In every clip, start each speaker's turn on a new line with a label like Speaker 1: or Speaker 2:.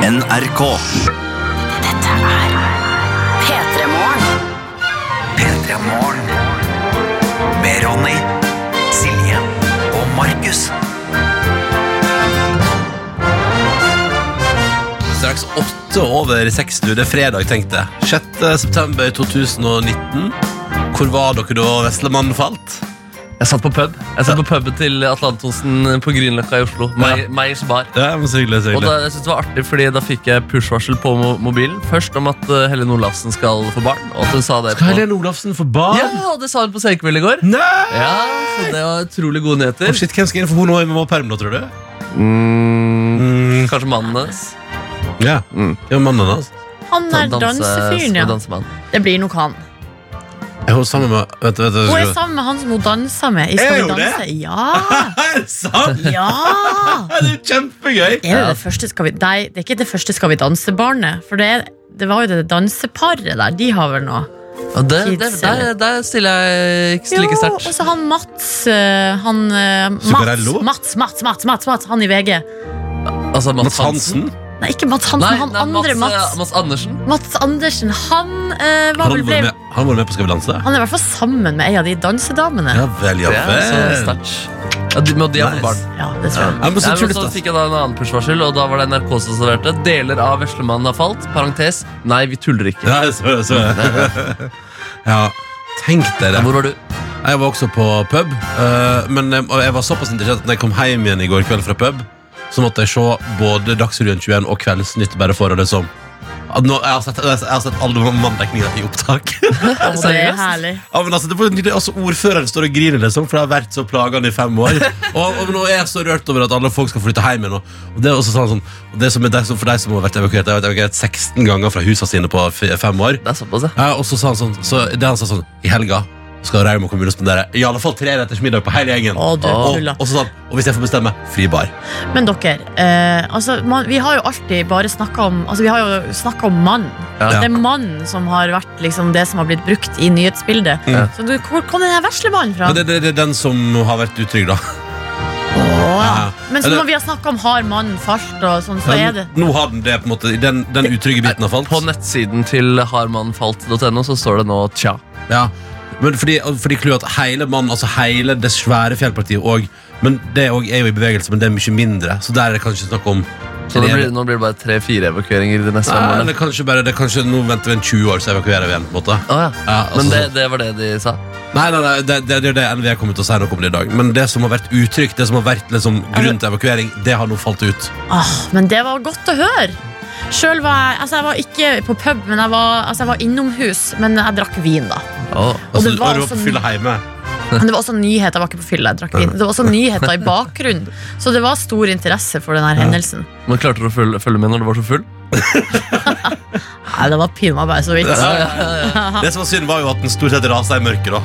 Speaker 1: NRK.
Speaker 2: Dette er P3 Morgen.
Speaker 1: P3 Morgen. Med Ronny, Silje og Markus.
Speaker 3: Straks åtte over seks nå. Det er fredag, tenkte jeg. 6. september 2019. Hvor var dere da Veslemannen falt?
Speaker 4: Jeg satt på pub Jeg satt på puben til Atlantosen på Grünerløkka i Oslo. Me- Meyers bar.
Speaker 3: Ja, men så hyggelig, så
Speaker 4: Og
Speaker 3: hyggelig.
Speaker 4: da, jeg synes det var artig, fordi da fikk jeg push-varsel på mo- mobilen. Først om at eh, Helle Nordlavsen skal få barn. Og at hun sa det på
Speaker 3: Helene Olafsen for barn?
Speaker 4: Ja, og det sa hun på Senkveld i går.
Speaker 3: Nei!
Speaker 4: Ja, Så det var utrolig gode
Speaker 3: Å,
Speaker 4: nyheter.
Speaker 3: shit, hvem skal inn for henne nå? Vi må ha perm nå, tror du?
Speaker 4: Mm,
Speaker 3: Mm,
Speaker 4: kanskje mannen hennes.
Speaker 3: ja.
Speaker 4: Mm.
Speaker 3: ja, mannen hennes.
Speaker 5: Han der
Speaker 4: Danse-
Speaker 5: dansefyren, ja.
Speaker 4: dansemann.
Speaker 5: Det blir nok han.
Speaker 3: Er hun sammen med Vent, vent, vent.
Speaker 5: Hun er
Speaker 3: vent.
Speaker 5: sammen med han som hun danser med. I
Speaker 3: Er
Speaker 5: Skal vi
Speaker 3: hun det?
Speaker 5: danse? Ja!
Speaker 3: Er det sant?
Speaker 5: ja.
Speaker 3: Det er jo kjempegøy!
Speaker 5: Er det det første Skal vi Nei, det er ikke det første Skal vi danse-barnet. For det, er, det var jo det danseparet der. De har vel noe.
Speaker 4: Og det, det,
Speaker 5: Kids,
Speaker 4: der,
Speaker 5: eller?
Speaker 4: der stiller jeg ikke
Speaker 5: Jo,
Speaker 4: like
Speaker 5: og
Speaker 4: sterkt.
Speaker 5: så han Mats eh, Han eh, Mats,
Speaker 3: Zuccarello?
Speaker 5: Mats, Mats, Mats, Mats, Mats, han i VG.
Speaker 4: Altså Mats
Speaker 3: Mats
Speaker 4: Hansen.
Speaker 3: Hansen?
Speaker 5: Nei, ikke Mats Hansen,
Speaker 4: Nei,
Speaker 5: han
Speaker 4: nei,
Speaker 5: andre
Speaker 4: Mats, eh,
Speaker 5: Mats.
Speaker 4: Mats Andersen.
Speaker 5: Mats Andersen. Han eh,
Speaker 3: Han
Speaker 5: var vel
Speaker 3: var
Speaker 5: ble,
Speaker 3: med, han var med på Skal vi danse?
Speaker 5: Han er i hvert fall sammen med ei av de dansedamene.
Speaker 3: Ja vel, ja
Speaker 4: Det er så
Speaker 3: vel.
Speaker 4: sterkt. Ja, de, men de har
Speaker 3: Nice.
Speaker 4: fått barn.
Speaker 5: Ja, det tror jeg.
Speaker 3: Ja, men
Speaker 4: Nei,
Speaker 3: så
Speaker 4: men
Speaker 3: utrolig
Speaker 4: så
Speaker 3: stas.
Speaker 4: fikk jeg da en annen push-varsel, og da var det NRK som serverte. Deler av Veslemannen har falt. Parentes. Nei, vi tuller ikke.
Speaker 3: Ja, så, så. ja, tenk deg det.
Speaker 4: Hvor var du?
Speaker 3: Jeg var også på pub, eh, men jeg, og jeg var såpass interessert at når jeg kom hjem igjen i går kveld fra pub, så måtte jeg se både Dagsrevyen 21 og Kveldsnytt bare for å det som at nå, jeg, har sett, jeg har sett alle manndekningene i opptak.
Speaker 5: Og det er
Speaker 4: Seriøst?
Speaker 5: herlig.
Speaker 3: ja, men altså, det var jo nydelig. altså, ordføreren står og griner, liksom, for det har vært så plagende i fem år. Og, og nå er jeg så rørt over at alle folk skal flytte hjem igjen. Og, og det er også sånn, sånn og det som er det som for deg som har vært evakuert, jeg har vært evakuert 16 ganger fra husene sine på f- fem år.
Speaker 4: Det er såpass, ja.
Speaker 3: Ja, og så sa han sånn så Det han sa sånn I helga skal Rauma kommune spendere i alle fall tre retters middag på hele gjengen.
Speaker 5: Å, du
Speaker 4: Å.
Speaker 5: tuller.
Speaker 3: Og så sa han Og hvis jeg får bestemme, fri bar.
Speaker 5: Men dere, eh, altså, man, vi har jo alltid bare snakka om Altså, vi har jo snakka om mann.
Speaker 4: Ja.
Speaker 5: Det er mannen som har vært liksom, det som har blitt brukt i nyhetsbildet.
Speaker 3: Ja.
Speaker 5: Så du, hvor kom den her veslemannen fra?
Speaker 3: Men det, det, det er den som har vært utrygg, da.
Speaker 5: Å, ja.
Speaker 3: Ja.
Speaker 5: Men så
Speaker 3: Eller-
Speaker 5: når vi har snakka om har mannen falt og sånn, så er det
Speaker 3: Nå har den det, på en måte. Den, den utrygge biten har
Speaker 4: På
Speaker 3: falt.
Speaker 4: nettsiden til harmannfalt.no så står det nå tja.
Speaker 3: Ja. Men fordi, fordi clouet at hele mannen, altså hele det svære fjellpartiet òg Men det òg er jo i bevegelse, men det er mye mindre. Så der er det kanskje snakk om
Speaker 4: Så det blir, nå blir det bare tre-fire evakueringer de neste
Speaker 3: Nei,
Speaker 4: fem
Speaker 3: eller
Speaker 4: årene.
Speaker 3: kanskje bare det, er kanskje, Nå venter vi en 20 år, så evakuerer vi igjen. på en måte
Speaker 4: Å, ja.
Speaker 3: ja, altså,
Speaker 4: Men det, det var det de sa.
Speaker 3: Nei, nei, nei, det, det er jo det NVE kommer til å si noe om det i dag. Men det som har vært uttrykk, det som har vært liksom, grunn til evakuering, det har nå falt ut.
Speaker 5: ah, Men det var godt å høre. Sjøl var jeg Altså, jeg var ikke på pub, men jeg var, altså, jeg var innomhus. Men jeg drakk vin, da.
Speaker 4: Å.
Speaker 3: Altså,
Speaker 5: det
Speaker 3: og
Speaker 5: var
Speaker 3: du var på
Speaker 5: også-
Speaker 3: fylla hjemme.
Speaker 5: Men det var også nyheter. Jeg var ikke på fylla, jeg drakk vin. Det var også nyheter i bakgrunnen. Så det var stor interesse for denne hendelsen.
Speaker 4: Men klarte du å følge, følge med når du var så full?
Speaker 5: Nei, det var pinadø bare så vidt.
Speaker 4: Ja, ja, ja.
Speaker 3: Det som var synd, var jo at den stort sett rasa i mørket, da.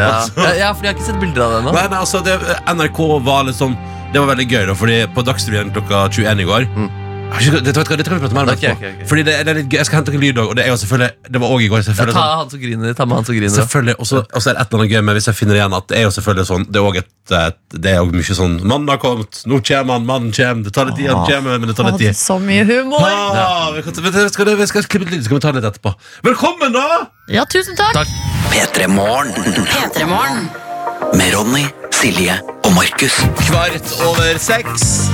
Speaker 3: Altså.
Speaker 4: ja. ja. ja for jeg har ikke sett bilder av det ennå.
Speaker 3: Nei, nei, altså, det, NRK var liksom Det var veldig gøy, da, fordi på Dagsrevyen klokka 21 i går
Speaker 4: Mm.
Speaker 3: Jeg har ikke- Dette vet du hva, dette kan vi prate mer om
Speaker 4: Ok,
Speaker 3: etterpå.
Speaker 4: ok, ok.
Speaker 3: Fordi det, det er litt gøy. Jeg skal hente noen lyd òg, og det er jo selvfølgelig Det var òg i går.
Speaker 4: Ja,
Speaker 3: Selvfølgelig
Speaker 4: ta
Speaker 3: sånn
Speaker 4: han som griner. Ta med han som griner.
Speaker 3: Selvfølgelig, og så og så er det et eller annet gøy med hvis jeg finner igjen at det er jo selvfølgelig sånn, det er også et, et det er jo mye sånn, mannen har kommet, nå kommer han, mannen kommer, det tar litt tid, han
Speaker 4: Ah.
Speaker 3: kommer, men det tar litt
Speaker 5: Hadde
Speaker 3: tid.
Speaker 5: så mye humor.
Speaker 3: Ah, vi kan- vet du, skal, vi skal klippe litt lyd, så kan vi ta det litt etterpå. Velkommen da!
Speaker 5: Ja, tusen takk.
Speaker 4: Takk.
Speaker 1: P3 Morgen.
Speaker 2: P3 Morgen.
Speaker 1: Med Ronny, Silje og Markus.
Speaker 3: Kvart over seks.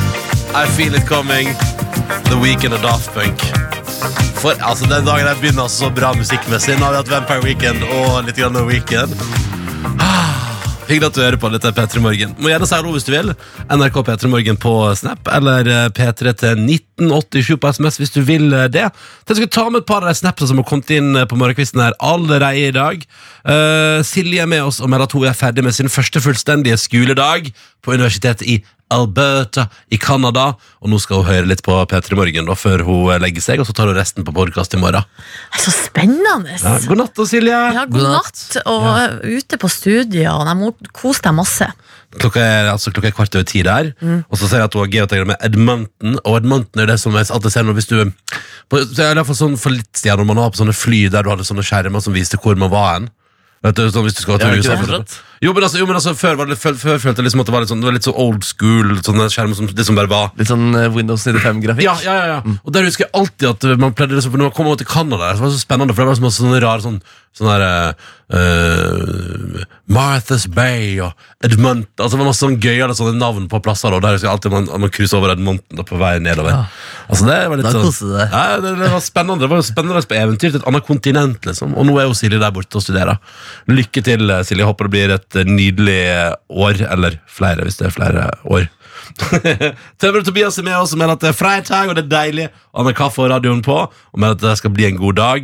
Speaker 3: I feel it coming. The Weekend og Daft Punk. For altså, den dagen jeg begynner altså så bra musikkmessig. Nå har vi hatt Vampire Weekend og litt grann The Weekend. Ah, Hyggelig at du hører på. Dette er P3 Morgen. Må gjerne si hallo hvis du vil. NRK P3 Morgen på Snap eller eh, P3 til 1987 på SMS hvis du vil eh, det. Jeg skal ta med et par av de snapsene som har kommet inn eh, på morgenkvisten her allerede i dag. Eh, Silje er med oss og melder at hun er ferdig med sin første fullstendige skoledag på universitetet i Alberta i Canada. Og nå skal hun høre litt på P3 Morgen da, før hun eh, legger seg, og så tar hun resten på podkast i morgen.
Speaker 5: Det er Så spennende.
Speaker 3: Ja, god natt, da, Silje.
Speaker 5: Ja,
Speaker 4: God
Speaker 5: god natt og ute på studier. og Jeg må kose deg masse. Mm.
Speaker 3: Klokka er, altså, klokka er kvart over ti der. Og så ser jeg at hun har geotegner med Edmonton. Og Edmonton er det som jeg alltid ser når hvis du på, så er det i hvert fall sånn For litt siden når man var på sånne fly der du hadde sånne skjermer som viste hvor man var hen. Vet du, sånn, hvis du skal
Speaker 4: Jeg
Speaker 3: til
Speaker 4: har ikke
Speaker 3: USA
Speaker 4: det
Speaker 3: for
Speaker 4: fortsatt.
Speaker 3: eksempel. Jo, men altså, jo, men altså før, var det, før, før følte jeg liksom at det var litt sånn, det var litt så old school, sånne skjermer som liksom bare var
Speaker 4: Litt sånn eh, Windows Mm. 95-grafikk.
Speaker 3: ja, ja, ja, ja. Og der husker jeg alltid at uh, man pleide liksom, for når man kom over til Canada, så var det så spennende, for det var så masse sånne rare sånn, sånn der eh, eh, Martha's Bay og Edmund, altså det var masse sånn gøyere sånne navn på plasser, og der husker jeg alltid man, man krysset over Edmonton og på vei nedover. Altså det var litt
Speaker 4: Da
Speaker 3: sånn...
Speaker 4: koste du deg.
Speaker 3: Ja, det, det var spennende, det var jo spennende å reise på eventyr til et annet kontinent, liksom. Og nå er jo Silje der borte og studerer. Lykke til, eh, Silje. Jeg håper det blir et eh, nydelig eh, år, eller flere, hvis det er eh, flere år. Tømmer Tobias er med oss og mener at det er fredag, og det er deilig. Og han har kaffe og radioen på, og mener at det skal bli en god dag.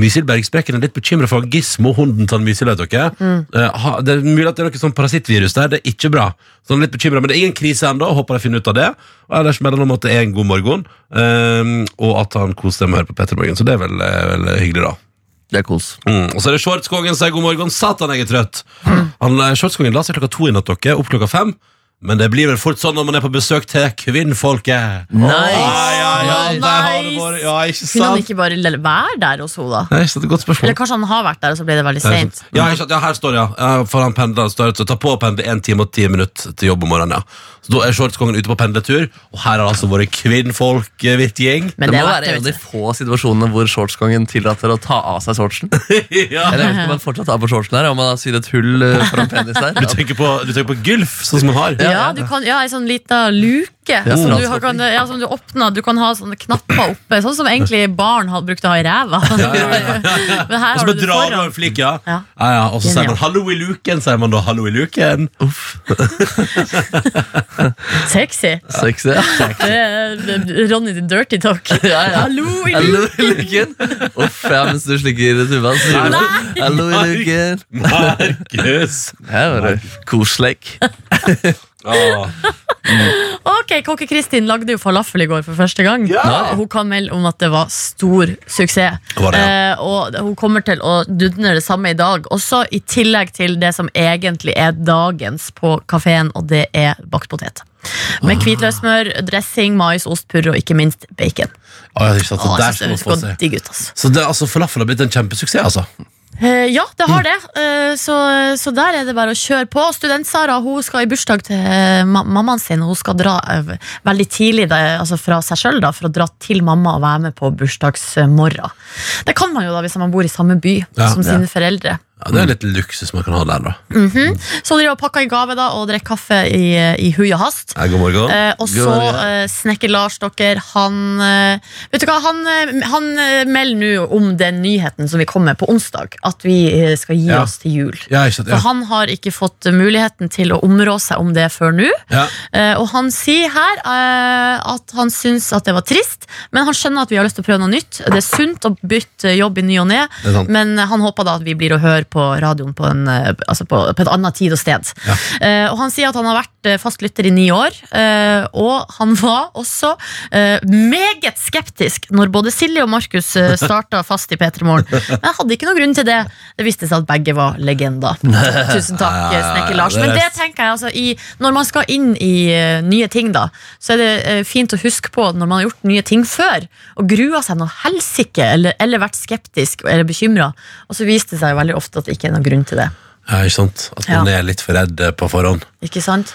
Speaker 3: Mysil Bergsprekken er litt bekymra for Gismo, hunden til han Mysil. vet dere. Eh, ha- Det er mulig at det er noe sånn parasittvirus der, det er ikke bra. Så han er litt bekymret, Men det er ingen krise ennå, håper de finner ut av det. Og ellers melder han om at det er en god morgen, eh, og at han koser seg med å høre på Petter Morgen. Så det er vel, eh, vel hyggelig, da.
Speaker 4: Det er kos.
Speaker 3: Mm. Og så er det Schwartzkongen som sier god morgen. Satan, jeg er trøtt. Han, eh, Schwartzkongen la seg klokka to i natt, dere. Opp klokka fem. Men det blir vel fort sånn når man er på besøk til kvinnfolket.
Speaker 4: Nice.
Speaker 3: Ja, ja, ja,
Speaker 5: Nice.
Speaker 3: der har det vært. Ja, ikke
Speaker 5: Kunne han
Speaker 3: sant?
Speaker 5: ikke bare le- være der hos henne, da?
Speaker 3: Nei, ikke sant, det er et godt spørsmål.
Speaker 5: Eller kanskje han har vært der, og så ble det veldig
Speaker 3: Ja, ikke
Speaker 5: seint.
Speaker 3: sant. Ja, ikke sant. ja, her står det, ja. ja. For han pendler står det, så ta på å pendle 1 time og 10 minutter til jobb om morgenen. ja. Så Da er shortskongen ute på pendletur, og her har altså vært eh, kvinnfolk-vitjing.
Speaker 5: Men
Speaker 4: det,
Speaker 5: det
Speaker 4: må være
Speaker 5: er verdt det,
Speaker 4: en av de
Speaker 5: vet du.
Speaker 4: få situasjonene hvor shortskongen tillater å ta av seg shortsen.
Speaker 3: ja.
Speaker 4: Eller jeg vet ikke om han fortsatt har på shortsen her, om han har sydd et hull eh, for en penis der.
Speaker 3: Du tenker på, du tenker på gulf, sånn som han har.
Speaker 5: Ja, du kan, ja, ei sånn lita luke som, du har, kan, ja, som du åpner. Du kan ha sånne knapper oppe, sånn som egentlig barn hadde brukt å ha i ræva. Men her
Speaker 3: Og så bare Altså,
Speaker 5: har du det
Speaker 3: drar du over
Speaker 5: foran.
Speaker 3: flikka, ja.
Speaker 5: Ja.
Speaker 3: Ja, og så sier
Speaker 5: Genialt.
Speaker 3: man 'hallo i luken', sier man da 'hallo i luken'.
Speaker 5: Sexy.
Speaker 4: Sexy, ja.
Speaker 5: Det er Ronny the Dirty Talk.
Speaker 4: Ja, ja.
Speaker 5: Hallo i
Speaker 4: Hallo
Speaker 5: luken!
Speaker 4: i luken. Uff, ja, mens du slikker tubaen, så sier du hallo i luken.
Speaker 3: Markus!
Speaker 4: Ja, bare koselig.
Speaker 3: Åh.
Speaker 5: Ok, Kokke Kristin lagde jo falafel i går for første gang.
Speaker 3: Ja.
Speaker 5: Og Hun kan melde om at det var stor suksess.
Speaker 3: Det var det,
Speaker 5: eh, og hun kommer til å dudne det samme i dag, også i tillegg til det som egentlig er dagens på kafeen, og det er bakt potet.
Speaker 4: Ah.
Speaker 5: Med hvitløkssmør, dressing, mais, ost, purre og ikke minst bacon.
Speaker 3: Åh, jeg synes at
Speaker 5: Å,
Speaker 3: det der
Speaker 5: jeg synes
Speaker 3: skal
Speaker 5: det
Speaker 3: man få
Speaker 5: høres
Speaker 3: se.
Speaker 5: godt digg ut, altså.
Speaker 3: Så det, altså, falafel har blitt en kjempesuksess, altså.
Speaker 5: Eh, ja, det
Speaker 3: Mm.
Speaker 5: har det. Eh, så, så der er det bare å kjøre på. Student-Sara hun skal i bursdag til eh, ma mammaen sin. Hun skal dra eh, veldig tidlig da, altså fra seg sjøl for å dra til mamma og være med på bursdagsmorgen. Det kan man jo da hvis man bor i samme by
Speaker 3: Ja,
Speaker 5: som
Speaker 3: ja.
Speaker 5: sine foreldre. Mhm.
Speaker 3: Ja, det er
Speaker 5: Mm.
Speaker 3: litt luksus man kan ha der, da.
Speaker 5: Så driver hun og pakker en gave da og drikker kaffe i, i hui og hast.
Speaker 3: Ja, god morgen.
Speaker 5: Eh, og så
Speaker 4: Gloria.
Speaker 5: eh, snekker Lars dere Han, eh, vet du hva, han, eh, han eh, melder nå om den nyheten som vi kom med på onsdag. At vi eh, skal gi
Speaker 3: Ja.
Speaker 5: oss til jul.
Speaker 3: Ja, ikke sant,
Speaker 5: For
Speaker 3: ja.
Speaker 5: han har ikke fått muligheten til å områ seg om det før nå.
Speaker 3: Ja.
Speaker 5: Eh, Og han sier her eh, at han syns at det var trist, men han skjønner at vi har lyst til å prøve noe nytt. Det er sunt å bytte jobb i ny og ne,
Speaker 3: Det er sant.
Speaker 5: men han håper da at vi blir å høre på radioen på en, eh, altså på, på et annet tid og sted. Eh, Og han sier at han har vært eh, fast lytter i ni år, eh, og han var også eh, meget skeptisk når både Silje og Markus eh, starta fast i P3 Morgen. Men jeg hadde ikke noen grunn til det. Det viste seg at begge var legender. Tusen takk,
Speaker 3: Ja, ja, ja,
Speaker 5: Snekker Lars.
Speaker 3: det er
Speaker 5: Men det tenker jeg altså i, Når man skal inn i eh, nye ting, da, så er det eh, fint å huske på når man har gjort nye ting før, og grua seg noe helsike, eller, eller vært skeptisk eller bekymra, og så viste det seg veldig ofte at det ikke er noen grunn til det.
Speaker 3: ja, ikke sant. At man
Speaker 5: Ja.
Speaker 3: er litt for redd eh, på forhånd.
Speaker 5: Ikke sant?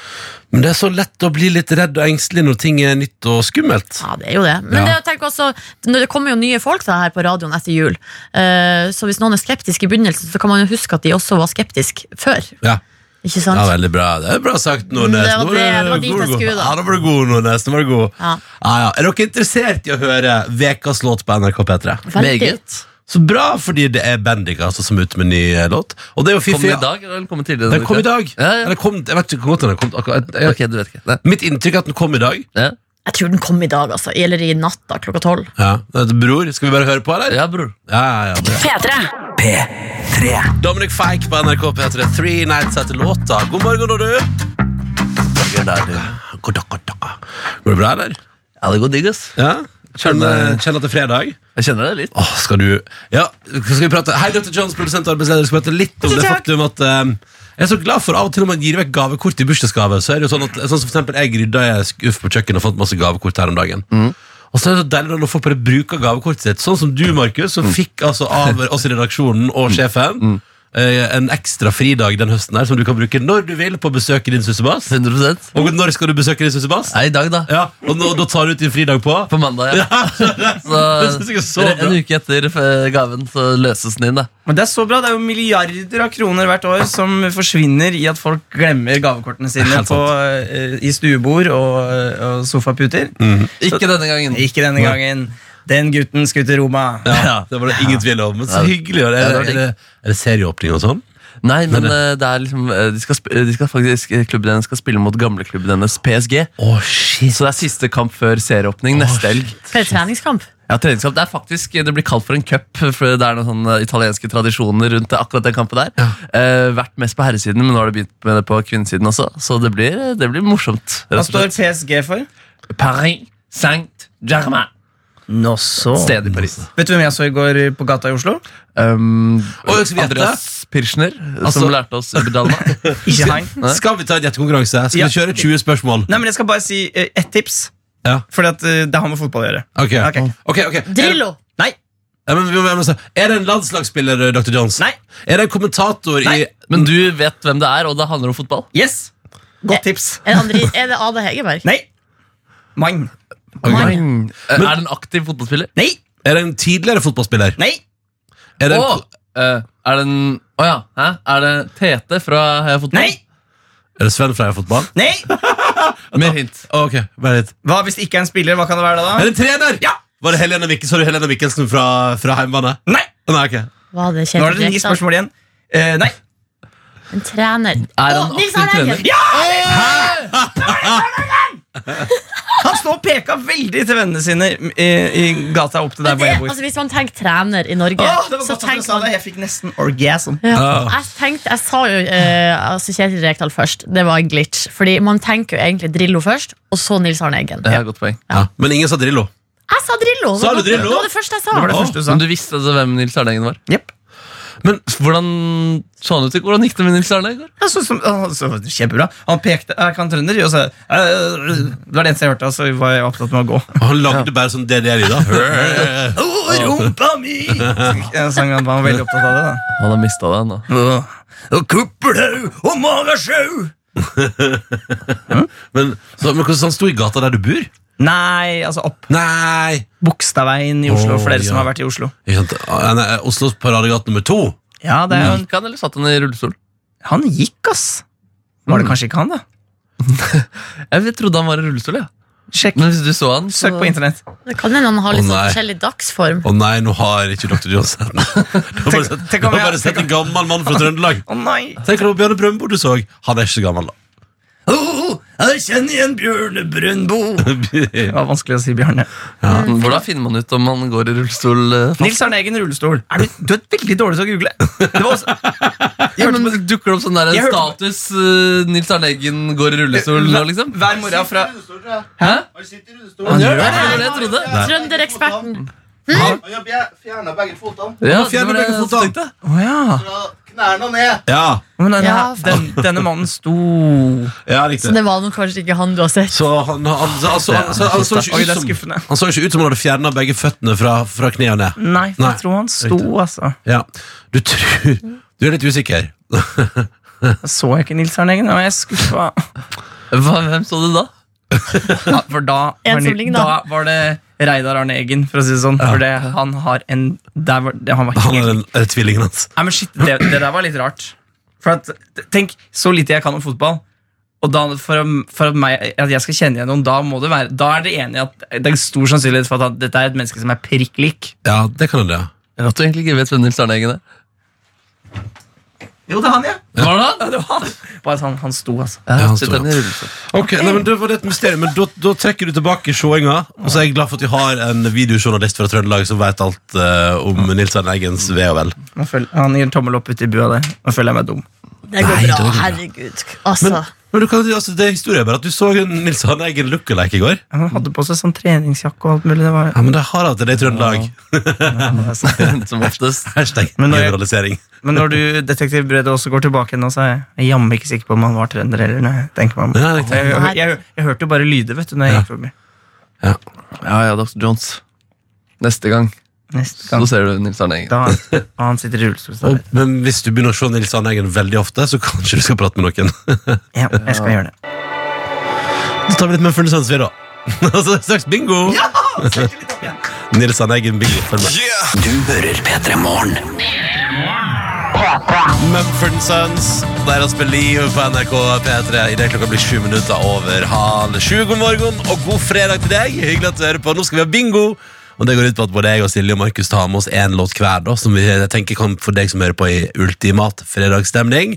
Speaker 3: Men det er så lett å bli litt redd og engstelig når ting er nytt og skummelt.
Speaker 5: Ja, det er jo det. Men
Speaker 3: Ja.
Speaker 5: det, jeg tenker også, når det kommer jo nye folk da, her på radioen etter jul, eh, så hvis noen er skeptiske i begynnelsen, så kan man jo huske at de også var skeptiske før.
Speaker 3: Ja.
Speaker 5: Ikke
Speaker 3: Ja,
Speaker 5: sant? Mm,
Speaker 3: veldig bra. Det er bra sagt, Nordnes.
Speaker 5: Det var
Speaker 3: Nå var
Speaker 5: det- det var dit
Speaker 3: nå var
Speaker 5: jeg
Speaker 3: du god.
Speaker 5: skulle, da.
Speaker 3: Ja, da var du god, Nordnes. Nå var du god. Ja.
Speaker 5: Ja.
Speaker 3: Ja, Er dere interessert i å høre Vekas låt på NRK P3?
Speaker 5: Veldig.
Speaker 4: Meget.
Speaker 3: Så bra, fordi det er Bendik altså, som er ute med ny eh, låt. Og det er jo
Speaker 4: Kom
Speaker 3: fiffig.
Speaker 4: den i dag, eller kom den tidligere?
Speaker 3: Den kom i dag.
Speaker 4: Ja, ja.
Speaker 3: Eller kom, jeg vet ikke hvor godt den har kommet. akkurat. Jeg-
Speaker 4: Ok, du vet ikke. Nei.
Speaker 3: Mitt inntrykk er at den kom i dag.
Speaker 4: Ja,
Speaker 5: Jeg tror den kom i dag, altså. Eller i natt, da, klokka tolv.
Speaker 3: Ja. Det er Bror, skal vi bare høre på, eller?
Speaker 4: ja bror.
Speaker 3: Ja, ja, ja. bra.
Speaker 2: P3.
Speaker 1: P3
Speaker 3: Dominic Fike på NRK P3. Three Nights etter låta. God morgen, da, du. God dag, du. God dag, god dag. Går det bra, eller?
Speaker 4: Ja, det går digg, ass.
Speaker 3: Ja? Kjenner, kjenner at det er fredag?
Speaker 4: Jeg kjenner det litt.
Speaker 3: Åh, skal du Ja, skal vi prate Hei, Dr. Jones, produsent og arbeidsleder Skal prate litt om det faktum at eh, Jeg er så glad for av og til når man gir vekk gavekort i bursdagsgave Så er det jo sånn at Sånn som for eksempel jeg rydda i en skuff på kjøkkenet Og fant masse gavekort her om dagen Og så er det så deilig når
Speaker 6: Mm.
Speaker 3: folk bare bruker gavekortet sitt Sånn som du, Markus Som fikk altså av oss i redaksjonen og sjefen eh, en ekstra fridag den høsten her som du kan bruke når du vil på å besøke din sussebass.
Speaker 6: 100
Speaker 3: Og når skal du besøke din sussebass?
Speaker 6: Nei, i dag, da.
Speaker 3: Ja, og, nå- da tar du ut din fridag på
Speaker 6: På mandag, ja.
Speaker 3: Det synes jeg er så bra.
Speaker 6: en uke etter eh, gaven så løses den inn, da.
Speaker 7: Men det er så bra. Det er jo milliarder av kroner hvert år som forsvinner i at folk glemmer gavekortene sine
Speaker 3: Helt sant.
Speaker 7: på, eh, i stuebord og, og sofaputer.
Speaker 3: Mm.
Speaker 6: Ikke denne gangen.
Speaker 7: Ikke denne gangen. Den gutten skulle til Roma.
Speaker 3: Ja, det var det ingen tvil om. Men så hyggelig. og det-
Speaker 6: Ja, det
Speaker 3: Er
Speaker 6: var
Speaker 3: det,
Speaker 6: digg.
Speaker 3: er det, er det serieåpning og sånn?
Speaker 6: Nei, men eh, det er liksom eh, de skal, sp- eh, de skal faktisk, eh, Klubben hennes skal spille mot gamleklubben hennes, PSG.
Speaker 3: Å, shit.
Speaker 6: Så det er siste kamp før serieåpning neste helg.
Speaker 5: For en treningskamp.
Speaker 6: Ja, treningskamp. Det er faktisk, det blir kalt for en cup, for det er noen sånne italienske tradisjoner rundt det- akkurat den kampen der. Eh, vært mest på herresiden, men nå har det begynt med det på kvinnesiden også. Så det blir, det blir morsomt.
Speaker 7: Hva
Speaker 6: rett og
Speaker 7: står
Speaker 6: slett.
Speaker 7: PSG for?
Speaker 6: Paris Saint-Germain.
Speaker 7: Nå så.
Speaker 6: Stedet i Paris.
Speaker 7: Vet du hvem jeg så i går på gata i Oslo?
Speaker 6: Um,
Speaker 3: Oi, skal vi gjette?
Speaker 6: Andreas Pirschner,
Speaker 3: Altså-
Speaker 6: som lærte oss Ubedalma.
Speaker 7: Ikke han.
Speaker 3: Skal vi ta en gjettekonkurranse? Skal
Speaker 7: Ja.
Speaker 3: vi kjøre 20 spørsmål?
Speaker 7: Nei, men Jeg skal bare si eh, ett tips.
Speaker 3: Ja.
Speaker 7: Fordi at eh, det har med fotball å gjøre.
Speaker 3: Ok,
Speaker 7: Ok.
Speaker 3: ok, ok. Er,
Speaker 5: Drillo!
Speaker 7: Nei.
Speaker 3: ja, men, vi må- vi må se. er det en landslagsspiller, eh, Dr. Jones?
Speaker 7: Nei.
Speaker 3: Er det en kommentator
Speaker 7: Nei.
Speaker 3: i
Speaker 6: Men du vet hvem det er, og det handler om fotball.
Speaker 7: Yes. Godt tips.
Speaker 5: Er det, andre, er det Ade Hegerberg?
Speaker 7: Nei. Mang.
Speaker 3: Ok.
Speaker 6: Men, Eh, er det en aktiv fotballspiller?
Speaker 7: Nei.
Speaker 3: Er det en tidligere fotballspiller?
Speaker 7: Nei.
Speaker 3: Er det en,
Speaker 6: Å, eh, er det en Å ja. Hæ? Er det Tete fra Heia Fotball?
Speaker 7: Nei.
Speaker 3: er det Sven Freia Fotball?
Speaker 7: Nei.
Speaker 6: Mer hint.
Speaker 3: Ok, bare litt.
Speaker 7: Hva hvis det ikke er en spiller? Hva kan det være da?
Speaker 3: Er
Speaker 7: da?
Speaker 3: det en trener?
Speaker 7: Ja.
Speaker 3: Var det Helene Mikkelsen, så du Helene Mikkelsen fra, fra heimbane?
Speaker 7: Nei.
Speaker 3: Nei, ok.
Speaker 5: Var det
Speaker 7: Nå
Speaker 5: Kjetil
Speaker 7: er det ni
Speaker 5: Rekdal?
Speaker 7: spørsmål igjen. Eh, nei.
Speaker 5: En trener.
Speaker 6: Er
Speaker 5: Å,
Speaker 6: han
Speaker 5: Nils
Speaker 6: aktiv
Speaker 5: Arne
Speaker 6: trener?
Speaker 5: Eggen!
Speaker 7: Han står og peker veldig til vennene sine i, i gata opp til
Speaker 5: Men
Speaker 7: der hvor
Speaker 5: det,
Speaker 7: jeg bor.
Speaker 5: altså, hvis man tenker trener i Norge,
Speaker 7: Åh, det var
Speaker 5: så
Speaker 7: godt at du
Speaker 5: tenker
Speaker 7: sa
Speaker 5: man
Speaker 7: det. Jeg fikk nesten orgasm.
Speaker 5: ja.
Speaker 3: Ah.
Speaker 5: jeg, tenkte, jeg sa jo eh, altså Kjetil Rekdal først. Det var en glitch. Fordi Man tenker jo egentlig Drillo først, og så Nils Arne Eggen.
Speaker 6: Det er et godt poeng.
Speaker 3: Ja. Men ingen sa Drillo.
Speaker 5: Jeg sa Drillo!
Speaker 3: Sa du Drillo?
Speaker 5: Det var det første jeg sa.
Speaker 7: var det første du sa.
Speaker 6: Men du visste altså hvem Nils Arne Eggen var?
Speaker 7: Jepp.
Speaker 6: Men hvordan så han ut i går? Hvordan gikk det med Nils Arne i går?
Speaker 7: Jeg synes som- åh, så var det kjempebra. Han pekte Er ikke han trønder? Og så, eh, det var det eneste jeg hørte, og så var jeg opptatt med å gå.
Speaker 3: Og Han lagde bare sånn DDR i da.
Speaker 7: Oh, rumpa mi! Jeg sang han var veldig opptatt av det. da
Speaker 6: Han har mista det, han da.
Speaker 7: Og kuppelhaug og Hm? magesjau!
Speaker 3: Men, så, men hvordan han sto i gata der du bor?
Speaker 7: Nei, altså opp
Speaker 3: Nei!
Speaker 7: Bokstadveien i Oslo,
Speaker 3: Åh,
Speaker 7: for dere som
Speaker 3: ja.
Speaker 7: har vært i Oslo.
Speaker 3: Ikke sant? Ah, nei, Oslos paradegate nummer to.
Speaker 7: Ja, det er jo en,
Speaker 6: Gikk han, eller satt han i rullestol?
Speaker 7: Han gikk, ass. Var det kanskje ikke han, da?
Speaker 6: Mm. Jeg vet- trodde han var i rullestol, ja.
Speaker 7: Sjekk.
Speaker 6: Men hvis du så han så...
Speaker 7: Søk på internett.
Speaker 5: Det kan hende han har litt
Speaker 3: Å,
Speaker 5: sånn
Speaker 3: nei.
Speaker 5: forskjellig dagsform.
Speaker 3: Å nei, nå har ikke Dr. Jones sett den. Du har bare sett-
Speaker 7: tenk
Speaker 3: du
Speaker 7: om
Speaker 3: har
Speaker 7: jeg-
Speaker 3: bare sett en gammel mann fra Trøndelag.
Speaker 7: Å nei!
Speaker 3: Tenk om det var Bjørne Brøndbo du så. Han er ikke så gammel, da.
Speaker 7: Oh, jeg kjenner igjen Bjørne Brøndbo. Det var vanskelig å si, Bjørne.
Speaker 6: Mm. Hvordan finner man ut om han går i rullestol? eh, fast?
Speaker 7: Nils Arne Eggen rullestol. Er du, du er veldig dårlig til å google. Det var også,
Speaker 6: Ja, men Dukker det opp sånn der
Speaker 7: Jeg hørte på-
Speaker 6: status eh, Nils Arne Eggen går i rullestol nå, liksom?
Speaker 7: Hver morgen fra
Speaker 6: Hæ?
Speaker 8: Han
Speaker 6: gjør det,
Speaker 5: det.
Speaker 6: var det jeg trodde.
Speaker 5: Trøndereksperten.
Speaker 8: fjerna begge fotene
Speaker 6: Ja,
Speaker 3: Han fjerner
Speaker 6: det var det
Speaker 3: begge
Speaker 6: jeg
Speaker 3: fotene.
Speaker 6: tenkte.
Speaker 7: Å ja.
Speaker 8: fra knærne og ned.
Speaker 3: Ja,
Speaker 7: Men denne,
Speaker 5: Ja.
Speaker 7: den, denne mannen sto
Speaker 3: ja
Speaker 5: Så
Speaker 3: riktig.
Speaker 5: det var nok kanskje ikke han du har sett.
Speaker 3: Så han, han, så, altså, han, så, han, så, ikke
Speaker 7: Oi, det er
Speaker 3: ut som,
Speaker 7: skuffende.
Speaker 3: han så ikke ut som han hadde fjerna begge føttene fra, fra kne og ned.
Speaker 7: Nei,
Speaker 3: Nei,
Speaker 7: jeg tror han sto,
Speaker 3: riktig.
Speaker 7: altså.
Speaker 3: Ja. Du tror Du er litt usikker.
Speaker 7: Jeg så ikke Nils Arne Eggen, og jeg er skuffa.
Speaker 6: Hva, hvem så du da?
Speaker 7: Ja, for da
Speaker 5: En som
Speaker 7: var, Ni-
Speaker 5: ligner.
Speaker 7: da var det Reidar Arne Eggen, for å si det sånn. For det, han har en der var, det, Han var
Speaker 3: Han er,
Speaker 7: helt
Speaker 3: den, er det tvillingen hans.
Speaker 7: Nei, men shit, det, det der var litt rart. For at, tenk, så lite jeg kan om fotball. Og da, for, å- for at, meg, at jeg skal kjenne igjen noen, da, må det være, da er det enig at det er stor sannsynlighet for at dette er et menneske som er prikk lik.
Speaker 3: Ja, det kan hende. ja.
Speaker 6: At du egentlig ikke vet hvem Nils Arne Eggen er.
Speaker 7: Jo, det er han, ja.
Speaker 6: Var det han?
Speaker 7: ja det var han. Bare at han, han sto, altså.
Speaker 6: Ja,
Speaker 3: han
Speaker 6: sitter
Speaker 3: sto, ja.
Speaker 6: han i rullestol.
Speaker 3: Ok, nei, men Det var det et mysterium, men da, da trekker du tilbake showinga. Og så er jeg glad for at vi har en videojournalist fra Trøndelag som vet alt eh, om Nils Arne Eggens ve og vel.
Speaker 7: Nå føler- Han gir en tommel opp ute i bua der. Nå føler jeg meg dum.
Speaker 5: Det går
Speaker 3: Nei, det
Speaker 5: bra.
Speaker 3: går bra.
Speaker 5: Herregud. Altså,
Speaker 3: Men du kan, altså, det er historien bare at du så en Nils Arne Eggen lookalike i går.
Speaker 7: Ja, Han hadde på seg sånn treningsjakke og alt mulig. Det var,
Speaker 3: Ja, men det har hatt det i Trøndelag.
Speaker 6: Som oftest.
Speaker 3: Hashtag
Speaker 7: Men når jeg-
Speaker 3: generalisering.
Speaker 7: men når du, detektiv Brødre, også går tilbake nå, så er jeg jammen ikke sikker på om han var trønder eller nei. tenker meg om.
Speaker 3: Ja, riktig.
Speaker 7: jeg, jeg, jeg, jeg hørte jo bare lyder, vet du, når jeg gikk forbi.
Speaker 6: Ja, ja, Dr. Jones. Neste gang
Speaker 7: Neste
Speaker 4: Så
Speaker 7: gang.
Speaker 4: ser du Nils Arne Eggen.
Speaker 7: Da han, han sitter i rullestol. så da-
Speaker 3: Og, men hvis du begynner å se Nils Arne Eggen veldig ofte, så kanskje du skal prate med noen.
Speaker 7: Ja, jeg skal gjøre det.
Speaker 3: Så tar vi litt med Furnesøns, vi, da. Og så er det straks bingo! Nils Arne Eggen, bingo. Følg med.
Speaker 1: Du hører P3 Morgen.
Speaker 3: Mumford Sons, deres Believe på NRK P3 Idet klokka blir sju minutter over halv sju. God morgen og god fredag til deg. Hyggelig at du hører på. Nå skal vi ha bingo. Og det går ut på at både jeg og Silje og Markus tar med oss én låt hver, da, som vi jeg tenker kan for deg som hører på i ultimat fredagsstemning.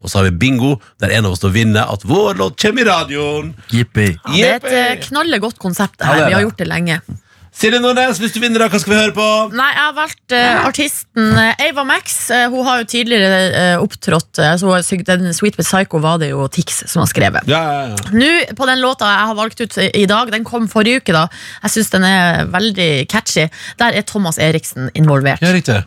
Speaker 3: Og så har vi bingo, der en av oss da vinner at vår låt kommer i radioen.
Speaker 4: Jippi.
Speaker 5: Det er et eh,
Speaker 3: Jeppe.
Speaker 5: knallegodt konsept. det
Speaker 3: Ja, det
Speaker 5: her
Speaker 3: er
Speaker 5: Vi har
Speaker 3: det.
Speaker 5: gjort det lenge.
Speaker 3: Silje Nordnes, hvis du vinner, da, hva skal vi høre på?
Speaker 5: Nei, jeg har valgt eh, artisten eh, Ava Max. Eh, hun har jo tidligere eh, opptrådt eh, så hun har syng- Den Sweet But Psycho var det jo Tix som har skrevet.
Speaker 3: Ja, ja, ja.
Speaker 5: Nå, på den låta jeg har valgt ut i dag, den kom forrige uke, da. Jeg syns den er veldig catchy. Der er Thomas Eriksen involvert. Eh,
Speaker 3: ja riktig.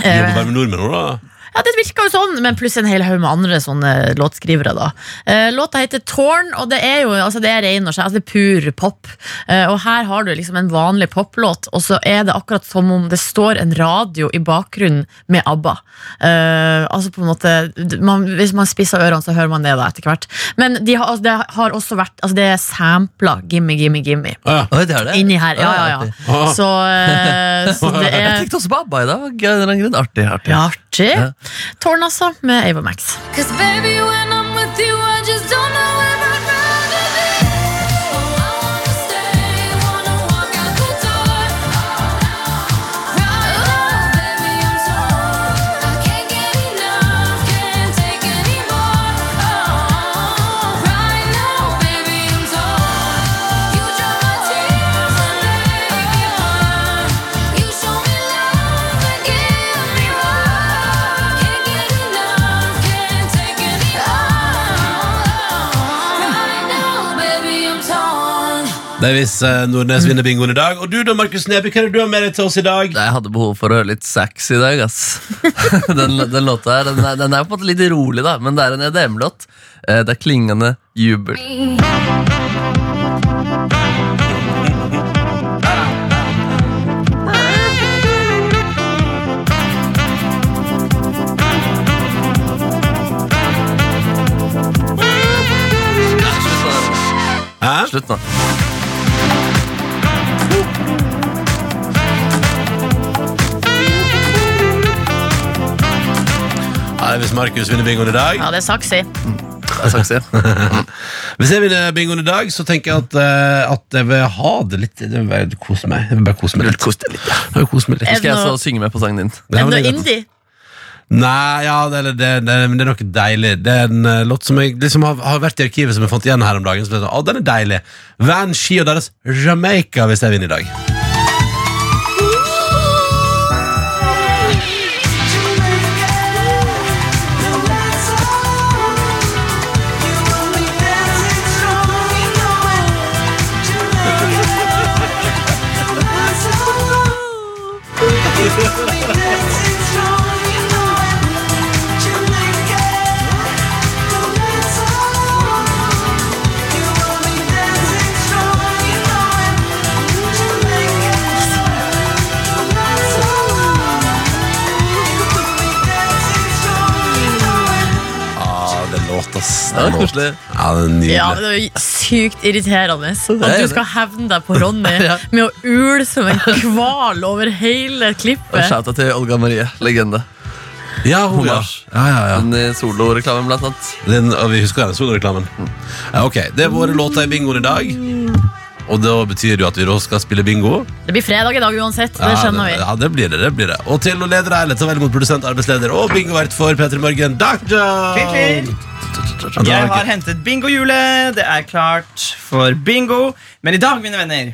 Speaker 3: Du jobber bare med nordmenn nå, da?
Speaker 5: Ja, Det virka jo sånn, men pluss en hel haug med andre sånne låtskrivere. da Eh, Låta heter Tårn, og det er jo altså det er ren og skjær, altså det er pur pop. Eh, og her har du liksom en vanlig poplåt, og så er det akkurat som om det står en radio i bakgrunnen med ABBA. Eh, altså på en måte d- man, Hvis man spisser ørene, så hører man det da etter hvert. Men de har, altså, det har også vært Altså det er sampla Gimme, gimme, gimme
Speaker 3: Ah, ja.
Speaker 4: Oi, det er det.
Speaker 5: inni her. Ja, ja, ja.
Speaker 3: Ah.
Speaker 5: Så, eh, så det
Speaker 4: Jeg
Speaker 5: er
Speaker 4: tenkte også på ABBA i dag. av en eller annen grunn. Artig. artig
Speaker 5: artig.
Speaker 4: Ja.
Speaker 5: Tårn, altså, med Ava Max.
Speaker 9: Cause baby, when I'm with you, I just don't know where I'd rather be. Oh, I wanna stay, wanna walk out the door. Right now, baby, I'm so on. I can't get enough, can't take anymore. Oh, right now, baby, I'm so on. You dry my tears and make me warm. You show me love and give me more. Can't get enough, can't take any Right now, baby, I'm torn.
Speaker 3: Det er hvis eh, Nordnes vinner bingoen i dag. Og du da, Markus Neby, hva er det du har med deg til oss i dag?
Speaker 4: Nei, Jeg hadde behov for å høre litt sax i dag, ass. den, den låta her, den er, den er på en måte litt rolig, da, men det er en EDM-låt. Eh, Det er klingende jubel.
Speaker 3: Hæ?
Speaker 4: Slutt nå.
Speaker 3: Nei, hvis Markus vinner bingoen i dag.
Speaker 5: Ja, det er saksy.
Speaker 4: Det er sax igjen.
Speaker 3: Hvis jeg vinner bingoen i dag, så tenker jeg at, eh, at jeg vil ha det litt. Jeg vil bare kose meg. Jeg vil bare kose meg litt. Jeg vil kose meg litt.
Speaker 5: Er det
Speaker 4: Skal jeg
Speaker 5: noe-
Speaker 4: så synge med på sangen din?
Speaker 3: Ja,
Speaker 5: Er
Speaker 3: men
Speaker 5: det
Speaker 3: det
Speaker 5: noe
Speaker 3: er greit.
Speaker 5: indie?
Speaker 3: Nei, ja, det, det, det, det, men det er noe deilig. Det er en eh, låt som jeg liksom har, har vært i arkivet som jeg fant igjen her om dagen. Som jeg sa, å, den er deilig. Van Ski og deres Jamaica hvis jeg vinner i dag. Ja, det er låt, ass.
Speaker 4: Ja,
Speaker 3: Det er låt.
Speaker 4: koselig.
Speaker 3: Ja, det er nydelig.
Speaker 5: Ja, det er jo sykt irriterende at
Speaker 4: er
Speaker 5: du
Speaker 4: det.
Speaker 5: skal hevne deg på Ronny
Speaker 4: Ja.
Speaker 5: med å ule som en kval over hele
Speaker 4: Og
Speaker 5: klippet.
Speaker 4: Shouta til Olga Marie, legende.
Speaker 3: Ja, hun, ja.
Speaker 4: Hommage.
Speaker 3: ja, ja, ja.
Speaker 4: Hun i soloreklamen, blant annet.
Speaker 3: Den, og vi husker den soloreklamen. Ja, ok, det er våre låter i bingoen i dag. Og da betyr det jo at vi da skal spille bingo.
Speaker 5: Det blir fredag i dag uansett, det
Speaker 3: Ja,
Speaker 5: skjønner vi.
Speaker 3: Ja, det blir det, det blir det. Og til å lede deg litt, ta vel imot produsent, arbeidsleder og bingovert for Petter Morgen, Dr.
Speaker 7: Jeg har hentet bingohjulet. Det er klart for bingo. Men i dag, mine venner,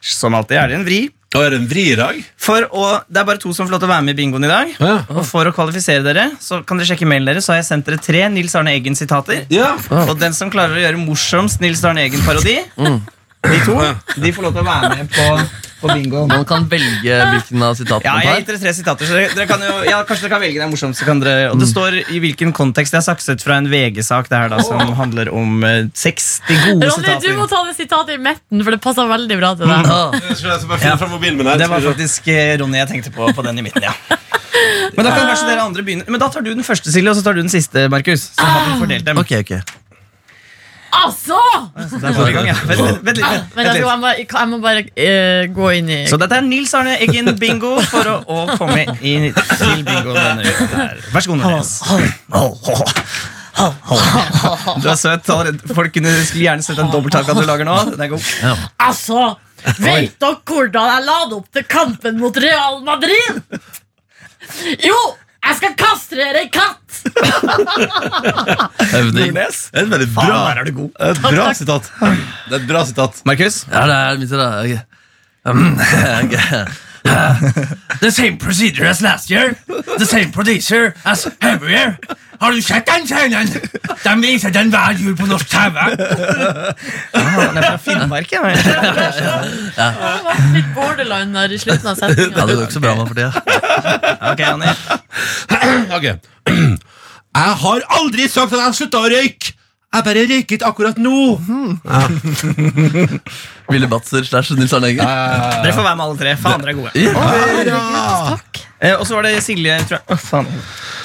Speaker 7: som alltid er det en vri.
Speaker 3: Og er det en vri i dag?
Speaker 7: For å, det er bare to som får lov til å være med i bingoen i dag.
Speaker 3: Ja.
Speaker 7: Og for å kvalifisere dere, så kan dere sjekke mailen deres, så har jeg sendt dere tre Nils Arne Eggen-sitater.
Speaker 3: Ja. Mm.
Speaker 7: Og den som klarer å gjøre morsomst Nils Arne Eggen-parodi, De to de får lov til å være med på, på bingo.
Speaker 4: Man kan velge hvilken av sitatene
Speaker 7: Ja,
Speaker 4: man
Speaker 7: jeg har
Speaker 4: tar.
Speaker 7: gitt dere tre sitater, så dere, dere kan jo, ja, kanskje dere kan velge den morsomste. Kan dere,
Speaker 4: Mm.
Speaker 7: og det står i hvilken kontekst jeg har sakset fra en VG-sak det her da, som handler om eh, sex. De gode
Speaker 5: Ronny, du må
Speaker 7: sitater. Mm.
Speaker 5: ta det sitatet i midten, for det passer veldig bra til deg.
Speaker 4: Ah,
Speaker 3: Jeg skal bare finne fram mobilen min her.
Speaker 7: Det var faktisk eh, Ronny jeg tenkte på på den i midten, ja. Men da kan kanskje dere andre begynne Men da tar du den første, Silje, og så tar du den siste, Markus. Så har vi fordelt dem.
Speaker 4: Ah. ok, ok.
Speaker 5: Altså!
Speaker 7: Så det er forrige gang, ja. Vent litt, vent
Speaker 5: Men
Speaker 7: litt, vent
Speaker 5: jeg, tror
Speaker 7: litt.
Speaker 5: jeg, må, jeg må bare eh, gå inn i
Speaker 7: Så dette er Nils Arne Eggen bingo for å, å komme inn til bingo denne uka. her. Vær så god, Nils. Du er søt. allerede. Folk kunne skulle gjerne sett den dobbelttaka du lager nå. Den er god.
Speaker 5: Altså! Veit dere hvordan jeg la det opp til kampen mot Real Madrid? Jo, jeg skal kastrere ei katt!
Speaker 4: Øvning.
Speaker 7: Nordnes.
Speaker 3: Det er et veldig bra,
Speaker 7: Faen, der er du god.
Speaker 3: et Eh, bra sitat. Det er et bra sitat.
Speaker 7: Markus?
Speaker 4: Ja, det er mitt da. Ok. Um, ok. Uh, The same procedure as last year. The same producer as every year. Har du sett den scenen? De viser den hver jul på norsk TV.
Speaker 7: Den Ah, er fra Finnmark, ja.
Speaker 5: Det var litt borderline der i slutten av
Speaker 4: Ja, det
Speaker 5: setninga.
Speaker 4: går
Speaker 3: sånn.
Speaker 4: ikke så bra med for tida.
Speaker 7: Ok, Annie.
Speaker 3: Ok. Jeg har aldri sagt at jeg har slutta å røyke. Jeg bare røyket akkurat nå.
Speaker 7: Mhm.
Speaker 4: Ville Batzer slash Nils Arne Eggen.
Speaker 7: Dere får være med alle tre. Faen, dere er gode. Eh, og så var det Silje tror jeg. Å, faen.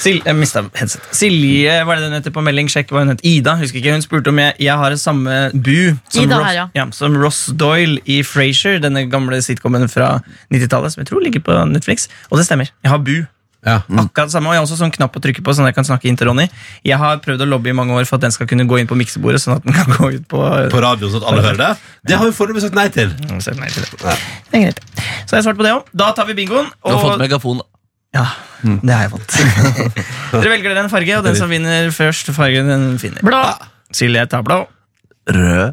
Speaker 7: Sil jeg mistet headset. Silje hva er det hun heter på melding? Sjekk hva hun het. Ida. husker ikke, Hun spurte om jeg, jeg har samme bu som,
Speaker 5: Ida
Speaker 7: Ross,
Speaker 5: her, ja.
Speaker 7: som Ross Doyle i Frasier, denne gamle sitcomen fra 90-tallet, som jeg tror ligger på Netflix. Og det stemmer. Jeg har bu.
Speaker 3: Ja. Mm.
Speaker 7: Akkurat det samme, og jeg har også sånn knapp å trykke på, sånn at jeg kan snakke inn til Ronny. Jeg har prøvd å lobby i mange år for at den skal kunne gå inn på miksebordet, sånn at den kan gå ut på
Speaker 3: På radioen, sånn at alle hører det. Det har vi foreløpig sagt nei til.
Speaker 7: Nå sier jeg nei til det. Det er greit. Så har jeg svart på det òg. Da tar vi bingoen.
Speaker 4: Du har fått
Speaker 7: Og
Speaker 4: megafon.
Speaker 7: ja, det har jeg fått. Dere velger dere en farge, og den som vinner først fargen, den finner.
Speaker 5: Blå.
Speaker 7: Silje tar blå.
Speaker 4: Rød,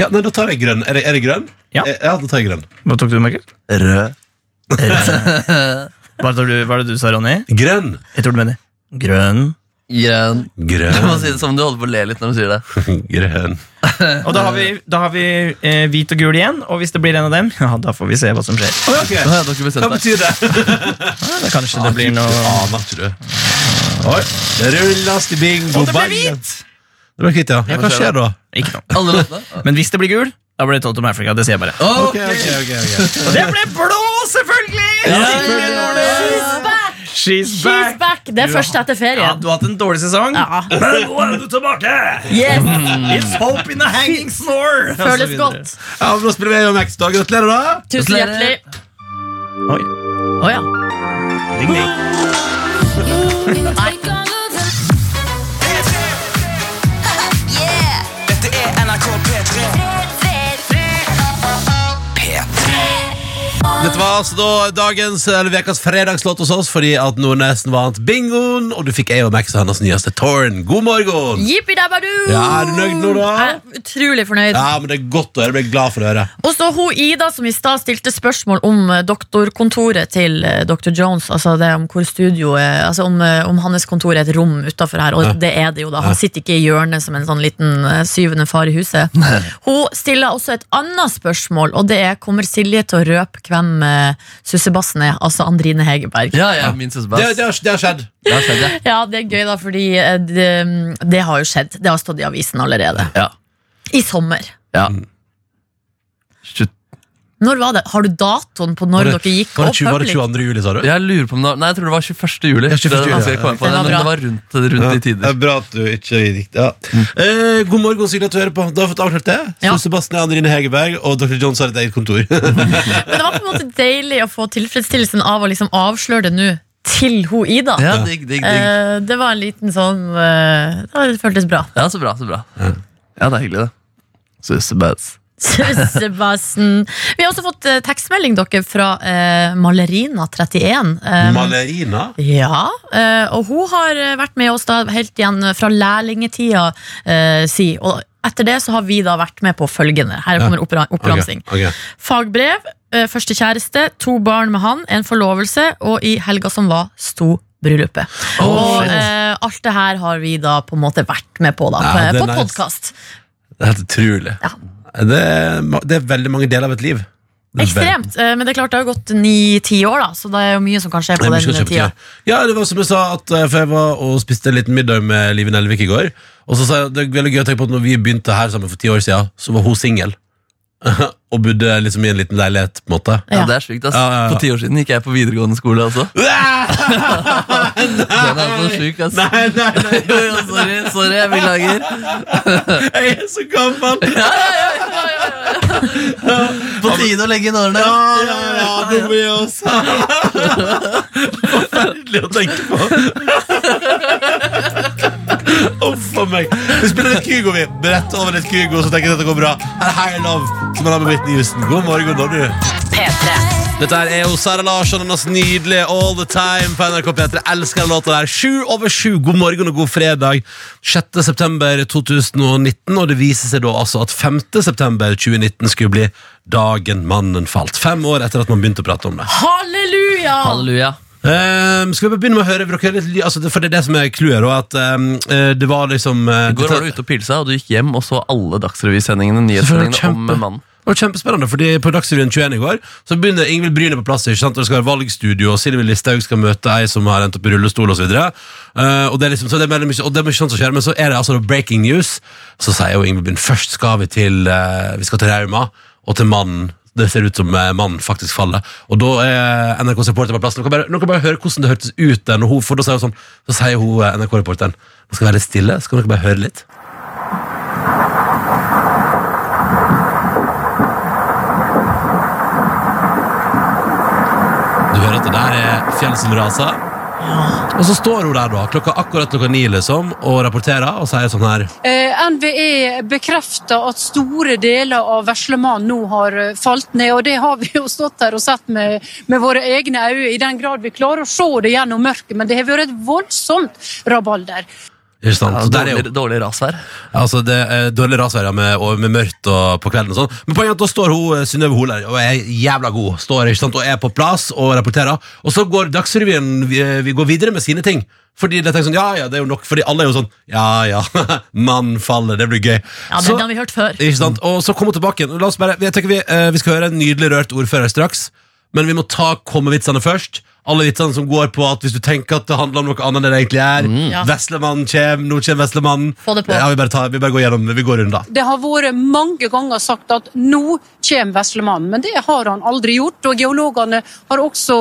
Speaker 3: Ja, nei, Da tar jeg grønn. Er det, er det grønn? Eh,
Speaker 7: Ja.
Speaker 3: ja, da tar jeg grønn.
Speaker 7: Hva tok du, Markus?
Speaker 4: rød,
Speaker 7: Hva, tar du- hva er det du sa, Ronny?
Speaker 3: Grønn.
Speaker 7: Jeg tror du mener
Speaker 4: grønn.
Speaker 7: grønn.
Speaker 4: Du må
Speaker 3: Grønn.
Speaker 4: si det som om du holder på å le litt når du sier det.
Speaker 3: grønn.
Speaker 7: Og da har vi, da har vi eh, hvit og gul igjen, og hvis det blir en av dem, ja, da får vi se hva som skjer.
Speaker 4: Nå har dere bestemt
Speaker 3: Hva
Speaker 4: deg.
Speaker 3: betyr det?
Speaker 7: Ja, Kanskje det blir noe
Speaker 3: Aner ikke du. Oi, det rulles til bingo.
Speaker 7: Og det ble
Speaker 3: bang.
Speaker 7: hvit!
Speaker 3: Det ble hvitt, ja. ja hva skjer da?
Speaker 7: Ikke noe.
Speaker 4: Alle låtene?
Speaker 7: Men hvis det blir gul, da blir det Totem Africa. Det sier jeg bare.
Speaker 4: Ok.
Speaker 7: Og det ble blå, selvfølgelig! Silje Nordnes!
Speaker 5: She's back!
Speaker 7: She's
Speaker 5: She's back. Det er første etter
Speaker 7: Ja,
Speaker 5: ferien.
Speaker 7: du har hatt en dårlig sesong.
Speaker 5: Ja.
Speaker 7: Men nå er du tilbake!
Speaker 5: Yes,
Speaker 7: It's hope in a hanging snore! Og så
Speaker 5: Føles
Speaker 7: videre.
Speaker 5: godt.
Speaker 3: Ja, men Da spiller vi om X, da. Gratulerer, da.
Speaker 5: Tusen hjertelig.
Speaker 7: Oi.
Speaker 5: Å ja.
Speaker 7: Ding, ding.
Speaker 9: Take all of them. Yeah.
Speaker 3: Dette var altså da dagens eller vekas fredagslåt hos oss fordi at Nordnesen vant bingoen, og du fikk AOMX og hennes nyeste Torn. God morgen!
Speaker 5: Jippi-dabba-du!
Speaker 3: Ja, er du nøyd nå, da?
Speaker 5: Jeg er utrolig fornøyd.
Speaker 3: Ja, men det er godt å høre. Jeg ble glad for å høre.
Speaker 5: Og så hun Ida som i stad stilte spørsmål om eh, doktorkontoret til eh, dr. Jones. Altså det om hvor studioet Altså om, eh, om hans kontor er et rom utafor her, og det er det jo, da. Han sitter ikke i hjørnet som en sånn liten eh, syvende far i huset. Hun stiller også et annet spørsmål, og det er kommer Silje til å røpe hvem eh, sussebassen er? Altså Andrine Hegerberg.
Speaker 4: Ja, ja, min
Speaker 3: Det,
Speaker 4: søsterbass.
Speaker 3: det, har, det har skjedd.
Speaker 4: Det har skjedd, ja.
Speaker 5: Ja, det er gøy, da, fordi eh, det, det har jo skjedd. Det har stått i avisen allerede.
Speaker 4: Ja.
Speaker 5: I sommer.
Speaker 4: ja.
Speaker 3: Mm.
Speaker 4: Slutt.
Speaker 5: Når var det? Har du datoen på når
Speaker 3: Var det-
Speaker 5: dere gikk
Speaker 3: var
Speaker 5: opp
Speaker 3: det, 20, var det
Speaker 5: public?
Speaker 3: 22. juli, sa du?
Speaker 4: Jeg lurer på om det var, Nei, jeg tror det var 21. juli.
Speaker 3: Ja, 21.
Speaker 4: Det er vanskelig å komme på
Speaker 5: Den
Speaker 4: det,
Speaker 5: var
Speaker 4: men
Speaker 5: bra.
Speaker 4: det var rundt, rundt de tider. Mm.
Speaker 3: bra at du ikke gikk ja. eh, God morgen, Silje, at du hører på. Da har vi fått avklart det.
Speaker 5: Ja.
Speaker 3: Så Sebastian er Andrine Hegerberg, og dr. Jones har et eget kontor.
Speaker 5: Men det var på en måte deilig å få tilfredsstillelsen av å liksom avsløre det nå til ho Ida.
Speaker 4: Ja, digg, digg, digg.
Speaker 5: Eh, det var en liten sånn eh, Det var- det føltes bra.
Speaker 4: Ja, så bra, så bra. Ja, det er hyggelig, det. Sussebass.
Speaker 5: Søsterbassen. Vi har også fått eh, tekstmelding dere fra eh, Malerina31. Eh,
Speaker 3: Malerina?
Speaker 5: ja, eh, og hun har eh, vært med oss da helt igjen fra lærlingetida eh, si. Og etter det så har vi da vært med på følgende. Her kommer oppra oppramsing.
Speaker 3: Ok, ok.
Speaker 5: Fagbrev, eh, første kjæreste, to barn med han, en forlovelse, og i helga som var, sto bryllupet. og eh, alt det her har vi da på en måte vært med på, da,
Speaker 3: Ja, det er
Speaker 5: på
Speaker 3: nice.
Speaker 5: podkast.
Speaker 3: Det er helt utrolig.
Speaker 5: Ja.
Speaker 3: Eh, Det er, ma- det er veldig mange deler av et liv. Det er veldig-
Speaker 5: Ekstremt. eh, Men det er klart det har gått ni-ti år, da, så det er jo mye som kan skje
Speaker 3: Nei,
Speaker 5: på
Speaker 3: men skal
Speaker 5: den
Speaker 3: kjøpe
Speaker 5: tida.
Speaker 3: klær. Ja, det var som jeg sa at, eh, For jeg var og spiste en liten middag med Live Nelvik i går Og så sa jeg, det er veldig gøy å tenke på at Når vi begynte her sammen for ti år siden Så var hun single Og bodde liksom i en liten leilighet på en måte
Speaker 6: Ja,
Speaker 5: Ja.
Speaker 6: det er sjukt, ass.
Speaker 3: Ja, ja, ja.
Speaker 6: For ti år siden gikk jeg på videregående skole, altså. Den er så sjuk, ass.
Speaker 3: Nei, nei, nei,
Speaker 6: Jo, jo, sorry, sorry, jeg beklager.
Speaker 3: jeg er så gammel
Speaker 6: På tide å legge inn årene.
Speaker 3: Ja, ja, ja, det blir jeg også Forferdelig å tenke på Uff for meg Vi spiller litt Kygo vi Rett over litt Kygo så tenker jeg at det går bra Her er High Love Som han har med Whitney Houston God morgen, Donny
Speaker 2: P3.
Speaker 3: Dette her er jo Sara Larsson og hennes nydelige All the Time på NRK P3. Elsker den låta der. Sju over sju. God morgen og god fredag. 6. september 2019, og det viser seg da altså at 5. september 2019 skulle bli dagen mannen falt. Fem år etter at man begynte å prate om det.
Speaker 5: Halleluja!
Speaker 6: Halleluja.
Speaker 3: Ehm, skal vi bare begynne med å høre dere litt, ly- altså, det- For det er det som er clouet, da, at ehm, eh, det var liksom eh,
Speaker 6: I går
Speaker 3: dette-
Speaker 6: var du ute og pilsa, og du gikk hjem og så alle dagsrevysendingene nyhetssendingene om
Speaker 3: Kjempe.
Speaker 6: mannen.
Speaker 3: Det var kjempespennende, fordi på Dagsrevyen 21 i går Så begynner Ingvild Bryne på plass, ikke sant? Og det skal være valgstudio, og Silvi Listhaug skal møte ei som har endt opp i rullestol, og så videre. Eh, og det er liksom, så det er veldig mye, og det er mye sånt som skjer, men så er det altså breaking news. Så sier jo Ingvild Bryne, først skal vi til, eh, vi skal til Rauma, og til mannen. Det ser ut som eh, mannen faktisk faller. Og da er NRK reporter på plass. Nå kan bare, nå kan bare høre hvordan det hørtes ut der, når hun, for da sier hun sånn, så sier hun eh, NRK-reporteren, nå skal vi være litt stille, så kan dere bare høre litt. Du hører at det der er fjell som raser. Og så står hun der da, klokka akkurat klokka ni liksom, og rapporterer og sier sånn her
Speaker 10: Eh, NVE bekrefter at store deler av Veslemann nå har eh, falt ned, og det har vi jo stått her og sett med, med våre egne øyne, i den grad vi klarer å se det gjennom mørket, men det har vært et voldsomt rabalder.
Speaker 3: Ikke sant?
Speaker 6: Ja,
Speaker 3: Så der er
Speaker 6: dårlig,
Speaker 3: jo,
Speaker 6: dårlig rasvær.
Speaker 3: altså det er dårlig rasvær ja, med, og med mørkt og på kvelden og sånn. Men poenget er at da står hun eh, Synnøve Hol der og er jævla god. Står ikke sant, og er på plass og rapporterer. Og så går Dagsrevyen vi, eh, vi går videre med sine ting. Fordi de tenker sånn, ja, ja, det er jo nok Fordi alle er jo sånn Ja, ja, mannen faller, det blir gøy.
Speaker 5: Ja, det
Speaker 3: Så-
Speaker 5: er den vi hørte før.
Speaker 3: Ikke sant? Og så kom hun tilbake igjen. La oss bare, jeg tenker vi, eh, vi skal høre en nydelig rørt ordfører straks, men vi må ta kommevitsene først. Alle vitsene som går på at hvis du tenker at det handler om noe annet enn det det egentlig er.
Speaker 5: Ja.
Speaker 3: Veslemannen kjem, nå kjem Veslemannen.
Speaker 5: Få det på.
Speaker 3: Ja, vi bare, tar, vi bare går gjennom, vi går rundt da.
Speaker 10: Det har vært mange ganger sagt at nå kommer Veslemannen, men det har han aldri gjort. Og geologene har også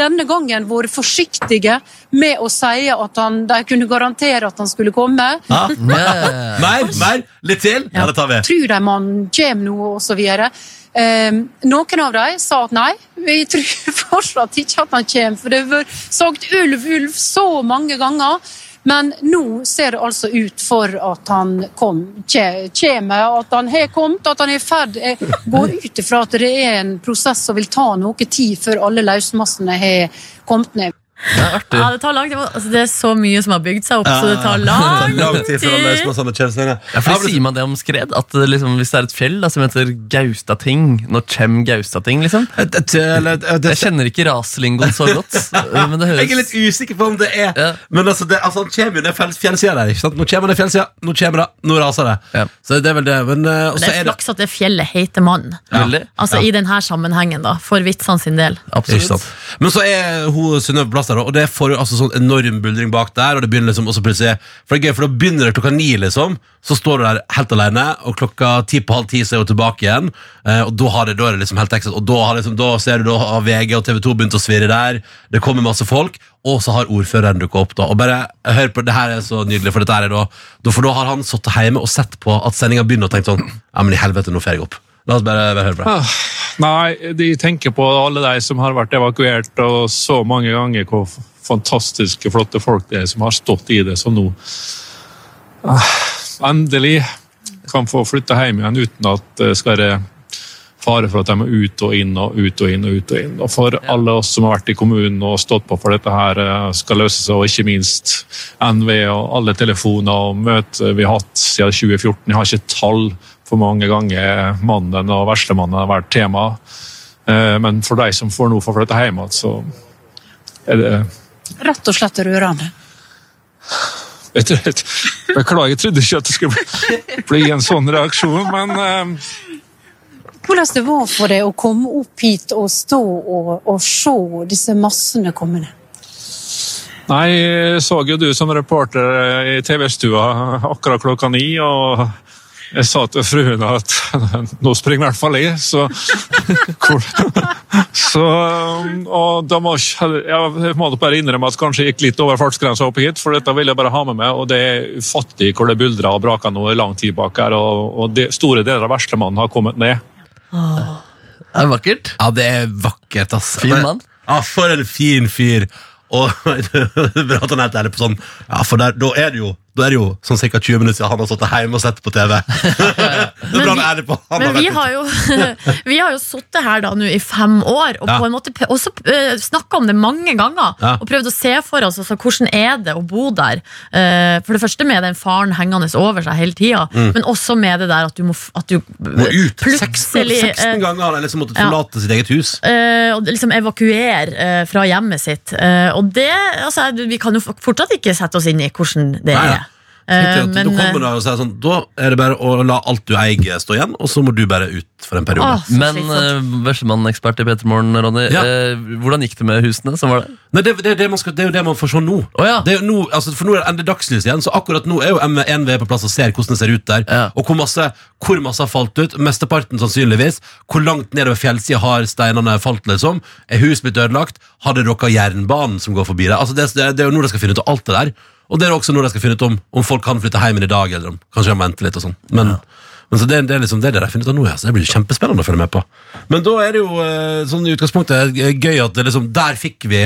Speaker 10: denne gangen vært forsiktige med å si at han, de kunne garantere at han skulle komme.
Speaker 3: Ja.
Speaker 6: Ja.
Speaker 3: Mer, mer, litt til. Ja, det tar vi.
Speaker 10: Tror de han kommer nå, og så videre. Eh, noen av dem sa at nei, vi tror fortsatt ikke at han kommer. For det har vært sagt ulv, ulv så mange ganger. Men nå ser det altså ut for at han kom, kje- kommer, at han har kommet, at han er i ferd Jeg går ut ifra at det er en prosess som vil ta noe tid før alle løsmassene har kommet ned.
Speaker 5: Ja, det, tar lang, tid. altså, det er så mye som har bygd seg opp, så det tar lang
Speaker 3: Lang tid før han
Speaker 5: tid.
Speaker 3: løser sånne kjemsninger.
Speaker 6: Ja, for Sier man det om skred? At det liksom, Hvis det er et fjell da, som heter Gaustating Når kjem Gaustating, liksom?
Speaker 3: Et- et- eller- et- et-
Speaker 6: Jeg kjenner ikke raslingoen så godt. men det høres
Speaker 3: Jeg er litt usikker på om det er
Speaker 6: Ja.
Speaker 3: Men altså, det, altså han kommer jo ned fjells- fjellsida der. Ikke sant? Nå kommer han ned fjellsida, nå kommer det, nå raser det.
Speaker 6: Ja.
Speaker 3: Så det er vel det. Men, eh, og
Speaker 5: Det
Speaker 3: så
Speaker 5: er
Speaker 3: er det
Speaker 5: flaks at det fjellet heter Mann.
Speaker 6: Veldig.
Speaker 5: Altså I denne sammenhengen, da. For vitsene sin del.
Speaker 6: Absolutt.
Speaker 3: Ikke sant. Men så er hun Synnøve Blass der, og det får jo altså sånn enorm buldring bak der. Og det begynner liksom, og så plutselig For det er gøy, for da begynner det klokka ni, liksom. Så står du der helt alene, og klokka ti på halv ti så er hun tilbake igjen. Eh, og da, har det, da er det liksom helt ekstra. Og da, har liksom, da ser du da har VG og TV 2 begynt å svirre der. Det kommer masse folk. Og så har ordføreren dukka opp, da. Og bare eh, hør på, det her er så nydelig, for dette her er da da- For da har han sittet hjemme og sett på at sendinga begynner, og tenkt sånn Ja, men i helvete, nå får jeg opp. La oss bare, bare høre på det.
Speaker 11: Ah, Nei, de tenker på alle de som har vært evakuert, og så mange ganger hvor f- fantastiske, flotte folk det er som har stått i det, som nå ah, endelig kan få flytte hjem igjen uten at det skal være fare for at de må ut og inn og ut og inn. Og ut og inn. Og for alle oss som har vært i kommunen og stått på for dette her eh, skal løse seg, og ikke minst NVE og alle telefoner og møter vi har hatt siden 2014. Jeg har ikke tall for hvor mange ganger mannen og verslemannen har vært tema. Eh, Men for de som får nå får flytte hjem igjen, så er det
Speaker 10: Rett og slett rørende.
Speaker 11: jeg tror- jeg- Beklager, jeg trodde ikke at det skulle bli, bli en sånn reaksjon, men eh,
Speaker 10: hvordan det var for deg å komme opp hit og stå og, og se disse massene komme ned.
Speaker 11: Nei, jeg så jo du som reporter eh, i TV-stua akkurat klokka ni, og jeg sa til fruen at nå springer i hvert fall jeg, så, Hvor- så eh, Og da må jeg jeg må bare innrømme at kanskje jeg gikk litt over fartsgrensa opp hit, for dette vil jeg bare ha med meg, og det er ufattelig hvor det buldrer og braker nå i lang tid bak her, og, og det, store deler av verslemannen har kommet ned.
Speaker 6: Er det vakkert?
Speaker 3: Ja, det er vakkert, ass.
Speaker 6: Fin
Speaker 3: Men-
Speaker 6: mann.
Speaker 3: Ja, for en fin fyr. Og det er bra at han er helt ærlig på sånn Ja, for der, da er det jo Da er det jo sånn ca. 20 minutter siden han har sittet hjemme og sett på TV. det er bra han er ærlig på han
Speaker 5: Men vi
Speaker 3: vært ute.
Speaker 5: har jo, vi har jo sittet her da nå i fem år og
Speaker 3: Ja.
Speaker 5: på en måte pe- også uh, snakka om det mange ganger.
Speaker 3: Ja.
Speaker 5: Og prøvd å se for oss altså, hvordan er det å bo der. Eh, for det første med den faren hengende over seg hele tida,
Speaker 3: Mm.
Speaker 5: men også med det der at du må, f- at du
Speaker 3: Må ut.
Speaker 5: plutselig
Speaker 3: 16, 16
Speaker 5: eh,
Speaker 3: ganger har de liksom måttet
Speaker 5: ja.
Speaker 3: forlate sitt eget hus.
Speaker 5: eh, og liksom evakuere eh, fra hjemmet sitt. Eh, og det, altså, Vi kan jo f- fortsatt ikke sette oss inn i hvordan det
Speaker 3: Nei, ja.
Speaker 5: er.
Speaker 3: Tenk deg
Speaker 5: Eh,
Speaker 3: at
Speaker 5: men,
Speaker 3: da kommer det og sier sånn Da er det bare å la alt du eier, stå igjen, og så må du bare ut for en periode.
Speaker 5: Åh, så
Speaker 6: Men
Speaker 5: slitsomt.
Speaker 6: eh, Veslemann-ekspert i Peter Morgen, Ronny.
Speaker 3: Ja.
Speaker 6: eh, hvordan gikk det med husene? som var der?
Speaker 3: Nei, det, det, er det, man skal, det er jo det man får se nå.
Speaker 6: Å ja.
Speaker 3: Det er jo nå, altså for nå er det endelig dagslys igjen, så akkurat nå er jo NV på plass og ser hvordan det ser ut der.
Speaker 6: Ja.
Speaker 3: Og hvor masse, hvor masse har falt ut, mesteparten sannsynligvis. Hvor langt nedover fjellsida har steinene falt, liksom? Er hus blitt ødelagt? Har det rocka jernbanen som går forbi der? Altså det, det, det er jo nå de skal finne ut av alt det der. Og det er også nå de skal finne ut om om folk kan flytte hjem igjen i dag, eller om kanskje de må vente litt og sånn. Men, men så det, det er liksom det de har funnet ut av nå, ja. Så det blir kjempespennende å følge med på. Men da er det jo eh, sånn i utgangspunktet eh, gøy at det liksom Der fikk vi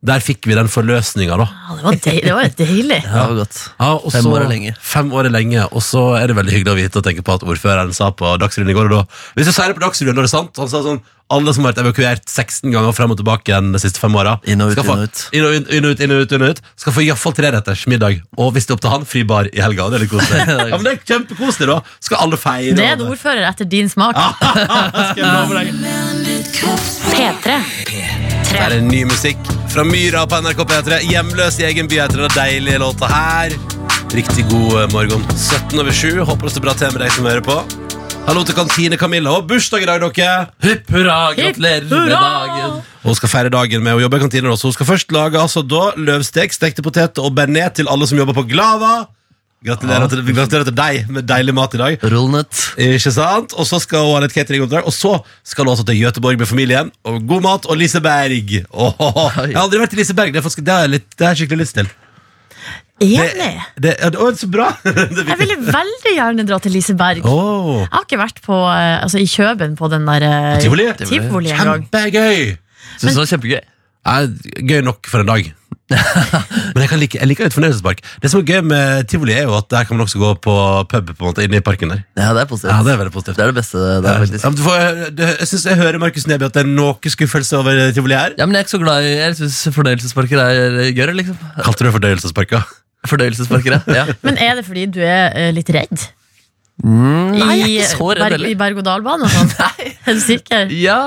Speaker 3: der fikk vi den forløsninga, da.
Speaker 5: Ja, det, var deil, det var deilig.
Speaker 6: Ja, det var godt.
Speaker 3: Ja, og
Speaker 6: Fem
Speaker 3: så-
Speaker 6: år er lenge.
Speaker 3: Fem år er lenge, og så er det veldig hyggelig å vite og tenke på at ordføreren sa på Dagsrevyen i går og da, Hvis du sier det på Dagsrevyen, da er det sant. Han sa sånn alle som har vært evakuert 16 ganger frem og tilbake igjen de siste fem åra,
Speaker 6: Inn og ut,
Speaker 3: skal få-
Speaker 6: inn og ut.
Speaker 3: inn og ut, inn og ut, inn og ut, inn og ut, skal få iallfall treretters middag. Og hvis det er opp til han, fri bar i helga. og Det er litt koselig. ja, men det er kjempekoselig, da. Skal alle feire.
Speaker 5: Det er
Speaker 3: og
Speaker 5: en ordfører etter din smak.
Speaker 3: Skal jeg love deg.
Speaker 5: P3.
Speaker 3: Det er ny musikk fra Myra på NRK P3. Hjemløs i egen by heter den deilige låta her. Riktig god eh, morgen. 17 over 7. Håper det står bra til med deg som hører på. Hallo til kantine Camilla. Og bursdag i dag, dere!
Speaker 6: Hipp hurra, gratulerer med
Speaker 5: hurra!
Speaker 6: dagen!
Speaker 3: Og hun skal feire dagen med å jobbe i kantinen også. Hun skal først lage altså da løvstek, stekte poteter og bearnés til alle som jobber på Glava. Gratulerer, til, gratulerer til deg med deilig mat i dag.
Speaker 6: Rullnøtt.
Speaker 3: Ikke sant? Og så skal hun ha litt cateringoppdrag, og så skal hun også til Göteborg med familien. Og god mat og Liseberg. Åhåhå. Jeg har aldri vært i Liseberg. Det er, faktisk, det er, jeg litt, det er jeg skikkelig lyst til.
Speaker 5: Enig.
Speaker 3: Det, ja, det, å, så bra! det
Speaker 5: Jeg ville veldig gjerne dra til Liseberg.
Speaker 3: oh,
Speaker 5: Jeg har ikke vært på, eh, altså, i Kjøben på den der eh,
Speaker 3: tivoli.
Speaker 5: tivoli en gang.
Speaker 3: Kjempegøy!
Speaker 6: Synes det var kjempegøy.
Speaker 3: Er gøy nok for en dag. Men jeg, kan like, jeg liker litt fornøyelsespark. Det som er gøy med tivoli, er jo at der kan man også gå på pub på en måte, inne i parken der.
Speaker 6: Ja, det er positivt.
Speaker 3: Ja, det er veldig positivt.
Speaker 6: Det er det beste
Speaker 3: Ja,
Speaker 6: der, faktisk.
Speaker 3: men du får- det- Jeg syns jeg hører Markus Neby at det er noe skuffelse over tivoli her.
Speaker 6: Ja, men jeg er ikke så glad i Jeg syns fornøyelsesparker er gørr, liksom.
Speaker 3: Kalte du det fordøyelsesparker?
Speaker 6: Fornøyelsesparker, ja. ja.
Speaker 5: Men er det fordi du er eh, litt redd?
Speaker 6: Nei, jeg
Speaker 5: I,
Speaker 6: er ikke så
Speaker 5: eh,
Speaker 6: redd
Speaker 5: berg, I
Speaker 6: heller.
Speaker 5: berg-og-dal-bane og sånn? Er du sikker?
Speaker 6: Ja.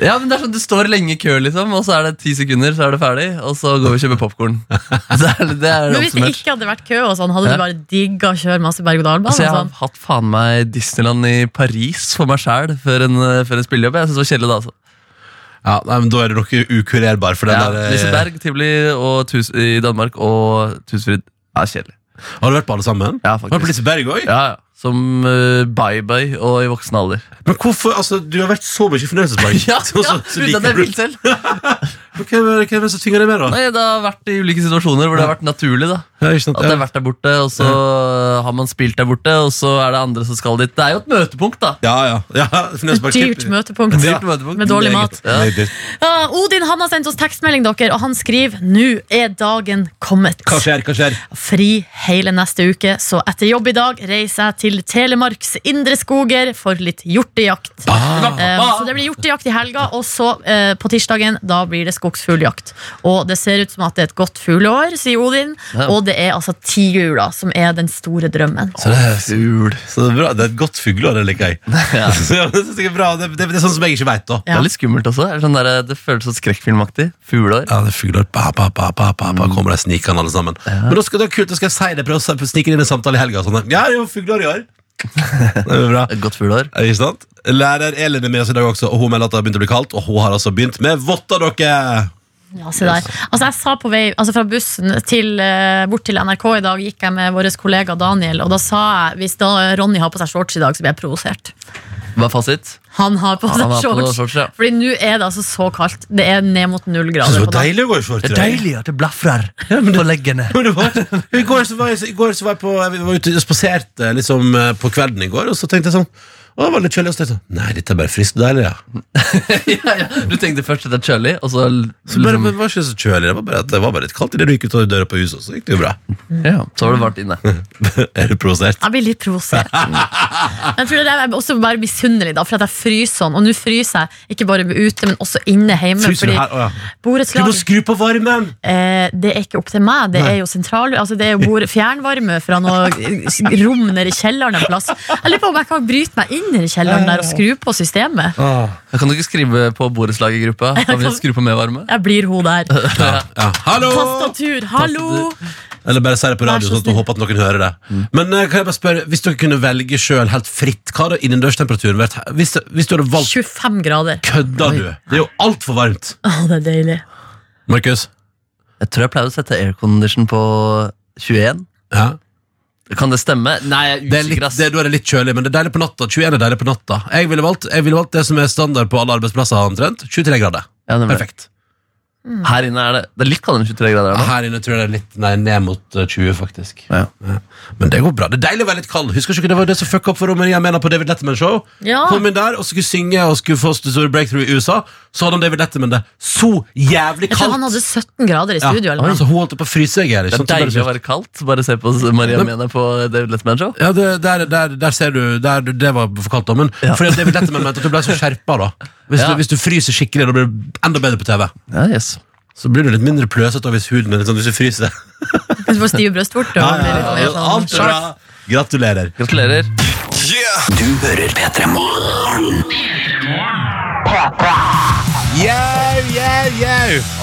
Speaker 6: ja, men det er sånn du står lenge i kø, liksom, og så er det ti sekunder, så er det ferdig, og så går vi og kjøper popkorn. Det er, det er
Speaker 5: Men hvis det
Speaker 6: oppsummert.
Speaker 5: ikke hadde vært kø, og sånn, hadde
Speaker 6: Ja.
Speaker 5: du bare digga å kjøre masse berg-og-dal-bane?
Speaker 6: Altså, jeg har
Speaker 5: Sånn.
Speaker 6: hatt faen meg Disneyland i Paris for meg sjæl før, en- eh, før en spillejobb. Jeg synes det var kjedelig da, altså.
Speaker 3: Ja, nei, men Da er du nok ukurerbar for den
Speaker 6: Ja,
Speaker 3: der. eh,
Speaker 6: Liseberg, Tivoli og Tus i Danmark og Tusfryd. Ja, kjedelig.
Speaker 3: Har du vært på alle sammen?
Speaker 6: Ja,
Speaker 3: Har du vært på
Speaker 6: faktisk.
Speaker 3: Liseberg òg?
Speaker 6: Ja, ja. Som eh, bye-bye og i voksen alder.
Speaker 3: Men hvorfor, altså, du har vært så mye i fornøyelsespark.
Speaker 6: Ja,
Speaker 3: Så- så- så liker
Speaker 6: uten at jeg
Speaker 3: du-
Speaker 6: vil selv.
Speaker 3: Men Hvem er hvem er det som tvinger deg med, da?
Speaker 6: Nei, det har vært i ulike situasjoner hvor det har vært naturlig. da
Speaker 3: Ja, ikke sant?
Speaker 6: At det har
Speaker 3: Ja.
Speaker 6: vært der borte, og så har man spilt der borte, og så er det andre som skal dit. Det er jo et møtepunkt, da.
Speaker 3: Ja, ja. ja fornøyelsespark-
Speaker 5: Dyrt møtepunkt.
Speaker 6: Dyrt møtepunkt.
Speaker 5: Med dårlig
Speaker 6: Meget.
Speaker 5: mat.
Speaker 6: Ja.
Speaker 3: Meget dyrt.
Speaker 5: Ja, Ah, Odin han har sendt oss tekstmelding, dere, og han skriver 'Nå er dagen kommet'.
Speaker 3: Hva skjer, hva skjer?
Speaker 5: fri hele neste uke, så etter jobb i dag reiser jeg til Telemarks indre skoger for litt hjortejakt. Eh, så det blir hjortejakt i helga, og så eh, på tirsdagen da blir det skogsfugljakt. Og det ser ut som at det er et godt fugleår, sier Odin,
Speaker 6: Ja.
Speaker 5: og det er altså tiurla som er den store drømmen.
Speaker 3: Så det, er, så det er bra. Det er et godt fugleår, det liker jeg.
Speaker 6: Ja.
Speaker 3: Så det, synes jeg er bra. Det, det, det er sånn som jeg ikke veit, da.
Speaker 6: Det er litt skummelt også. Det er Sånn der, det føles så skrekkfilmaktig. Fugleår. Mm.
Speaker 3: Ja, det er fugler. Ba, ba, ba, ba, ba, ba. Kommer de snikende alle sammen. Men da skal det er kult, da skal jeg si det, prøve å snike det inn i en samtale i helga. og Sånn. Ja, det er jo fugler i år. Det er bra.
Speaker 6: Godt fuglehår.
Speaker 3: Eh, Ikke sant? Lærer Elin er med oss i dag også, og hun melder at det har begynt å bli kaldt. Og hun har altså begynt med votter, dere!
Speaker 5: Ja, se der. Altså, jeg sa på vei altså fra bussen til, eh, bort til NRK i dag, gikk jeg med vår kollega Daniel, og da sa jeg hvis da Ronny har på seg shorts i dag, så blir jeg provosert.
Speaker 6: Hva er fasit?
Speaker 5: Han har på
Speaker 6: Han
Speaker 5: seg
Speaker 6: har på
Speaker 5: shorts.
Speaker 6: shorts, ja.
Speaker 5: Fordi nå er det altså så kaldt. Det er ned mot null grader.
Speaker 3: Så
Speaker 5: på dagen.
Speaker 3: deilig å gå i shorts. i dag.
Speaker 6: at det blafrer på leggene.
Speaker 3: Men det var- I går så var jeg, i går så var jeg på Jeg var ute og spaserte liksom, eh, på kvelden i går, og så tenkte jeg sånn å, det var litt kjølig, og så tenkte jeg sånn Nei, dette er bare friskt og deilig, ja.
Speaker 6: Du tenkte først at det er kjølig, og så l-
Speaker 3: Så bare,
Speaker 6: liksom,
Speaker 3: men det var ikke så kjølig, det var bare, at det var bare litt kaldt idet du gikk ut av døra på huset, og så gikk det jo bra.
Speaker 6: ja, så var det varmt inne.
Speaker 3: er du provosert?
Speaker 5: Jeg blir litt provosert. Jeg tror det er også bare misunnelig, da, for at jeg fryser sånn. Og nå fryser jeg ikke bare ute, men også inne hjemme.
Speaker 3: Fryser du
Speaker 5: Fordi
Speaker 3: her? Å, ja. Du må
Speaker 5: borettslag
Speaker 3: skru på varmen!
Speaker 5: eh, det er ikke opp til meg. Det er jo sentral, altså det er jo bord, fjernvarme fra noe rom nede i kjelleren en plass. Jeg lurer på om jeg kan bryte meg inn i kjelleren der og skru på systemet.
Speaker 3: Ah.
Speaker 6: Da Kan du ikke skrive på borettslaget i gruppa? Kan vi skru på mer varme?
Speaker 5: Jeg blir hun der.
Speaker 3: Ja. Hallo!
Speaker 5: Tastatur, hallo!
Speaker 3: Eller bare si det på
Speaker 5: Vær
Speaker 3: radio,
Speaker 5: så
Speaker 3: sånn at du
Speaker 5: snill.
Speaker 3: håper at noen hører det.
Speaker 6: Mm.
Speaker 3: Men eh, kan jeg bare spørre, hvis dere kunne velge sjøl helt fritt, hva hadde innendørstemperaturen vært? Hvis, hvis du hadde valgt
Speaker 5: 25 grader.
Speaker 3: Kødda du? Det er jo altfor varmt.
Speaker 5: Å, det er deilig.
Speaker 3: Markus?
Speaker 6: Jeg tror jeg pleide å sette aircondition på 21.
Speaker 3: Ja.
Speaker 6: Kan det stemme? Nei, jeg
Speaker 3: Det
Speaker 6: er
Speaker 3: er litt,
Speaker 6: usikker, ass.
Speaker 3: det, da er det litt kjølig, men det er deilig på natta. 21 er deilig på natta. Jeg ville valgt, jeg ville valgt det som er standard på alle arbeidsplasser, omtrent. 23 grader.
Speaker 6: Ja, nemlig.
Speaker 3: Perfekt.
Speaker 5: Mm.
Speaker 6: Her inne er det, det er litt kaldere enn 23 grader. her nå.
Speaker 3: Her inne tror jeg det er litt nei, ned mot eh, 20, faktisk.
Speaker 6: Ja.
Speaker 3: Men det går bra. Det er deilig å være litt kald. Husker du ikke det var det som fucka opp for Romania Mena på David Letterman Show?
Speaker 5: Ja.
Speaker 3: Kom inn der og skulle synge og skulle få sitt store breakthrough i USA. Så hadde han David Letterman det så jævlig
Speaker 5: Jeg tror han
Speaker 3: kaldt.
Speaker 5: hadde 17 grader i
Speaker 3: Ja.
Speaker 5: studio. eller noe.
Speaker 3: Så hun holdt på å fryse seg i hjel.
Speaker 6: Det er deilig å være kaldt. Bare se på Maria
Speaker 3: Men-
Speaker 6: Mena på David Letterman Show.
Speaker 3: Ja, det, der, der, der ser du der, Det var for kaldt, da. Men fordi at David Letterman mente at du ble så skjerpa. da hvis,
Speaker 6: Ja.
Speaker 3: du, hvis du fryser skikkelig, da blir du enda bedre på TV.
Speaker 6: Ja, yes.
Speaker 3: Så blir du litt mindre pløsete hvis huden er litt sånn hvis du fryser.
Speaker 5: Du får stive brystvorter. og blir litt mer sånn
Speaker 3: Alt er
Speaker 5: sharp.
Speaker 3: bra. Gratulerer.
Speaker 6: Gratulerer.
Speaker 1: Du hører P3 Morgen.
Speaker 3: Yo, yo, yo!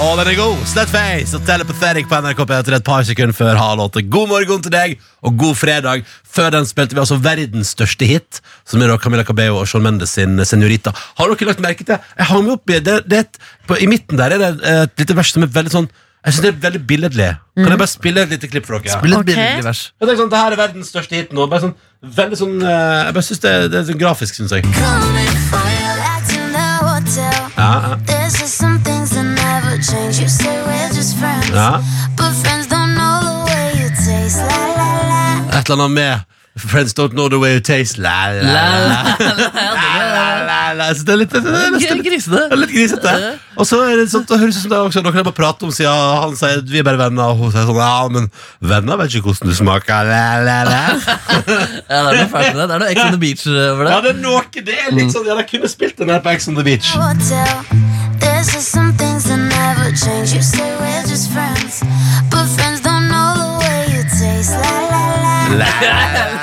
Speaker 3: Å, den er god! Slutface og Telepathetic på NRK P3 et par sekunder før halv åtte. God morgen til deg, og god fredag. Før den spilte vi altså verdens største hit, som er da Camilla Cabello og Shawn Mendes sin Senorita. Har dere lagt merke til? Jeg hang meg opp i det, det er et, på, I midten der er det et lite vers som er veldig sånn Jeg synes det er veldig billedlig. Kan jeg bare Mm. spille et lite klipp for dere?
Speaker 6: Blir litt
Speaker 5: Ok.
Speaker 6: billig vers.
Speaker 3: Jeg tenker sånn, Det her er verdens største hit nå. Bare sånn, veldig sånn eh, Jeg bare synes det, det er sånn grafisk, syns jeg.
Speaker 9: Coming for you, acting that hotel.
Speaker 3: Ja,
Speaker 9: There's just some things that never change. You say we're just friends,
Speaker 3: ja.
Speaker 9: but friends don't know the way you taste. La la la.
Speaker 3: Et eller annet med Friends don't know the way you taste. La, la, la. La, la, la, så det er litt, det er nesten litt, det er
Speaker 6: Grisete.
Speaker 3: litt grisete. Og så er det sånn, det høres ut som det er også noe de bare prater om, siden han sier vi er bare venner, og hun sier sånn ja, men venner vet ikke hvordan du smaker. La, la, la.
Speaker 6: Ja, det er noe fælt med det. Det er noe Ex on the Beach over det. Mm.
Speaker 3: Ja, det er noe det er liksom, ja, de kunne spilt den her på Ex on the Beach.
Speaker 9: hotel. There's just some things that never change. You say we're just friends, but friends don't know the way you taste. La la la.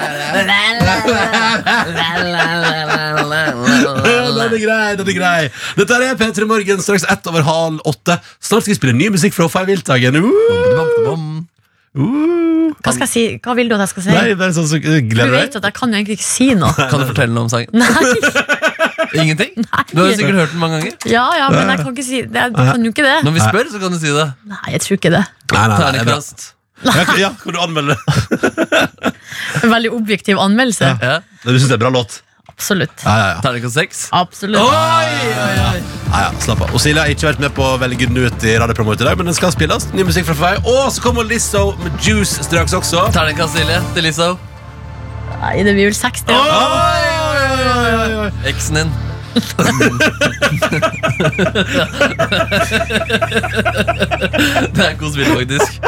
Speaker 3: Ja, Den er grei, den er grei. Dette her er P3 Morgen, straks ett over halv åtte. Snart skal vi spille ny musikk fra Fay Wiltagen. Uh, uh.
Speaker 5: Hva skal jeg si? Hva vil du at jeg skal si?
Speaker 3: Nei, bare sånn så
Speaker 5: du
Speaker 3: gleder
Speaker 5: vet
Speaker 3: deg.
Speaker 5: at jeg kan jo egentlig ikke si noe.
Speaker 6: Kan du fortelle noe om sangen? Ingenting? Du har jo sikkert hørt den mange ganger.
Speaker 5: Ja, ja, men jeg kan ikke si det. Jeg kan jo ikke det.
Speaker 6: Når vi spør, så kan du si det.
Speaker 5: Nei, jeg tror ikke det.
Speaker 3: Nei, nei, nei, det er bra.
Speaker 6: Ternekast.
Speaker 3: Ja, kan- Ja, kan du anmelde det?
Speaker 5: En veldig objektiv anmeldelse.
Speaker 6: Ja.
Speaker 3: Du synes det er en bra låt?
Speaker 5: Absolutt.
Speaker 3: Ja, ja, ja.
Speaker 6: Ternekast seks.
Speaker 5: Absolutt.
Speaker 3: Ja, ja, slapp av. Og Silja har ikke vært med på å velge den ut i radiopromoet i dag, men den skal spilles. Ny musikk fra Fay. Og så kommer Lizzo med Juice straks også.
Speaker 6: Ternekast Silje til Lizzo.
Speaker 5: Nei, det blir vel 60.
Speaker 3: Oi, oi, oi, oi, oi.
Speaker 6: Eksen din. det er et godt spill, faktisk.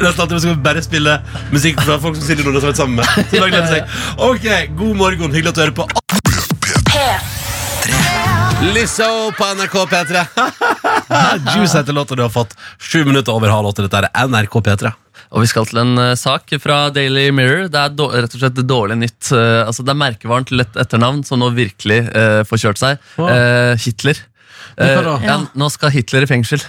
Speaker 3: Nesten alltid skal vi bare spille musikk fra folk som Silje Nordnes har vært sammen med. Så da gleder jeg seg. Ok, god morgen. Hyggelig at du hører på. Lizzo på NRK P3. Juice heter låta du har fått. Sju minutter over halv åtte. Dette er NRK P3.
Speaker 6: Og vi skal til en eh, sak fra Daily Mirror. Det er dår- rett og slett dårlig nytt. Eh, altså, det er merkevaren til et etternavn som nå virkelig eh, får kjørt seg. Eh, Hitler. Eh,
Speaker 3: hva da?
Speaker 6: ja, nå skal Hitler i fengsel.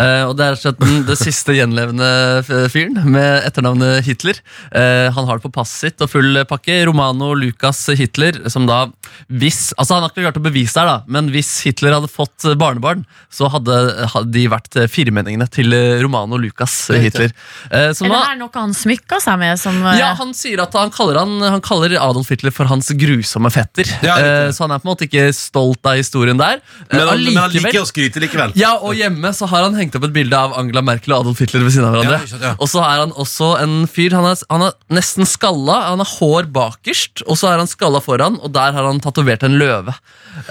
Speaker 6: Eh, og det er slett den, det siste gjenlevende f- fyren med etternavnet Hitler. Eh, han har det på passet sitt og full pakke. Romano Lucas Hitler, som da hvis Altså, han har ikke klart å bevise det her, da, men hvis Hitler hadde fått eh, barnebarn, så hadde, hadde de vært eh, firmenningene til eh, Romano Lucas Hitler. Eh, som
Speaker 5: Er det
Speaker 6: da-
Speaker 5: her noe han smykker seg med? Som, eh,
Speaker 6: ja, han sier at han kaller, han, han kaller Adolf Hitler for hans grusomme fetter. eh, så han er på en måte ikke stolt av historien der. Eh,
Speaker 3: Men han, men han
Speaker 6: allikevel-
Speaker 3: liker å skryte likevel.
Speaker 6: Ja, og hjemme så har han hengt opp et bilde av Angela Merkel og Adolf Hitler ved siden av hverandre. Og så er han også en fyr Han er, han er nesten skalla. Han har hår bakerst, og så er han skalla foran, og der har han tatovert en løve.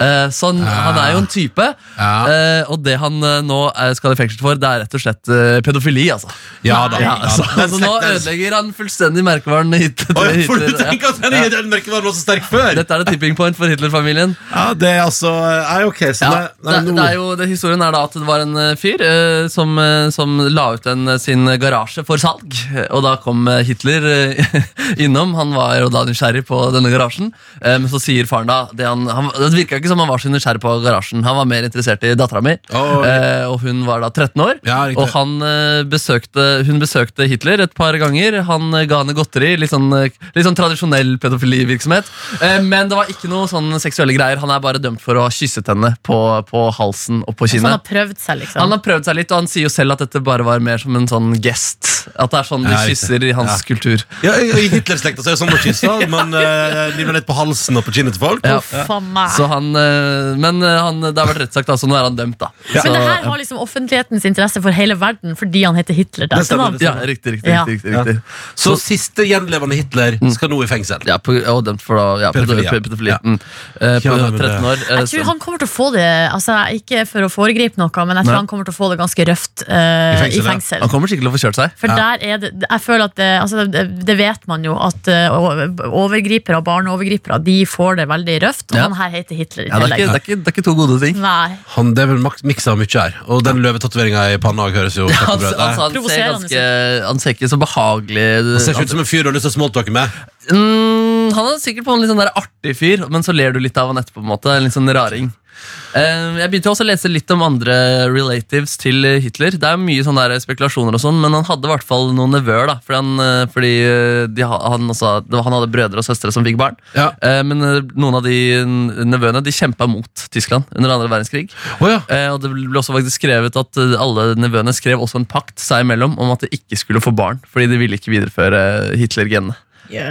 Speaker 6: Eh, så han, han er jo en type. Eh, og det han eh, nå er, skal i fengsel for, det er rett og slett eh, pedofili, altså.
Speaker 3: Ja da, ja da.
Speaker 6: så,
Speaker 3: Den
Speaker 6: så nå eh,
Speaker 3: slekten er-
Speaker 6: ødelegger han fullstendig merkevaren Hitler.
Speaker 3: Oi, for du
Speaker 6: Hitler, ja.
Speaker 3: tenker at den,
Speaker 6: Ja.
Speaker 3: den merkevaren var så sterk før?
Speaker 6: Dette er et tipping point for Hitler-familien.
Speaker 3: Ja, det er altså Nei, ok, så
Speaker 6: Ja,
Speaker 3: det,
Speaker 6: det, det er jo, det, historien er da at det var en eh, fyr eh, som, eh, som la ut en, eh, sin garasje for salg. eh, Og da kom eh, Hitler eh, innom. Han var jo da nysgjerrig på denne garasjen. eh, Men så sier faren da Det, han, han, det virka ikke som han var så nysgjerrig på garasjen. Han var mer interessert i dattera mi,
Speaker 3: Å,
Speaker 6: eh, og hun var da 13 år.
Speaker 3: Ja, riktig.
Speaker 6: og han eh, besøkte, hun besøkte Hitler et par ganger. Han eh, ga henne godteri. Litt sånn, eh, litt sånn tradisjonell pedofilivirksomhet. Eh, Men det var ikke noe sånn seksuelle greier. Han er bare dømt for å ha kysset henne på, på halsen og på
Speaker 5: så Altså, han har
Speaker 6: kinnet.
Speaker 5: prøvd seg, liksom.
Speaker 6: Han har prøvd seg litt, og han sier jo selv at dette bare var mer som en sånn gest. At det er sånn de
Speaker 3: Ja, riktig.
Speaker 6: kysser i hans kultur.
Speaker 3: Ja, i- I Hitler-slekta så er det sånn å kysse, men eh, de blir litt på halsen og på kinnet til folk.
Speaker 6: Ja.
Speaker 5: Faen meg.
Speaker 6: Så han, eh, men eh, han, det har vært rettssak, da, så nå er han dømt, da.
Speaker 5: Men det her
Speaker 6: Så-
Speaker 5: har liksom offentlighetens interesse for hele verden fordi han heter Hitler. til
Speaker 3: Det stemmer,
Speaker 5: etternavn.
Speaker 3: det
Speaker 6: ja,
Speaker 3: stemmer.
Speaker 6: riktig, riktig,
Speaker 5: Ja.
Speaker 6: riktig, riktig, riktig.
Speaker 3: Så siste gjenlevende Hitler skal nå i fengsel.
Speaker 6: Ja, på, og dømt for da, ja,
Speaker 3: Pedofili,
Speaker 6: pedofili. pedofili.
Speaker 3: ja. Ja.
Speaker 6: Mm. Eh,
Speaker 3: Ja,
Speaker 6: på
Speaker 3: nei, men det-
Speaker 6: 13 år. eh,
Speaker 5: Jeg tror han kommer til å få det altså Ikke for å foregripe noe, men jeg tror
Speaker 6: Nei.
Speaker 5: han kommer til å få det ganske røft eh,
Speaker 3: I fengsel, ja.
Speaker 5: i
Speaker 6: så-
Speaker 5: fengsel.
Speaker 6: han kommer sikkert til å få kjørt seg.
Speaker 5: For der er det Jeg føler at det, altså det, det vet man jo, at eh, overgripere og barneovergripere De får det veldig røft. Og
Speaker 6: Ja.
Speaker 5: han her heter Hitler i
Speaker 6: Ja, det, er
Speaker 5: tillegg.
Speaker 6: ikke, det, er ikke, det er ikke to gode ting.
Speaker 5: Nei.
Speaker 3: Han, det er vel maks- miksa mye her. Og den løvetatoveringa i panna høres jo
Speaker 6: Han,
Speaker 3: kjempebrød
Speaker 6: altså,
Speaker 3: ut.
Speaker 6: han, ser
Speaker 5: Provoserende,
Speaker 6: ganske, han ser ikke så behagelig
Speaker 3: Han ser ikke ut som en fyr du har lyst til å smalltalke med.
Speaker 6: mm, Han er sikkert på en litt sånn der artig fyr, men så ler du litt av han etterpå. på en måte En litt sånn raring Eh, Jeg begynte også å lese litt om andre relatives til eh, Hitler. Det er mye sånne der spekulasjoner, og sånn Men han hadde i hvert fall noen nevøer. da Fordi, han, eh, fordi eh, de, ha- han, også, det var- han hadde brødre og søstre som fikk barn.
Speaker 3: Ja.
Speaker 6: Eh, Men eh, noen av de eh, nevøene De kjempa mot Tyskland under andre verdenskrig.
Speaker 3: Å ja.
Speaker 6: Eh, og det ble også faktisk skrevet at eh, alle nevøene skrev også en pakt seg imellom om at de ikke skulle få barn, fordi de ville ikke videreføre Hitler-genene.
Speaker 3: Sier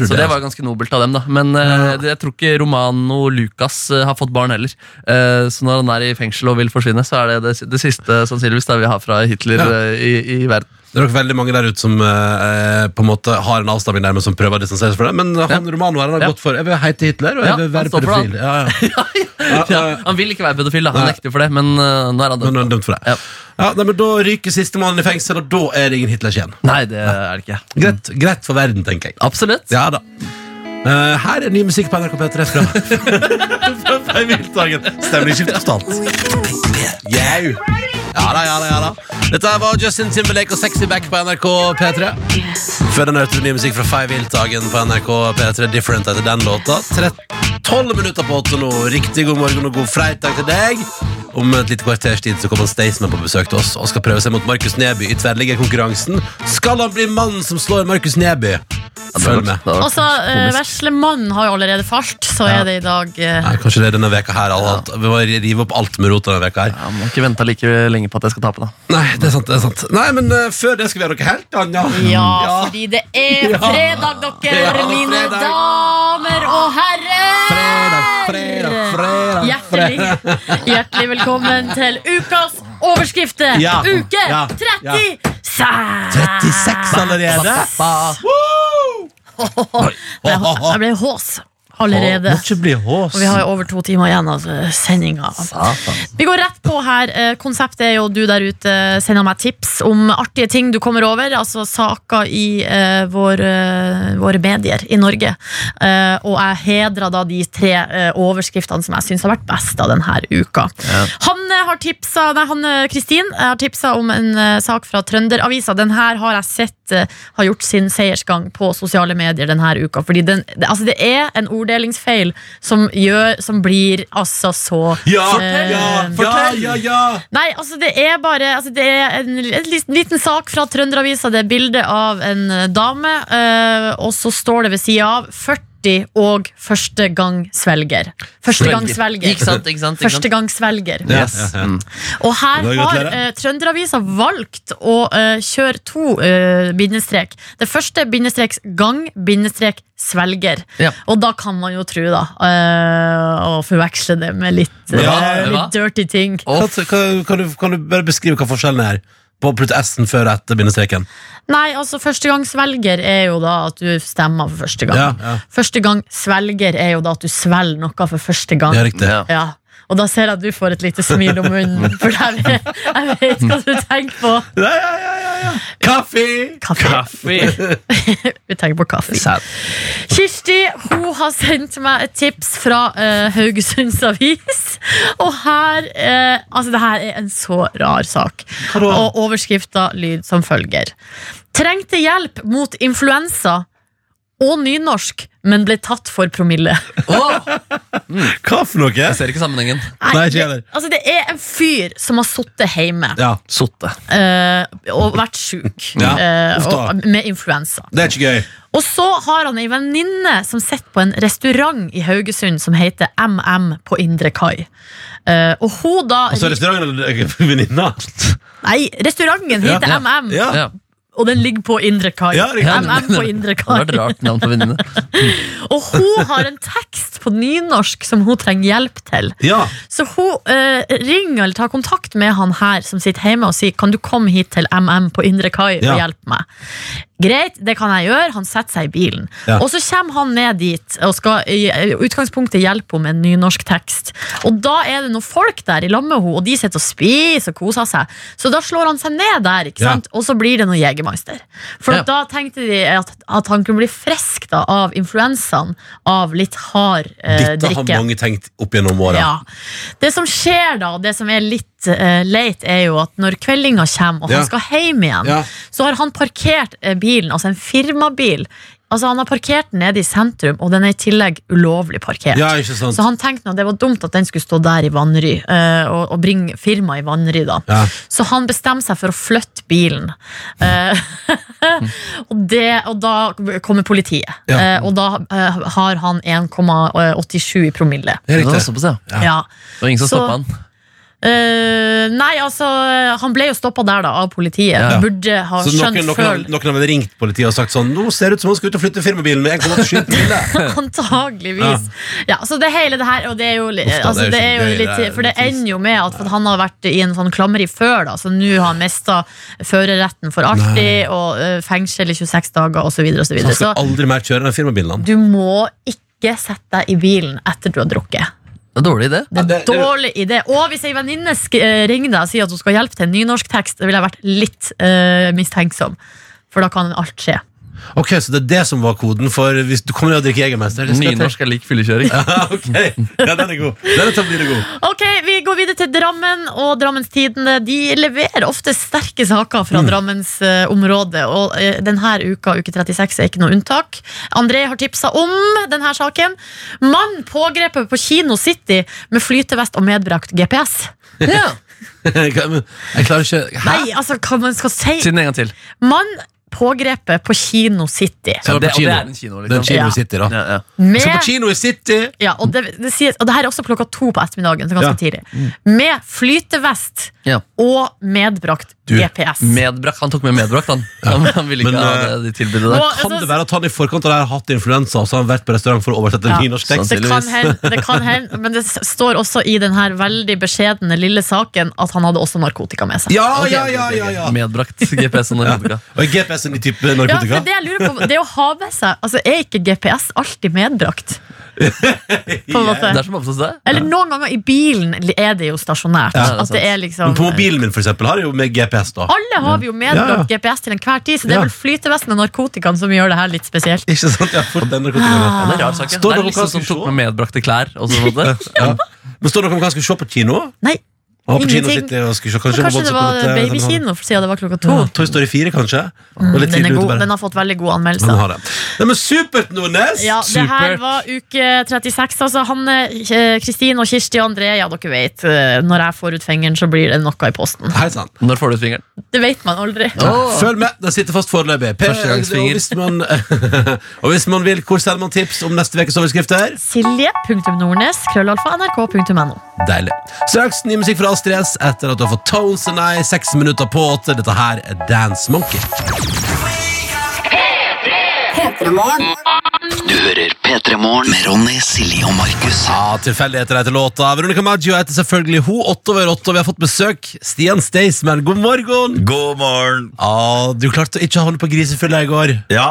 Speaker 3: du
Speaker 6: Så
Speaker 3: det?
Speaker 6: det var ganske nobelt av dem, da. Men eh, det- jeg tror ikke Romano Lucas eh, har fått barn heller. Eh, så når han er i fengsel og vil forsvinne, så er det det, det siste sannsynligvis det vi har fra Hitler
Speaker 3: Ja.
Speaker 6: eh, i, i verden.
Speaker 3: Det er nok veldig mange der ute som eh, på en måte har en avstamning der, men som prøver å distansere seg fra det. Men han Romano her han har
Speaker 6: Ja.
Speaker 3: gått for Jeg vil hete Hitler, og
Speaker 6: Ja,
Speaker 3: jeg vil
Speaker 6: han
Speaker 3: være
Speaker 6: står for
Speaker 3: pedofil.
Speaker 6: det,
Speaker 3: Ja, ja.
Speaker 6: Ja, han vil ikke være pedofil, da. Han
Speaker 3: Nei.
Speaker 6: nekter for det, men eh, nå er han
Speaker 3: Men
Speaker 6: dømt.
Speaker 3: han er dømt for det.
Speaker 6: Ja.
Speaker 3: Ja, nei, men Da ryker sistemann i fengsel, og da er det ingen Hitlers igjen.
Speaker 6: Nei, det er det ikke.
Speaker 3: Greit, greit for verden, tenker jeg.
Speaker 6: Absolutt.
Speaker 3: Ja da. Eh, her er ny musikk på NRK P3 fra fra Viltagen. Stemningsskift konstant. Jau. Ja da, ja da, ja da. Dette her var Justin Timberlake og Sexy Back på NRK P3. Før den hørte du ny musikk fra Five Viltagen på NRK P3. Different etter den låta. Tre- 12 minutter på åtte nå. Riktig god morgen og god fredag til deg. Om et lite kvarters tid så kommer Staysman på besøk til oss og skal prøve seg mot Markus Neby i tverrliggerkonkurransen. Skal han bli mannen som slår Markus Neby? Følg med.
Speaker 5: Altså, eh, Veslemannen har jo allerede falt, så er det i dag eh,
Speaker 3: Nei, kanskje det er denne veka her. Alt, Vi må rive opp alt med rota denne veka her.
Speaker 6: Ja, må ikke vente like lenge på at jeg skal tape, da.
Speaker 3: Nei, det er sant. det er sant Nei, men eh, før det skal vi gjøre noe helt annet.
Speaker 5: Ja, fordi det er fredag,
Speaker 3: Ja, det
Speaker 5: dere,
Speaker 3: er
Speaker 5: mine
Speaker 3: fredag.
Speaker 5: damer og herrer!
Speaker 3: Fredag, fredag, fredag.
Speaker 5: Hjertelig, hjertelig velkommen til ukas overskrifter.
Speaker 3: Ja,
Speaker 5: Uke
Speaker 3: ja,
Speaker 5: 36!
Speaker 3: 36 allerede?
Speaker 5: Jeg jeg ble hås allerede.
Speaker 3: Må ikke bli hås.
Speaker 5: Og vi har jo over to timer igjen av sendinga. Vi går rett på her. Eh, Konseptet er jo du der ute eh, sender meg tips om artige ting du kommer over. Altså saker i eh, vår, eh, våre medier i Norge. Eh, og jeg hedrer da de tre eh, overskriftene som jeg syns har vært best av denne uka. Hanne eh, har tipsa Nei, Hanne Kristin eh, har tipsa om en eh, sak fra Trønderavisa. Den her har jeg sett eh, har gjort sin seiersgang på sosiale medier denne uka. Fordi den, det, altså det er en ord fordelingsfeil som, gjør, som blir altså så eh,
Speaker 3: ja, ja!
Speaker 5: Nei, altså det er bare altså Det er en, en liten, liten sak fra Trønderavisa. Det er bilde av en eh, dame, eh, og så står det ved sida av 40 og førstegangsvelger. Førstegangsvelger.
Speaker 6: Ikke sant, ikke sant, ikke sant.
Speaker 5: Førstegangsvelger.
Speaker 6: Ja,
Speaker 3: Yes. Mm.
Speaker 6: ja, ja.
Speaker 5: Og her
Speaker 6: Det var
Speaker 5: har
Speaker 6: gratulerer.
Speaker 5: eh, Trønderavisa valgt å eh, kjøre to eh, bindestrek. Det første bindestrek gang, bindestrek svelger.
Speaker 6: Ja.
Speaker 5: Og da kan man jo tro, da, eh, å forveksle det med litt, eh,
Speaker 3: Ja, det var.
Speaker 5: litt dirty ting.
Speaker 3: Kan, kan, kan, du, kan du bare beskrive hva forskjellen er? På å putte S-en før og etter bindestreken?
Speaker 5: Nei, altså førstegangsvelger er jo da at du stemmer for første gang.
Speaker 3: Ja, ja.
Speaker 5: Første gang svelger er jo da at du svelger noe for første gang.
Speaker 3: Ja, riktig. Ja.
Speaker 5: Ja. Og da ser jeg at du får et lite smil om munnen, for jeg vet, jeg vet hva du tenker på.
Speaker 3: Ja, ja, ja, Kaffe!
Speaker 5: Vi tenker på kaffe. Kirsti hun har sendt meg et tips fra eh, Haugesunds Avis. Og her eh, Altså, det her er en så rar sak. Og overskrifta lyd som følger. Trengte hjelp mot influensa og nynorsk, men ble tatt for promille.
Speaker 3: Hva for noe? Jeg
Speaker 6: Mm. ser ikke sammenhengen.
Speaker 3: Nei, ikke heller.
Speaker 5: Altså, det er en fyr som har sittet hjemme
Speaker 3: Ja.
Speaker 6: Sotte.
Speaker 5: eh, og vært sjuk
Speaker 3: Ja,
Speaker 5: eh,
Speaker 3: uff da.
Speaker 5: og, med influensa.
Speaker 3: Det er ikke gøy.
Speaker 5: Og så har han ei venninne som sitter på en restaurant i Haugesund som heter MM på Indre Kai. Eh, og hun da
Speaker 3: Og så er restauranten eller- venninna.
Speaker 5: Nei, restauranten heter
Speaker 3: Ja.
Speaker 5: MM,
Speaker 3: Ja. Ja.
Speaker 5: og den ligger på Indre Kai.
Speaker 3: Ja, riktig.
Speaker 5: MM på Indre
Speaker 6: Det hadde vært
Speaker 5: Kai.
Speaker 6: rart navn på venninne.
Speaker 5: Og hun har en tekst på nynorsk som hun trenger hjelp til.
Speaker 3: Ja.
Speaker 5: Så hun eh, ringer eller tar kontakt med han her som sitter hjemme og sier Kan du komme hit til MM på Indre Kai
Speaker 2: Ja.
Speaker 5: og hjelpe meg? Greit, det kan jeg gjøre. Han setter seg i bilen.
Speaker 2: Ja.
Speaker 5: Og så kommer han ned dit og skal i eh, utgangspunktet hjelpe henne med en nynorsk tekst. Og da er det noen folk der i lag med henne, og de sitter og spiser og koser seg. Så da slår han seg ned der, ikke
Speaker 2: Ja.
Speaker 5: sant? og så blir det noe Jegermeister. For
Speaker 2: Ja.
Speaker 5: da tenkte de at, at han kunne bli frisk da, av influensaen av litt hard eh,
Speaker 3: Dette har
Speaker 5: drikke.
Speaker 3: mange tenkt opp gjennom åra.
Speaker 5: Ja. Det som skjer da, og det som er litt eh, leit, er jo at når kveldinga kommer, og
Speaker 2: Ja.
Speaker 5: han skal hjem igjen,
Speaker 2: Ja.
Speaker 5: så har han parkert eh, bilen, altså en firmabil. Altså Han har parkert den nede i sentrum, og den er i tillegg ulovlig parkert.
Speaker 3: Ja, ikke sant.
Speaker 5: Så han tenkte nå, det var dumt at den skulle stå der i Vanry, eh, og, og bringe firmaet i Vanry. da
Speaker 2: Ja.
Speaker 5: Så han bestemmer seg for å flytte bilen. Eh, og, det, og da kommer politiet,
Speaker 2: Ja.
Speaker 5: Eh, og da eh, har han 1,87 i promille.
Speaker 6: Det er riktig. Det var såpass, ja. Ja.
Speaker 5: ja.
Speaker 6: Det var ingen som
Speaker 5: Så-
Speaker 6: stoppa han.
Speaker 5: Eh, nei, altså Han ble jo stoppa der, da, av politiet.
Speaker 3: Ja.
Speaker 5: Burde ha
Speaker 3: Så noen,
Speaker 5: skjønt
Speaker 3: noen, har-
Speaker 5: før.
Speaker 3: noen har vel ringt politiet og sagt sånn Nå ser det ut som han skal ut og flytte firmabilen med 1,87 promille.
Speaker 5: Antageligvis. Ja. så det hele det her Og det er jo, li-
Speaker 3: Uff da,
Speaker 5: altså,
Speaker 3: det er jo ikke
Speaker 5: det er jo
Speaker 3: gøy,
Speaker 5: litt
Speaker 3: det er
Speaker 5: For det ender jo med at for at han har vært i en sånn klammeri før, da, så nå har han mista førerretten for alltid, og eh, fengsel i 26 dager, osv.
Speaker 3: Så han
Speaker 5: videre
Speaker 3: skal
Speaker 5: så
Speaker 3: aldri mer kjøre den firmabilen. han.
Speaker 5: du må ikke sette deg i bilen etter du har drukket.
Speaker 6: Det er dårlig idé.
Speaker 5: Dårlig idé. Og hvis ei venninne sk- eh, ringer deg og sier at hun skal hjelpe til en nynorsk tekst, da ville jeg vært litt eh, mistenksom. For da kan alt skje.
Speaker 3: Ok, Så det er det som var koden for hvis du kommer ned og drikker Jegermeister? det skal jeg til.
Speaker 6: Nynorsk er lik fyllekjøring.
Speaker 3: Ja, ok. ja, den er god. Den er tablere god.
Speaker 5: Ok, Vi går videre til Drammen, og Drammens Tidende De leverer ofte sterke saker fra
Speaker 2: Mm.
Speaker 5: Drammens eh, område. Og eh, denne uka, uke 36, er ikke noe unntak. André har tipsa om denne saken. Mann pågrepet på Kino City med flytevest og medbrakt GPS.
Speaker 6: Ja.
Speaker 3: Men Jeg klarer ikke Hæ?
Speaker 5: Nei, altså, hva man skal si?
Speaker 6: Si den en gang til.
Speaker 5: Mann pågrepet på Kino City.
Speaker 6: Så det, og det er en kino, liksom.
Speaker 5: Det er en kino i Ja.
Speaker 3: City, da.
Speaker 6: Ja, ja.
Speaker 5: Med-
Speaker 3: Så på kino i City!
Speaker 5: Ja, og det, det sies, og det her er også klokka to på ettermiddagen. Så
Speaker 6: Ja.
Speaker 5: ganske tidlig Med flytevest
Speaker 6: Ja.
Speaker 5: og medbrakt GPS.
Speaker 6: Medbrakt. Han tok med medbrakt, han. Han, han ville ikke
Speaker 3: Men,
Speaker 6: ha
Speaker 3: eh,
Speaker 6: det, de tilbudet
Speaker 5: Nå,
Speaker 6: der.
Speaker 5: altså,
Speaker 3: Kan det være at han i forkant av det her har hatt influensa og så har han vært på restaurant for å oversette
Speaker 5: Ja.
Speaker 3: nynorsk tekst?
Speaker 5: Det kan hende, det kan hende, men det s- står også i den her veldig beskjedne lille saken at han hadde også narkotika med seg.
Speaker 3: Ja, ja, ja, ja, ja.
Speaker 6: Medbrakt GPS og narkotika.
Speaker 3: Og er GPS-en i type
Speaker 5: Ja, for
Speaker 3: narkotika?
Speaker 5: det jeg lurer på, det å ha med seg Altså, Er ikke GPS alltid medbrakt? på en måte.
Speaker 6: Det er som oftest det.
Speaker 5: Eller noen ganger i bilen er det jo stasjonært.
Speaker 3: Ja, det er
Speaker 5: at det
Speaker 3: sant.
Speaker 5: er liksom
Speaker 3: Men på mobilen min for eksempel, har jeg jo med GPS. da
Speaker 5: Alle har vi jo medbrakt
Speaker 3: Ja,
Speaker 5: GPS til enhver tid, så det er
Speaker 3: Ja.
Speaker 5: vel flytevesten og narkotikaen som gjør det her litt spesielt.
Speaker 3: Ikke sant? Jeg har fått den narkotikaen.
Speaker 5: Ah. Ja, det
Speaker 6: Det er rar sak, ja. det
Speaker 3: Står det
Speaker 6: er
Speaker 3: noe
Speaker 6: liksom
Speaker 3: hva
Speaker 6: som
Speaker 3: skal
Speaker 6: tok med medbrakte klær. Og sånn,
Speaker 3: Ja. Men står det noe om hva han skal se på kino?
Speaker 5: Nei.
Speaker 3: Og på kino
Speaker 5: Ingenting.
Speaker 3: sitter jeg og skulle se
Speaker 5: Men
Speaker 3: kanskje
Speaker 5: kanskje det var
Speaker 3: robotsepolete,
Speaker 5: babykino siden det var klokka to.
Speaker 3: Ja, Toy Story 4, kanskje.
Speaker 5: Mm,
Speaker 3: Og litt
Speaker 5: den, er
Speaker 3: tidlig ute
Speaker 5: god.
Speaker 3: bare.
Speaker 5: den har fått veldig gode
Speaker 3: Men
Speaker 5: anmeldelser.
Speaker 3: har det. Nei, men supert, Nordnes!
Speaker 5: Ja, det her
Speaker 3: Supert.
Speaker 5: var uke 36. Altså, Hanne, eh, Kristin og Kirsti og André, ja, dere vet. eh, Når jeg får ut fingeren, så blir det noe i posten.
Speaker 3: Hei sann.
Speaker 6: Når får du ut fingeren?
Speaker 5: Det vet man aldri.
Speaker 3: Følg med, den sitter fast foreløpig. Per-
Speaker 6: Førstegangsfinger.
Speaker 3: Og hvis, man, og hvis man vil, hvor sender man tips om neste ukes overskrifter?
Speaker 5: Silje.nordnes, krøllalfa, nrk.no.
Speaker 3: Deilig. Straks ny musikk fra Astrid S etter at du har fått Tones and I seks minutter på åtte. Dette her er Dance Monkey.
Speaker 1: Du hører P3 Morgen med Ronny, Silje og Markus.
Speaker 3: Ja, tilfeldigheter heter låta. Veronica Maggio heter selvfølgelig hun. Åtte over åtte, og vi har fått besøk. Stian Staysman, god morgen!
Speaker 12: God morgen.
Speaker 3: Ja, du klarte å ikke havne på grisefylla i går.
Speaker 12: Ja,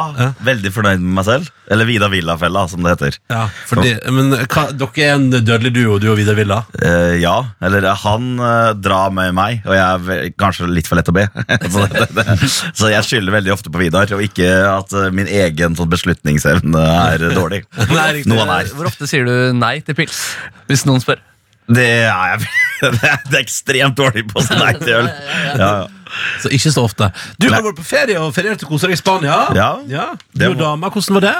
Speaker 12: veldig fornøyd med meg selv. Eller Vida Villa-fella, som det heter.
Speaker 3: Ja, fordi, men hva, dere er en dødelig duo, du og Vidar Villa.
Speaker 12: Eh, ja, eller eh, han eh, drar med meg, og jeg er ve- kanskje litt for lett å be. så, det, det, så jeg skylder veldig ofte på Vidar, og ikke at eh, min egen sånn, beslutningsevne er eh, dårlig.
Speaker 3: Nei, riktig.
Speaker 12: Noe han er.
Speaker 6: Hvor ofte sier du nei til pils? Hvis noen spør.
Speaker 12: Det er jeg det er- det er ekstremt dårlig på å si nei til øl. Ja, ja.
Speaker 3: Så ikke så ofte. Du har vært på ferie og feriert og kost deg i Spania.
Speaker 12: Ja.
Speaker 3: Du
Speaker 12: Det
Speaker 3: og
Speaker 12: var-
Speaker 3: dama, hvordan var det?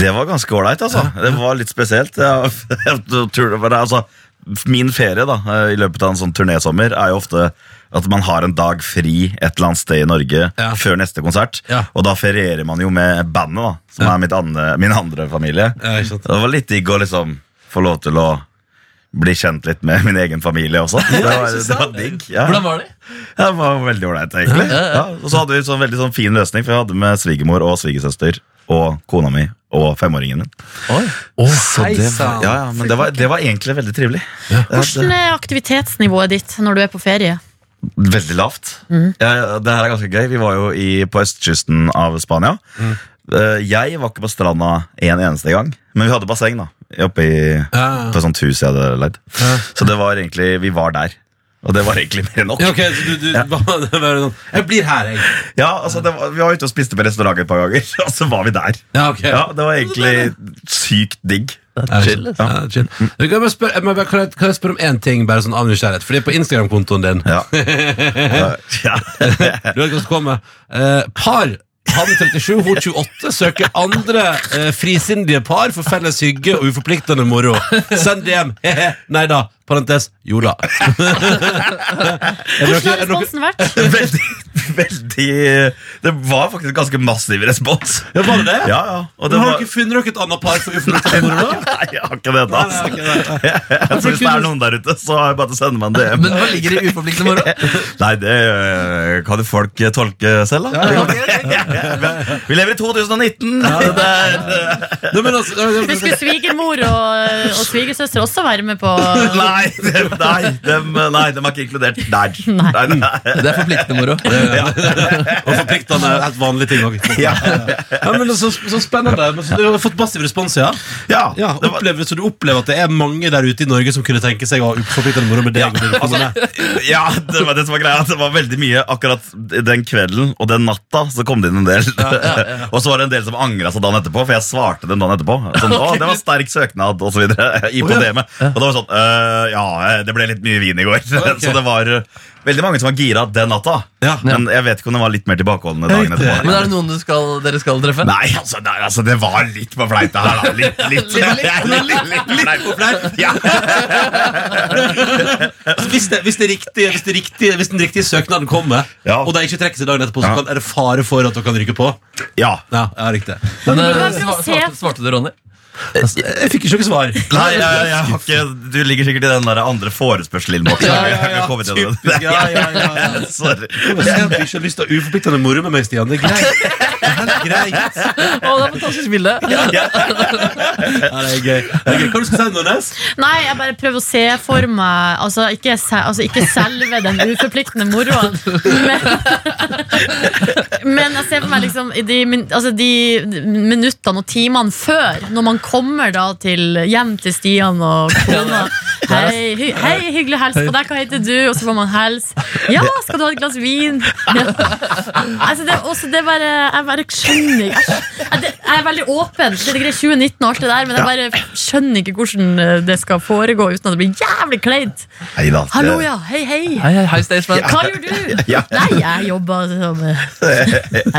Speaker 12: Det var ganske ålreit, altså. Det var litt spesielt. Jeg, jeg tror det var, altså, min ferie da, i løpet av en sånn turnésommer er jo ofte at man har en dag fri et eller annet sted i Norge
Speaker 3: Ja.
Speaker 12: før neste konsert.
Speaker 3: Ja.
Speaker 12: Og da ferierer man jo med bandet, da, som er mitt andre, min andre familie.
Speaker 3: Ja, ikke sant.
Speaker 12: Det var litt digg å liksom få lov til å bli kjent litt med min egen familie også. Det var, det var digg. Ja.
Speaker 6: Hvordan var det?
Speaker 12: Ja, Det var veldig ålreit, egentlig.
Speaker 6: Ja, ja,
Speaker 12: Ja, og så hadde vi en sånn veldig sånn fin løsning, for jeg hadde med svigermor og svigersøster og kona mi og femåringen min. Så det var, ja, ja, men det var, det var egentlig veldig trivelig. Ja,
Speaker 5: Hvordan
Speaker 12: det,
Speaker 5: er aktivitetsnivået ditt når du er på ferie?
Speaker 12: veldig lavt.
Speaker 6: Mhm.
Speaker 12: Ja, ja, det her er ganske gøy. Vi var jo i, på østkysten av Spania. Eh, Jeg var ikke på stranda en eneste gang, men vi hadde basseng da oppe i,
Speaker 3: Ja.
Speaker 12: på et sånt hus jeg hadde leid. Så det var egentlig, vi var der. Og det var egentlig mer enn nok.
Speaker 3: Ja, ok, så du, du, bare- det var sånn, Jeg blir her, jeg.
Speaker 12: Ja, altså det var, Vi var ute og spiste på restaurant et par ganger, og så var vi der.
Speaker 3: Ja, ok.
Speaker 12: Ja, Det var egentlig sykt digg.
Speaker 3: Ja, chill. Ja, chill. Du kan, jeg bare spørre, jeg må bare- kan, jeg, kan jeg spørre om én ting, bare sånn av nysgjerrighet? Fordi på Instagram-kontoen din
Speaker 12: Ja. ja.
Speaker 3: Du vet hva som kommer. Eh, par. Han 37, hun 28 søker andre eh, frisindige par for felles hygge og uforpliktende moro. Send DM. Hehe. Nei da. Parentes Jola. Er det
Speaker 5: Hvordan
Speaker 3: noe-
Speaker 5: har
Speaker 3: er det noe-
Speaker 5: responsen vært?
Speaker 12: Veldig, veldig Det var faktisk ganske massiv respons.
Speaker 3: Ja, var det det?
Speaker 12: Ja, ja. Og
Speaker 3: Men
Speaker 12: det
Speaker 3: Har
Speaker 12: var,
Speaker 3: dere funnet dere et annet par for uforpliktende moro, da?
Speaker 12: nei, jeg har ikke det ennå.
Speaker 3: Nei,
Speaker 12: Altså.
Speaker 3: nei, ok, nei.
Speaker 12: Så Hvis det er noen der ute, så har jeg bare til å sende meg en DM.
Speaker 6: Men hva ligger i uforpliktende moro?
Speaker 12: Nei, det øh, kan jo folk tolke selv, da. Vi lever i 2019! Det er,
Speaker 3: Nei, men altså, nei,
Speaker 5: Men
Speaker 3: nei,
Speaker 5: Skulle svigermor og, og svigersøster også være med på
Speaker 12: nei, dem- nei, dem, nei, de er ikke inkludert der.
Speaker 5: Nei.
Speaker 12: Nei, nei.
Speaker 6: Det er forpliktende moro.
Speaker 3: Og forpliktende helt vanlige ting òg. Ja. men det er så, så spennende. Men så, du har fått massiv respons, ja.
Speaker 12: Ja,
Speaker 3: ja
Speaker 12: det var-
Speaker 3: opplever, så du opplever at det er mange der ute i Norge som kunne tenke seg å ha uforpliktende moro med deg? og din kone?
Speaker 12: Ja, Altså, det var det som var greia. Det var veldig mye akkurat den kvelden og den natta. Så kom det inn en del. og så var det en del som angra seg dagen etterpå, for jeg svarte dem dagen etterpå. Sånn, å, det var sterk søknad, og så videre. I på
Speaker 3: Å, ja.
Speaker 12: DM-et. Og det var sånn øh, Ja, det ble litt mye vin i går.
Speaker 3: Ok.
Speaker 12: så det var øh, veldig mange som var gira den natta.
Speaker 3: Ja.
Speaker 12: Men jeg vet ikke om det var litt mer tilbakeholdne dagen etterpå.
Speaker 6: Men er det noen du skal, dere skal treffe?
Speaker 12: Nei, altså, nei, altså, det var litt på fleip, det her. da. Litt, litt, litt, litt, på fleip. Ja.
Speaker 3: Altså, hvis, det, hvis, det riktige, hvis, det riktige, hvis den riktige søknaden kommer,
Speaker 12: Ja.
Speaker 3: og de ikke trekker seg dagen etterpå, så
Speaker 12: Ja.
Speaker 3: kan, er det fare for at dere kan ryke på?
Speaker 12: ja.
Speaker 3: Ja, ja riktig
Speaker 6: Men,
Speaker 5: Men
Speaker 6: eh,
Speaker 5: vi må
Speaker 6: sva-
Speaker 5: se.
Speaker 6: svarte, svarte du, Ronny?
Speaker 12: Eh,
Speaker 3: Jeg fikk ikke noe svar.
Speaker 12: Nei, jeg, jeg har ikke, du ligger sikkert i den der andre forespørselinnboksen.
Speaker 3: Ja, ja,
Speaker 12: Jeg har
Speaker 3: ja,
Speaker 12: ikke kommet til den.
Speaker 3: typisk, ja, ja, ja, ja.
Speaker 12: Sorry.
Speaker 3: Jeg ser at du ikke har lyst til å ha uforpliktende moro med meg, Stian. Det er greit. Det er helt greit.
Speaker 6: Å, det er fantastisk bilde!
Speaker 3: Ja, det er gøy. Det er gøy. Hva du skal du si, Nordnes?
Speaker 5: Nei, jeg bare prøver å se for meg Altså ikke, se- altså, ikke selve den uforpliktende moroen, men, men jeg ser for meg liksom i de, min- altså, de minuttene og timene før, når man kommer da til hjem til Stian og kona. Hei, hy hei hyggelig å hilse på deg. Hva heter du? Og så får man hilse. Ja, skal du ha et glass vin? Ja. Altså, det, er også, det er bare Jeg bare skjønner ikke Jeg, skj- jeg, jeg er veldig åpen. Det er greit 2019 og alt det der, men jeg bare skjønner ikke hvordan eh, det skal foregå uten at det blir jævlig kleint.
Speaker 12: Hei da. det-
Speaker 5: Hallo, ja. Hei, hei.
Speaker 6: Hei, hei, hei, Staysman.
Speaker 5: Hva gjør du?
Speaker 12: Ja.
Speaker 5: Nei, jeg jobber som eh,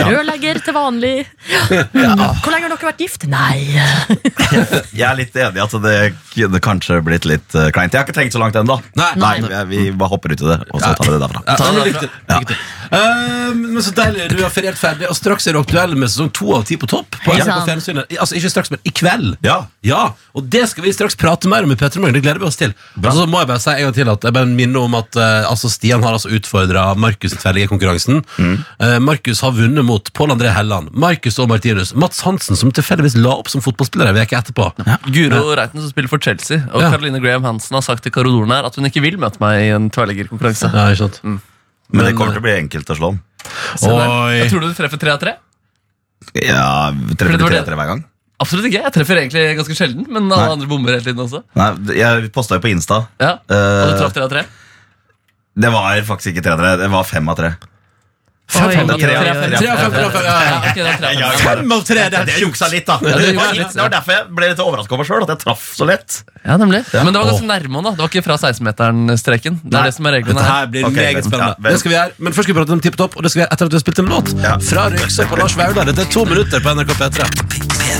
Speaker 5: rørlegger til vanlig. Mm, Hvor lenge har dere vært gift? Nei.
Speaker 12: Jeg er litt enig i at det kunne kanskje blitt litt eh, kleint. Jeg har ikke tenkt så langt ennå.
Speaker 3: Nei.
Speaker 12: vi- vi bare hopper ut i det, og så tar vi det derfra.
Speaker 3: Ja, men lykke til. Lykke til. Eh, men så deilig, du har feriert ferdig, og straks er du aktuell med sesong to av Ti på topp. På
Speaker 5: Hei
Speaker 3: NRK
Speaker 5: sann.
Speaker 3: fjernsynet. I- Altså, ikke straks, men i kveld.
Speaker 12: Ja.
Speaker 3: Ja, og det skal vi straks prate mer om i Petter Morgen. Det gleder vi oss til. Og så må jeg bare si en gang til at jeg bare minner om at eh, altså Stian har altså utfordra Markus til tverrliggerkonkurransen.
Speaker 12: Mm.
Speaker 3: Eh, Markus har vunnet mot Pål André Helland, Markus og Martinus, Mats Hansen, som tilfeldigvis la opp som fotballspiller ei uke etterpå.
Speaker 6: Guro Reiten som spiller for Chelsea, og
Speaker 3: Ja.
Speaker 6: Caroline Graham Hansen har sagt til korridoren her at hun ikke vil møte meg i en tverrliggerkonkurranse.
Speaker 3: Ja, ikke sant?
Speaker 6: Mm.
Speaker 12: Men det
Speaker 6: eh,
Speaker 12: kommer til å bli enkelt å slå om.
Speaker 6: Se der.
Speaker 3: Oi.
Speaker 6: Jeg tror du treffer tre av tre?
Speaker 12: Ja,
Speaker 6: Fordi
Speaker 12: Treffer
Speaker 6: det
Speaker 12: du
Speaker 6: var
Speaker 12: tre
Speaker 6: det-
Speaker 12: tre hver gang?
Speaker 6: Absolutt ikke. Jeg treffer egentlig ganske sjelden, men alle andre bommer hele tiden også.
Speaker 12: Nei, Jeg posta jo på Insta.
Speaker 6: Ja, Og du
Speaker 12: Eh,
Speaker 6: traff tre av tre?
Speaker 12: det var faktisk ikke tre av tre, det var fem av tre.
Speaker 5: Oi,
Speaker 6: av tre,
Speaker 5: oi, oi, oi.
Speaker 6: av
Speaker 3: Tre av fem, tre av fem, ja, ja.
Speaker 6: Ja, ok, da traff jeg.
Speaker 3: Fem av tre! Det
Speaker 12: Jeg
Speaker 3: er
Speaker 12: juksa litt, da.
Speaker 6: Ja, du
Speaker 12: det, var
Speaker 6: juksa litt,
Speaker 12: litt, det var derfor jeg ble litt overraska over meg sjøl, at jeg traff så lett.
Speaker 6: Ja, nemlig. Men det var ganske nærme òg, da. Det var ikke fra 16-meteren-streken. Det er det som er reglene
Speaker 3: Dette
Speaker 6: her.
Speaker 3: her blir
Speaker 12: Ok,
Speaker 3: meget
Speaker 12: vent,
Speaker 3: spennende.
Speaker 12: ja, vent.
Speaker 3: det skal vi gjøre, Men først skal vi prate om Tipp Topp, og det skal vi gjøre etter at vi har spilt en låt. Fra Røyksopp på Lars Vaular. Dette er to minutter på NRK P3.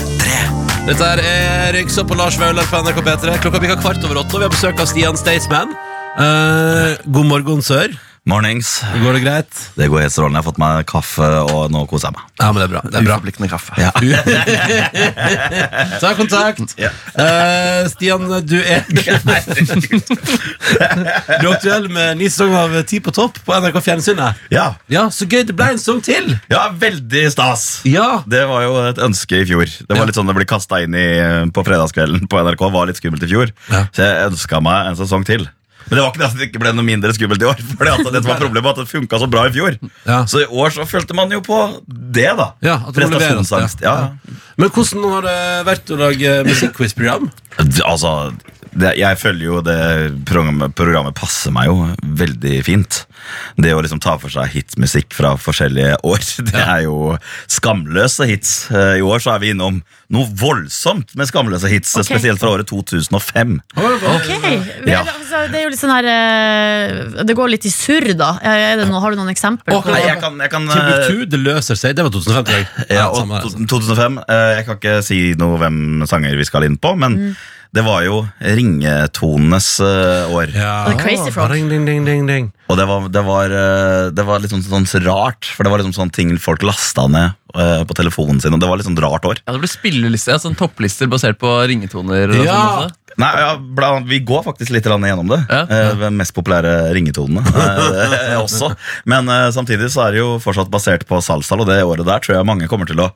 Speaker 3: Dette her er Røyksopp på Lars Vaular på NRK P3. Klokka bikka kvart over åtte, og vi har besøk av Stian Staysman. Eh, god morgen, sør.
Speaker 12: Mornings.
Speaker 3: Går det greit?
Speaker 12: Det går helt strålende. Jeg har fått meg kaffe, og nå koser jeg meg.
Speaker 3: Ja, men det er bra. Det er bra.
Speaker 13: Uforpliktende kaffe.
Speaker 12: Ja.
Speaker 3: Ta kontakt.
Speaker 12: Ja.
Speaker 3: Eh, Stian, du er Du er aktuell med ny sesong av Ti på topp på NRK Fjernsynet.
Speaker 12: Ja.
Speaker 3: Ja, så gøy. Det ble en sesong til.
Speaker 12: ja, veldig stas.
Speaker 3: Ja.
Speaker 12: Det var jo et ønske i fjor.
Speaker 3: Ja.
Speaker 12: Det var litt sånn det ble kasta inn i, eh, på fredagskvelden på NRK. var litt skummelt i fjor
Speaker 3: Ja.
Speaker 12: Så jeg ønska meg en sesong til. Men det var ikke det at det ikke ble noe mindre skummelt i år. For det, at det var problemet at det funka så bra i fjor.
Speaker 3: Ja.
Speaker 12: Så i år så følte man jo på det, da.
Speaker 3: Ja, at det må leveres,
Speaker 12: Prestasjonsangst. Ja.
Speaker 3: ja. Men hvordan har det vært å lage musikkquiz-program?
Speaker 12: D- Altså, det, jeg følger jo det programmet, programmet passer meg jo veldig fint. Det å liksom ta for seg hitmusikk fra forskjellige år, det er jo skamløse hits. Eh, I år så er vi innom noe voldsomt med skamløse hits,
Speaker 5: Ok.
Speaker 12: spesielt fra året 2005.
Speaker 5: Ok, men,
Speaker 12: Ja.
Speaker 5: altså, Det er jo litt sånn her eh, Det går litt i surr, da. Er det noe, har du noen eksempler?
Speaker 3: Ok,
Speaker 5: på-
Speaker 12: Nei, jeg kan, jeg kan eh,
Speaker 3: Timbuktu, det løser seg. Det var 2050. det
Speaker 12: Ja, og
Speaker 3: samme her, altså.
Speaker 12: to- 2005 eh, Jeg kan ikke si noe hvem sanger vi skal inn på, men det var jo ringetonenes eh, år.
Speaker 3: Ja.
Speaker 5: Og det er Crazy Frog.
Speaker 3: Ding, ding, ding, ding, ding.
Speaker 12: Og det var, det var, eh, det var litt sånn, sånn rart, for det var liksom sånn ting folk lasta ned eh, på telefonen sin, og det var litt sånn rart år.
Speaker 6: Ja, det blir spillelister, ja, sånn topplister basert på ringetoner. Og
Speaker 3: Ja.
Speaker 6: sånn også.
Speaker 12: Nei, ja, bla, Vi går faktisk litt grann gjennom det.
Speaker 6: Ja.
Speaker 12: eh, De mest populære ringetonene eh, også. Men eh, samtidig så er det jo fortsatt basert på salsal, og det året der tror jeg mange kommer til å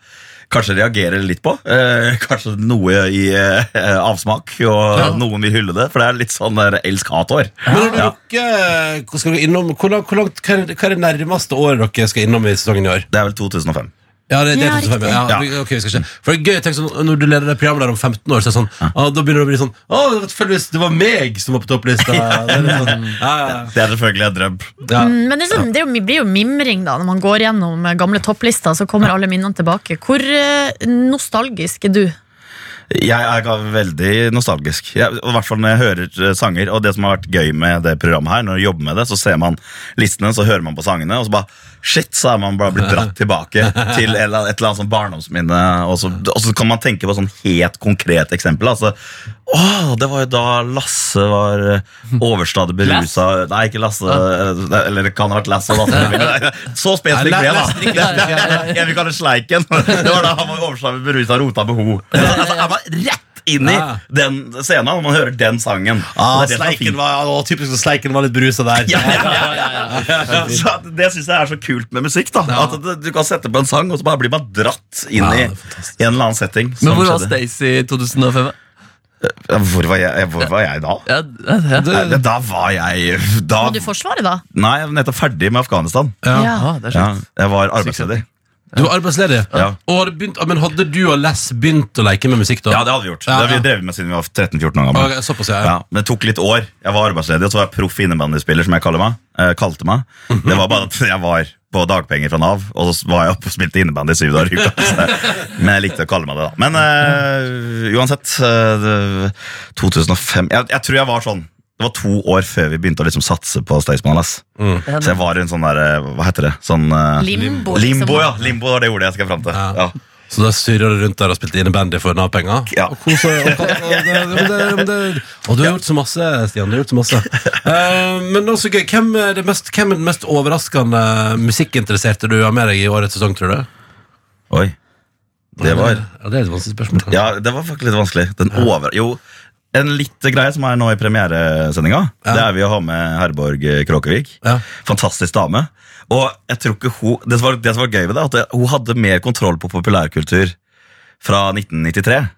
Speaker 12: kanskje reagere litt på. Eh, Kanskje noe i eh, avsmak, og noen vil hylle det, for det er litt sånn der elsk-hat-år.
Speaker 3: Men har dere
Speaker 12: Ja.
Speaker 3: ikke- skal dere innom, hvor langt, hvor langt, hva, er, det- hva er det nærmeste året dere skal innom i sesongen i år?
Speaker 12: Det er vel 2005.
Speaker 3: Ja, det, det er
Speaker 5: Ja,
Speaker 3: 2005. Ja,
Speaker 12: riktig.
Speaker 3: vi- ok, vi skal se. For det er gøy, tenk sånn, Når du leder det programmet der om 15 år, så er det sånn, ah, da begynner det å bli sånn Å, det var tilfeldigvis det var meg som var på topplista. Det er litt sånn, ja, ja,
Speaker 12: Det er selvfølgelig en drøm.
Speaker 3: ja.
Speaker 5: Mm, Men det, er sånn, det er jo, blir jo mimring da når man går gjennom eh, gamle topplister. Så kommer alle minnene tilbake. Hvor eh, nostalgisk er du?
Speaker 12: Jeg er ga- veldig nostalgisk. Jeg, og I hvert fall når jeg hører eh, sanger. Og det som har vært gøy med det programmet her, når du jobber med det, så ser man listene, så hører man på sangene, og så bare Shit, så er man bare blitt dratt tilbake til et eller annet, et eller annet sånn barndomsminne. Og så, og så kan man tenke på sånn helt konkret eksempel. Altså, å, det var jo da Lasse var eh, overstadig berusa Nei, ikke Lasse. eh, Eller det kan ha vært Lasse. og Lasse. Så spesifikk ble jeg, da. Jeg vil kalle det Sleiken. Det var da han var overstadig berusa og rota med ho. Altså, er man rett inn i
Speaker 3: Ja.
Speaker 12: den scenen når man hører den sangen.
Speaker 3: Ah,
Speaker 12: Og det er det som er fint.
Speaker 3: sleiken var, å, typisk at Sleiken var litt brusa der.
Speaker 12: Ja, ja, ja, ja, ja. Så at Det syns jeg er så kult med musikk. da At det- Du kan sette på en sang, og så bare blir man dratt inn
Speaker 3: Ja,
Speaker 12: i
Speaker 3: det er
Speaker 12: en eller annen setting.
Speaker 3: Sånn
Speaker 6: Men
Speaker 12: som
Speaker 6: hvor var
Speaker 12: skjedde.
Speaker 6: Stacey i 2005?
Speaker 12: Ja, Hvor var jeg, hvor var jeg da?
Speaker 6: Ja, ja, ja.
Speaker 12: Nei, Da var jeg da,
Speaker 5: Må du forsvare, da?
Speaker 12: Nei, jeg var nettopp ferdig med Afghanistan.
Speaker 5: Ja.
Speaker 6: Ah, det er
Speaker 12: Ja,
Speaker 6: sjukt.
Speaker 12: jeg var arbeidsledig.
Speaker 3: Du var arbeidsledig?
Speaker 12: Ja.
Speaker 3: Og hadde begynt, men hadde du og Les begynt å leke med musikk da?
Speaker 12: Ja, det hadde vi gjort.
Speaker 3: Ja,
Speaker 12: Det har
Speaker 3: ja.
Speaker 12: vi drevet med siden vi var 13-14 år gamle.
Speaker 3: Ok, såpass, ja, ja.
Speaker 12: Men det tok litt år. Jeg var arbeidsledig, og så var jeg proff innebandyspiller, som jeg kaller meg, eh, kalte meg.
Speaker 3: Mhm.
Speaker 12: Det var bare at jeg var på dagpenger fra Nav, og så var jeg oppe og spilte innebandy i syv dager i uka. Så det- Men jeg likte å kalle meg det, da. Men eh, uansett eh, det- 2005 jeg, jeg tror jeg var sånn det var to år før vi begynte å liksom satse på Staysman. ass.
Speaker 3: Mm.
Speaker 12: Så jeg var i en sånn der, eh, Hva heter det? Sånn, eh,
Speaker 5: Limbo, liksom.
Speaker 12: Limbo, ja. Limbo var det ordet jeg skal fram til. Ja.
Speaker 3: Så da surra du rundt der og spilte innebandy for Nav-penger?
Speaker 12: Ja.
Speaker 3: Og kosa deg, og kan- og det- men det- men det- og du har gjort så masse, Stian. Du har gjort så masse. Eh, men også gøy. Hvem er, det mest, hvem er den mest overraskende musikkinteresserte du har med deg i årets sesong, tror du?
Speaker 12: Oi. Det var
Speaker 3: Ja, det er et vanskelig spørsmål.
Speaker 12: Ja, det var faktisk litt vanskelig. Den over... Jo, en litt greie som er nå i premieresendinga, det er vi å ha med Herborg eh, Kråkevik.
Speaker 3: Ja.
Speaker 12: Fantastisk dame. Og jeg tror ikke hun Det som var, det som var gøy med det, at det- hun hadde mer kontroll på populærkultur fra 1993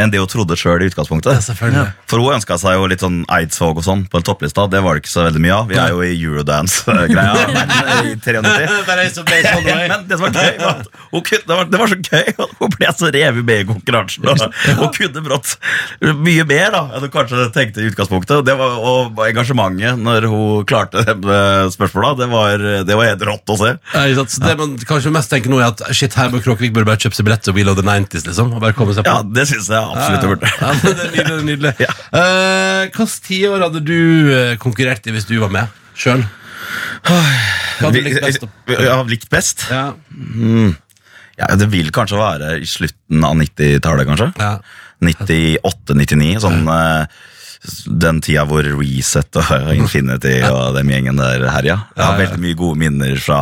Speaker 12: enn det hun trodde sjøl i utgangspunktet.
Speaker 3: selvfølgelig.
Speaker 12: For hun ønska seg jo litt sånn Eidsvåg og sånn på en topplista. Det var det ikke så veldig mye av. Vi er jo i eurodance-greia. verden, i 93.
Speaker 3: Bare så sånn baseball,
Speaker 12: Ja, Men det som var gøy var at hun kunne, det, var, det var så gøy at hun ble så revet med i konkurransen. Og, hun kunne brått mye mer da enn hun kanskje tenkte i utgangspunktet. Og Det var, og engasjementet når hun klarte det med spørsmålet, det var, det var helt rått å se.
Speaker 3: Ja, Eh, ikke sant? Så det man kanskje mest tenker nå, er at shit, Herborg Kråkevik burde bare kjøpe seg billett til We Love the 90s. liksom Og bare komme seg på
Speaker 12: Ja, Det syns jeg absolutt hun burde.
Speaker 3: Ja, men det er nydelig. det er nydelig
Speaker 12: Ja.
Speaker 3: Eh, Hvilket tiår hadde du eh, konkurrert i hvis du var med sjøl? Hva hadde du likt best? da?
Speaker 12: Vi- Ja, likt best?
Speaker 3: Ja.
Speaker 12: Mm. Ja, det vil kanskje være i slutten av 90-tallet, kanskje.
Speaker 3: Ja.
Speaker 12: 98-99, sånn eh, den tida hvor Reset og Infinity og den gjengen der herja. Jeg har veldig mye gode minner fra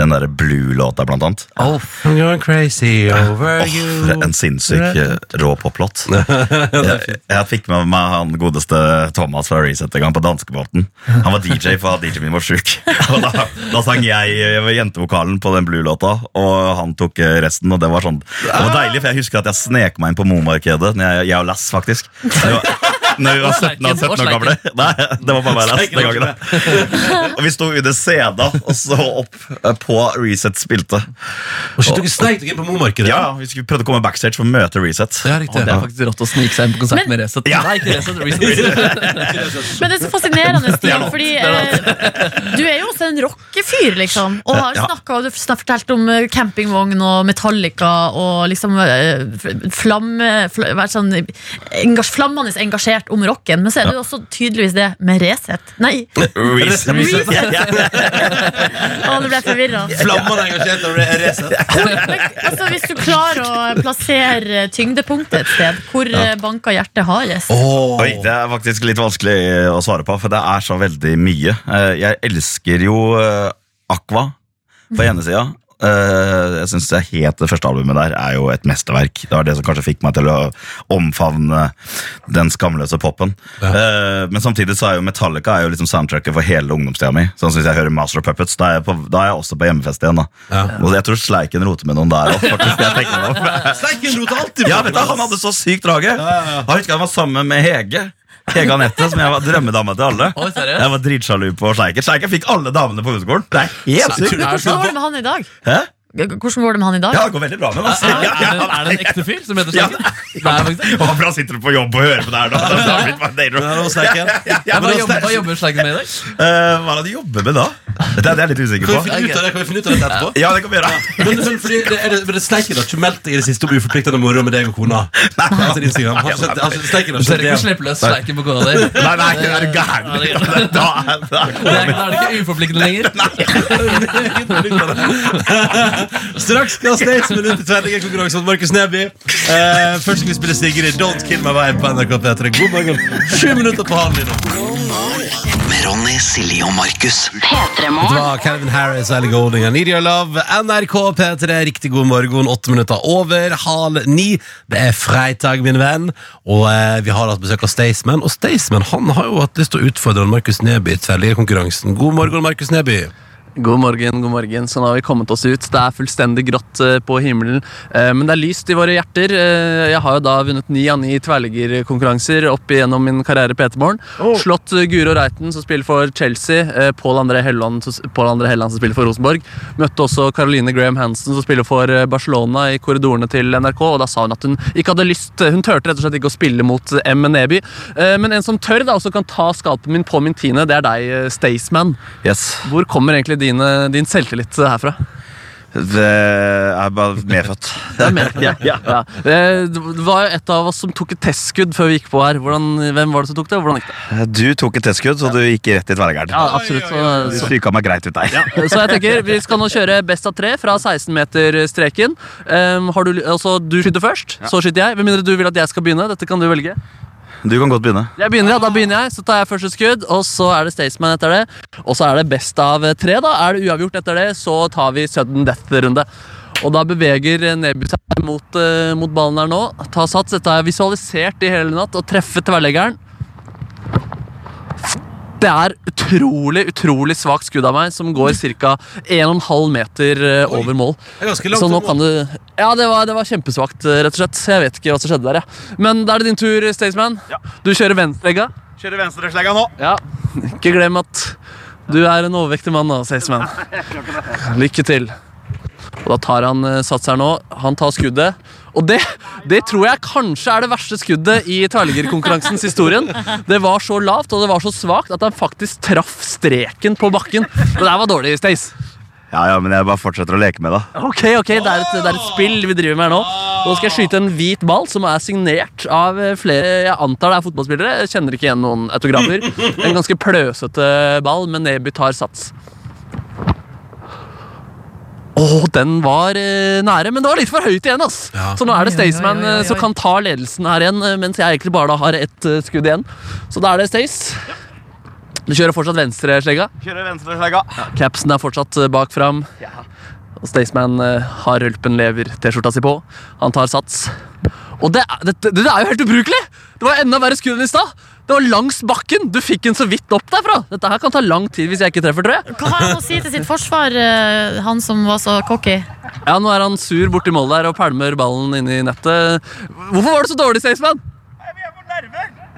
Speaker 12: den der Blue-låta, blant annet.
Speaker 3: I'm going crazy over
Speaker 12: Åh, for en sinnssyk eh, rå poplåt. Jeg, jeg fikk med meg han godeste Thomas fra Reset en gang på danskebåten. Han var DJ, for DJ-en min var sjuk. Og Da, da sang jeg eh, jentevokalen på den Blue-låta, og han tok eh, resten. Og det var sånn Det var deilig, for jeg husker at jeg snek meg inn på Mo-markedet, når jeg, jeg og Lass, faktisk. Det var, når vi var 17 og 17 år gamle. Nei, det var bare meg Lass den gangen. da. Og vi sto under seda og så opp eh, på Reset spilte.
Speaker 3: Og shit, dere sneik dere inn på Mo-markedet?
Speaker 12: Ja, ja, vi skulle prøvde å komme backstage for å møte Reset.
Speaker 3: Det er riktig.
Speaker 6: Å, det er faktisk rått å snike seg inn på konsert med Resett.
Speaker 12: Ja.
Speaker 6: Nei, ikke Resett, Reset.
Speaker 5: Men det er så fascinerende, Stian,
Speaker 12: noe.
Speaker 5: fordi eh, du er jo også en rockefyr, liksom. Og har
Speaker 12: Ja.
Speaker 5: snakket, og du har fortalt om eh, campingvogn og Metallica og liksom eh, f- flamme, fl vært sånn engasj, flammende engasjert om rocken. Men så er det jo også tydeligvis det med Resett. Nei,
Speaker 12: Reset.
Speaker 5: Reset. å, nå ble jeg forvirra.
Speaker 3: Flammene engasjert over det racet.
Speaker 5: Altså, hvis du klarer å plassere tyngdepunktet et sted, hvor eh, banker hjertet hardest?
Speaker 12: Oi, det er faktisk litt vanskelig eh, å svare på, for det er så veldig mye. Eh, Jeg elsker jo eh, Aqua på ene sida. Eh, Jeg synes det er helt Det første albumet der er jo et mesterverk. Det var det som kanskje fikk meg til å omfavne den skamløse popen. Eh, Men samtidig så er jo Metallica er jo liksom soundtracket for hele ungdomstida mi. Sånn som hvis jeg hører Master of Puppets, da er jeg, på, da er jeg også på hjemmefest igjen. da Og jeg tror Sleiken roter med noen der òg, faktisk. Jeg tenker meg om.
Speaker 3: Sleiken roter alltid
Speaker 12: Ja, vet du, Han hadde så sykt drage. Jeg husker han var sammen med Hege. Hege Anette, som jeg var drømmedama til alle.
Speaker 6: Oi, seriøst?
Speaker 12: jeg var dritsjalu på Sleiken. Sleiken fikk alle damene på ungdomsskolen. Det er helt
Speaker 5: Hvordan
Speaker 12: sykt.
Speaker 5: går det med han i dag?
Speaker 12: Hæ?
Speaker 5: Hvordan går det med han i dag?
Speaker 12: Ja, det går veldig bra med ham.
Speaker 6: Er det-
Speaker 12: Ja, ja,
Speaker 6: er det en ekte fyr som heter Sleiken? Det er faktisk det.
Speaker 12: ja. Håper han sitter på jobb og hører på det her nå. Det har blitt bare deilig. Ja,
Speaker 6: Hva jobber,
Speaker 12: men
Speaker 6: hva
Speaker 12: altså,
Speaker 6: jobber Sleiken med i dag?
Speaker 12: eh, Hva er det de jobber med da? Det er det jeg er litt usikker
Speaker 3: Kan vi
Speaker 12: på.
Speaker 3: finne ut av det, kan vi finne ut av det etterpå?
Speaker 12: Ja, det kan vi gjøre.
Speaker 3: Men, men fordi det, er det, men det Sleiken har ikke meldt deg i det siste om uforpliktende moro med deg og kona? Nei, altså, Instagram. Har ikke sett- altså, Sleiken har
Speaker 6: Du tør
Speaker 3: ikke sett
Speaker 6: ikke å
Speaker 3: det.
Speaker 6: slippe løs Sleiken på kona di.
Speaker 12: Nei, nei, er du gæren? Da er- da er
Speaker 6: Da er det ikke uforpliktende lenger.
Speaker 3: Straks skal Staysman ut i tverrliggerkonkurransen mot Markus Neby. Eh, først skal vi spille Sigrid Don't Kill My Vibe på NRK P3. God morgen. Sju minutter på halv ni nå.
Speaker 1: Med Ronny, Silje og Markus.
Speaker 3: Det
Speaker 2: P3-morgen.
Speaker 3: var Calvin Harris, Ellie Golding og Need Your Love. NRK P3, riktig god morgen. Åtte minutter over halv ni. Det er fredag, min venn. Og eh, vi har hatt besøk av Staysman. Og Staysman han har jo hatt lyst til å utfordre Markus Neby i tverrliggerkonkurransen. God morgen, Markus Neby.
Speaker 6: God morgen, god morgen. Sånn har vi kommet oss ut. Det er fullstendig grått eh, på himmelen, eh, men det er lyst i våre hjerter. Eh, Jeg har jo da vunnet ni av ni tverrliggerkonkurranser opp igjennom min karriere på Etermorgen. Slått eh, Guro Reiten, som spiller for Chelsea. eh, Pål André Helleland, som- Pål André Helleland, som spiller for Rosenborg. Møtte også Caroline Graham Hansen, som spiller for eh, Barcelona, i korridorene til NRK, og da sa hun at hun ikke hadde lyst eh, Hun turte rett og slett ikke å spille mot M. Neby. Eh, Men en som tør, da, og som kan ta skalpen min på min tiende, det er deg, eh, Staysman. Hvor kommer egentlig dine, din selvtillit eh, herfra?
Speaker 12: Det Eh, er bare medfødt.
Speaker 6: Det er mer. ja, ja. Eh, Det var jo et av oss som tok et testskudd før vi gikk på her. Hvordan, hvem var det som tok det, og hvordan gikk det?
Speaker 12: Eh, Du tok et testskudd, så du gikk rett i tverrgæren.
Speaker 6: Ja, absolutt.
Speaker 12: Du
Speaker 6: Så,
Speaker 12: stryka meg greit ut der.
Speaker 6: så jeg tenker, vi skal nå kjøre best av tre fra 16-meterstreken. Um, har du, altså, du skyter først,
Speaker 12: Ja.
Speaker 6: så skyter jeg. Med mindre du vil at jeg skal begynne. Dette kan du velge.
Speaker 12: Du kan godt begynne.
Speaker 6: Jeg begynner, ja, Da begynner jeg, så tar jeg første skudd, og så er det Staysman etter det. Og så er det best av tre, da. Er det uavgjort etter det, så tar vi sudden death-runde. Og da beveger Neby seg mot, eh, mot ballen her nå. Ta sats, dette har jeg visualisert i hele natt, og treffer tverrleggeren. Det er utrolig, utrolig svakt skudd av meg, som går ca. 1,5 meter eh, over mål.
Speaker 3: Det er ganske langt
Speaker 6: så nå
Speaker 3: over
Speaker 6: kan du Ja, det var, det var kjempesvakt, eh, rett og slett. Jeg vet ikke hva som skjedde der, jeg. Men da er det din tur, Staysman. Du kjører venstrelegga.
Speaker 12: Kjører venstreslegga nå.
Speaker 6: Ja. Ikke glem at du er en overvektig mann, da, Staysman. Lykke til. Og da tar han eh, sats her nå. Han tar skuddet. Og det, det tror jeg kanskje er det verste skuddet i tverrliggerkonkurransens historien. Det var så lavt og det var så svakt at han faktisk traff streken på bakken. Det der var dårlig, Stace.
Speaker 12: Ja, ja, men jeg bare fortsetter å leke med det.
Speaker 6: Ok, ok, det er, et, det er et spill vi driver med her nå. Nå skal jeg skyte en hvit ball som er signert av eh, flere Jeg antar det er fotballspillere. Jeg kjenner ikke igjen noen autografer. En ganske pløsete ball, men Neby tar sats. Å, den var eh, nære, men det var litt for høyt igjen. ass Så nå er det Staysman eh, som kan ta ledelsen her igjen, eh, mens jeg egentlig bare da har ett eh, skudd igjen. Så da er det Stace. Du kjører fortsatt venstreslegga.
Speaker 12: Kjører venstreslegga.
Speaker 6: Capsen er fortsatt eh, bak fram. Og Staysman eh, har rølpen lever T-skjorta si på. Han tar sats. Og det, er- dette- det, er jo helt ubrukelig! Det var enda verre skudd enn i stad. Det var langs bakken. Du fikk den så vidt opp derfra. Dette her kan ta lang tid hvis jeg ikke treffer, tror jeg.
Speaker 5: Hva har han å si til sitt forsvar, eh, han som var så cocky?
Speaker 6: Ja, Nå er han sur borti mål der og pælmer ballen inn i nettet. Hvorfor var det så dårlig, Staysman?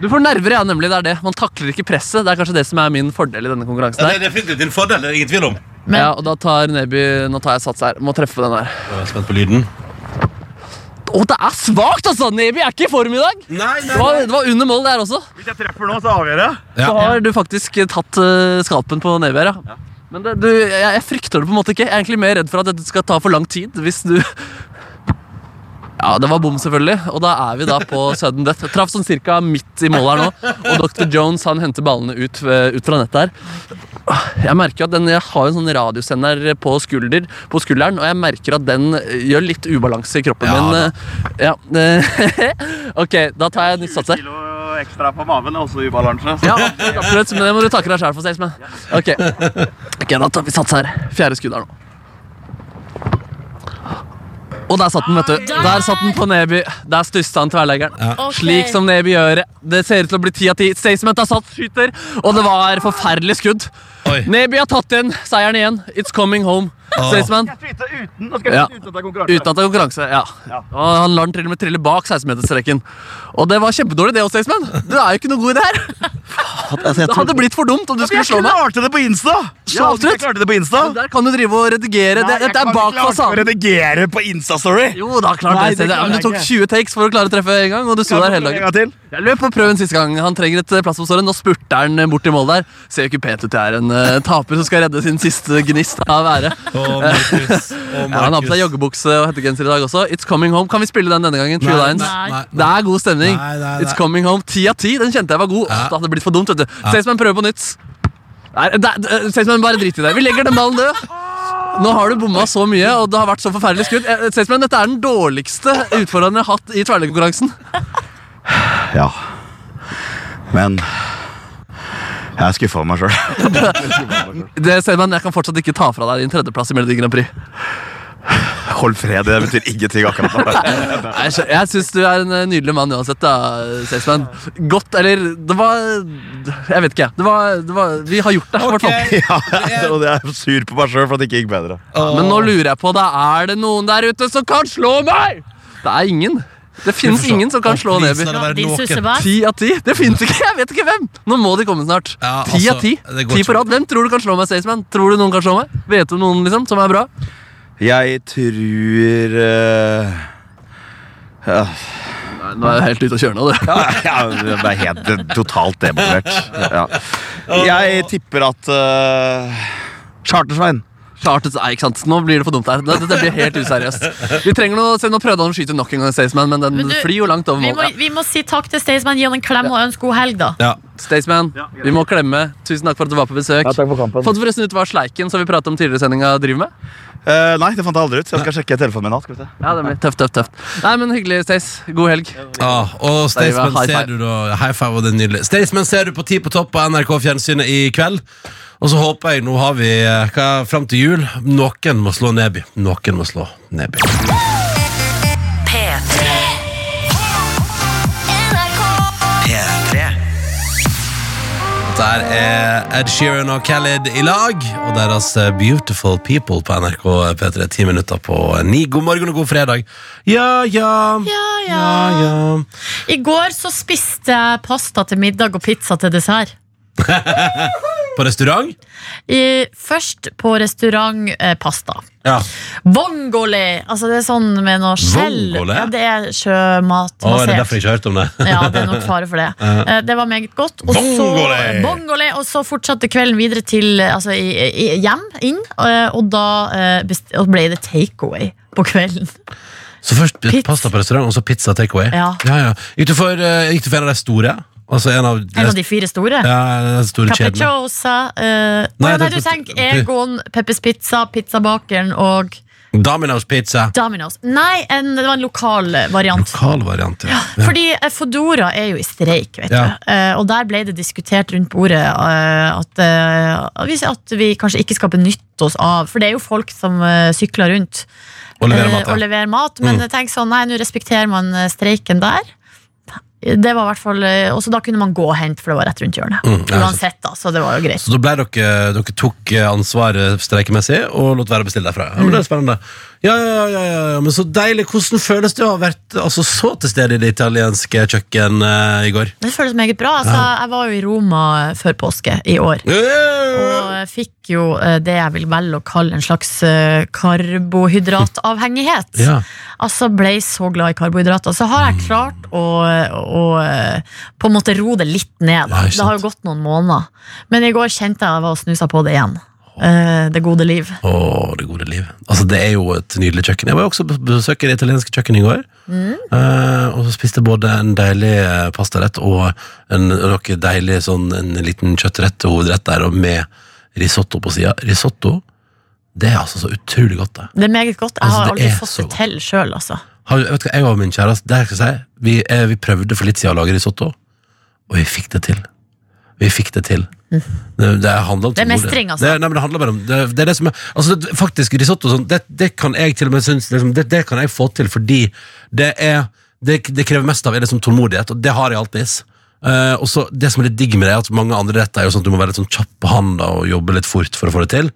Speaker 6: Du får nerver, ja, nemlig. det er det. Man takler ikke presset. Det er kanskje det som er min fordel i denne konkurransen.
Speaker 3: Ja,
Speaker 6: her.
Speaker 3: det er definitivt din fordel, det er ingen tvil om.
Speaker 6: Ja, og da tar Neby Nå tar jeg sats her. Må treffe den her.
Speaker 3: Jeg er spent på lyden.
Speaker 6: Å, det er svakt, altså! Neby er ikke i form i dag. Det, var, det var under mål der også.
Speaker 12: Hvis jeg treffer nå, så avgjør jeg.
Speaker 6: Så har du faktisk tatt eh, skalpen på Neby her, ja. Men det, du, jeg, jeg frykter det på en måte ikke. Jeg er egentlig mer redd for at dette skal ta for lang tid. Hvis du Ja, det var bom, selvfølgelig. Og da er vi da på sudden death. Jeg Traff sånn cirka midt i mål her nå. Og dr. Jones han henter ballene ut, eh, ut fra nettet her. Jeg merker at den, jeg har en sånn radiosender på, skulder, på skulderen, og jeg merker at den eh, gjør litt ubalanse i kroppen
Speaker 12: Ja,
Speaker 6: min. eh, Ja, eh, ok, da tar jeg nytt sats her.
Speaker 12: Ekstra på maven er også ubalanse.
Speaker 6: Ja, absolutt, absolutt, men det må du takke deg sjæl for, Staysman. Ok. ok, da tar vi sats her. Fjerde skudd her nå. Og der satt den, vet du. Der satt den på Neby. Der stussa han tverrleggeren.
Speaker 5: Ok.
Speaker 6: Slik som Neby gjør. Det ser ut til å bli ti av ti. Staysman tar sats, skyter, og det var forferdelig skudd.
Speaker 3: Oi.
Speaker 6: Neby har tatt igjen seieren igjen. It's coming home. Staysman.
Speaker 12: Uten, nå
Speaker 6: skal jeg Ja. skyte
Speaker 12: uten at det er konkurranse.
Speaker 6: Uten at det er konkurranse. ja. Og Han lar den til og med trille bak 16-meterstreken. Og det var kjempedårlig, det også, Staysman. Du er jo ikke noe god i det her. Det hadde blitt for dumt om du skulle slå meg.
Speaker 12: klarte det på Insta!
Speaker 6: Ja, absolutt.
Speaker 12: Jeg klarte det på Insta.
Speaker 6: Men Der kan du drive og redigere.
Speaker 12: Nei,
Speaker 6: det,
Speaker 12: jeg
Speaker 6: dette er
Speaker 12: kan
Speaker 6: bak
Speaker 12: ikke klare å
Speaker 6: fasaden.
Speaker 12: redigere på Insta-story.
Speaker 6: Jo, da klart
Speaker 12: Nei,
Speaker 6: det.
Speaker 12: det
Speaker 6: Cecilie.
Speaker 12: klarer
Speaker 6: men
Speaker 12: jeg
Speaker 6: du tok
Speaker 12: ikke.
Speaker 6: 20 takes for å klare å treffe en gang, og du sto
Speaker 12: Kan
Speaker 6: der
Speaker 12: jeg
Speaker 6: hele
Speaker 12: prøve en gang
Speaker 6: dagen.
Speaker 12: til?
Speaker 6: Jeg løp og prøv en siste gang. Han trenger et eh, plass på såret. Nå spurter han eh, bort i mål der. Ser jo ikke pent ut. Det er en eh, taper som skal redde sin siste gnist av ære.
Speaker 3: Å, Markus. Å,
Speaker 6: Ja, han har på seg
Speaker 3: Markus.
Speaker 6: joggebukse og hettegenser i dag også. It's Coming Home. Kan vi spille den denne gangen? True
Speaker 3: Nei,
Speaker 6: Lines.
Speaker 3: nei, nei,
Speaker 6: Det er god stemning.
Speaker 3: Nei, nei, nei.
Speaker 6: It's Coming Home. Ti av ti. Den kjente jeg var god. Åh, Det hadde blitt for dumt, vet du. Staysman prøver på nytt. Nei, det er- eh, Staysman, bare drit i det. Vi legger den ballen død. Nå har du bomma så mye, og det har vært så forferdelig skudd. Eh, Staysman, dette er den dårligste utfordringen jeg har hatt i tverrleggerkonkurransen.
Speaker 12: Ja. Men jeg er skuffa over meg sjøl.
Speaker 6: Det, Staysman, jeg kan fortsatt ikke ta fra deg din tredjeplass i Melodi Grand Prix.
Speaker 12: Hold fred, det betyr ingenting akkurat nå.
Speaker 6: Nei, Jeg, skjø- jeg syns du er en eh, nydelig mann uansett, da, Sexman. Godt, eller Det var Jeg vet ikke, jeg. Det var, det var, vi har gjort det, i hvert fall.
Speaker 12: Ja, og jeg er sur på meg sjøl for at det ikke gikk bedre.
Speaker 6: Men nå lurer jeg på da Er det noen der ute som kan slå meg?! Det er ingen. Det finnes
Speaker 3: forstår.
Speaker 6: ingen som kan
Speaker 3: Og
Speaker 6: slå
Speaker 3: please,
Speaker 6: Neby.
Speaker 3: la det være Ja, din noen. sussebass.
Speaker 6: Ti av ti? Det finnes ikke! Jeg vet ikke hvem! Nå må de komme snart.
Speaker 3: Ja,
Speaker 6: Ti
Speaker 3: altså,
Speaker 6: av ti.
Speaker 3: det går
Speaker 6: Ti
Speaker 3: ikke.
Speaker 6: på rad. Hvem tror du kan slå meg, Staysman? Tror du noen kan slå meg? Vet du om noen liksom, som er bra?
Speaker 12: Jeg tror eh, ja.
Speaker 6: Nå er jeg helt ute å kjøre nå, du.
Speaker 12: Ja, ja, det er helt det er totalt demotivert. Ja. Jeg tipper at uh, Chartersvein.
Speaker 6: Charters, nei, ikke sant? Nå blir det for dumt her. Dette blir helt useriøst. Vi trenger noe, se, Nå prøvde han å skyte nok en gang, Staysman, men den
Speaker 5: Men du,
Speaker 6: flyr jo langt over
Speaker 5: Vi må,
Speaker 6: målet.
Speaker 5: vi må si takk til Staysman, gi han en klem og ønske god helg, da.
Speaker 3: Ja.
Speaker 6: Staysman, vi må klemme. Tusen takk for at du var på besøk.
Speaker 12: Ja, takk for kampen.
Speaker 6: Fått forresten ut hva sleiken som vi pratet om tidligere i sendinga, driver med?
Speaker 12: Eh, nei, det fant jeg aldri ut. så Jeg skal sjekke telefonen min. nå, Skal vi se.
Speaker 6: Ja, det blir tøft, tøft, tøft. Nei, men hyggelig, Stays. God helg.
Speaker 3: Ah, og Staysman
Speaker 6: High
Speaker 3: ser
Speaker 6: five.
Speaker 3: du da High five og det er nydelig Staysman ser du på Ti på topp på NRK Fjernsynet i kveld Og så håper jeg, nå har vi eh, hva, Frem til jul, noen må slå Neby Noen må slå Neby
Speaker 2: P3.
Speaker 1: P3
Speaker 3: Der er Ed Sheeran og Khaled i lag Og deres eh, Beautiful People på NRK P3 Ti minutter på eh, ni God morgen og god fredag Ja, ja
Speaker 5: Ja, Ah, ja.
Speaker 3: Ja, ja
Speaker 5: I går så spiste jeg pasta til middag og pizza til dessert.
Speaker 3: På restaurant?
Speaker 5: I, først på restaurant eh, pasta.
Speaker 3: Ja
Speaker 5: Vongole! Altså det er sånn med noe skjell.
Speaker 3: Vongole?
Speaker 5: Ja, det er sjømat.
Speaker 3: Å, er det derfor jeg ikke har hørt om det?
Speaker 5: ja, det er nok fare for det.
Speaker 3: Ja.
Speaker 5: Eh, Det var meget godt. Og
Speaker 3: Bongole!
Speaker 5: Så, bongole, og så fortsatte kvelden videre til eh, altså, i, i, hjem, inn, eh, og da eh, best- og ble det takeaway på kvelden.
Speaker 3: Så først eh, pasta på restaurant, og så pizza takeaway?
Speaker 5: Ja.
Speaker 3: Ja, ja. Gikk du for, eh, gikk du for en av de store? Altså en av
Speaker 5: En av de fire store.
Speaker 3: Ja, den store kjedene.
Speaker 5: Capricciosa eh,
Speaker 3: Nei,
Speaker 5: Nei, nei,
Speaker 3: det-
Speaker 5: du tenker Egon, Peppers Pizza, Pizzabakeren og
Speaker 3: Domino's pizza.
Speaker 5: Domino's. Nei, en, det var en lokal variant.
Speaker 3: Lokal variant, ja.
Speaker 5: Fordi eh, Foodora er jo i streik, vet
Speaker 3: Ja.
Speaker 5: du. Eh, og der ble det diskutert rundt bordet eh, at, eh, hvis- at vi kanskje ikke skal benytte oss av For det er jo folk som eh, sykler rundt
Speaker 3: Og leverer
Speaker 5: eh,
Speaker 3: mat, ja.
Speaker 5: og leverer mat. Men
Speaker 3: Mm.
Speaker 5: jeg tenker sånn, nei, nå respekterer man eh, streiken der. Det var i hvert fall eh, Og så da kunne man gå og hente, for det var rett rundt hjørnet.
Speaker 3: Mm, ja,
Speaker 5: Uansett, da. Så det var jo greit.
Speaker 3: Så da ble dere, dere tok eh, ansvaret streikemessig og lot være å bestille derfra. Ja, men det er spennende. Ja, ja, ja, ja, ja, ja, men så deilig. Hvordan føles det å ha vært altså, så til stede i det italienske kjøkken eh, i går?
Speaker 5: Det føles meget bra. Altså,
Speaker 3: Ja.
Speaker 5: Jeg var jo i Roma eh, før påske i år. Og eh, fikk jo eh, det jeg vil velge å kalle en slags eh, karbohydratavhengighet.
Speaker 9: Ja.
Speaker 5: Altså ble så glad i karbohydrater. Så har
Speaker 3: Mm.
Speaker 5: jeg klart å, å eh, på en måte ro det litt ned.
Speaker 9: Ja,
Speaker 5: Da.
Speaker 9: ikke
Speaker 5: Det har jo gått noen måneder. Men i går kjente jeg jeg var og snusa på det igjen. Eh, Det gode liv.
Speaker 3: Å, det gode liv. Altså, det er jo et nydelig kjøkken. Jeg var jo også på besøk i det italienske kjøkkenet i går.
Speaker 5: Mm.
Speaker 3: Eh, og så spiste jeg både en deilig eh, pastarett og en, noe deilig sånn, en liten kjøttrett og hovedrett der, og med risotto på sida. Risotto, det er altså så utrolig godt, det.
Speaker 5: Det er meget godt. Jeg
Speaker 3: Altså,
Speaker 5: har
Speaker 3: det
Speaker 5: aldri
Speaker 3: er
Speaker 5: fått
Speaker 3: så
Speaker 5: det til sjøl, altså.
Speaker 3: Har, du- vet du hva, jeg og min kjæreste, det her skal jeg si, vi, eh, vi prøvde for litt siden å lage risotto, og vi fikk det til. Vi fikk det til. Det, det, handler om
Speaker 5: Det er
Speaker 3: tålmodighet.
Speaker 5: mestring, altså.
Speaker 3: Det, nei, men det handler bare om det, det er det som er, altså, det, Faktisk, risotto og sånn, det, det kan jeg til og med synes liksom, det, det kan jeg få til fordi det er Det, det krever mest av er liksom tålmodighet, og det har jeg alltids. Eh, og så Det som er litt digg med det, er at mange andre retter er jo sånn at du må være litt sånn kjapp på handa og jobbe litt fort for å få det til.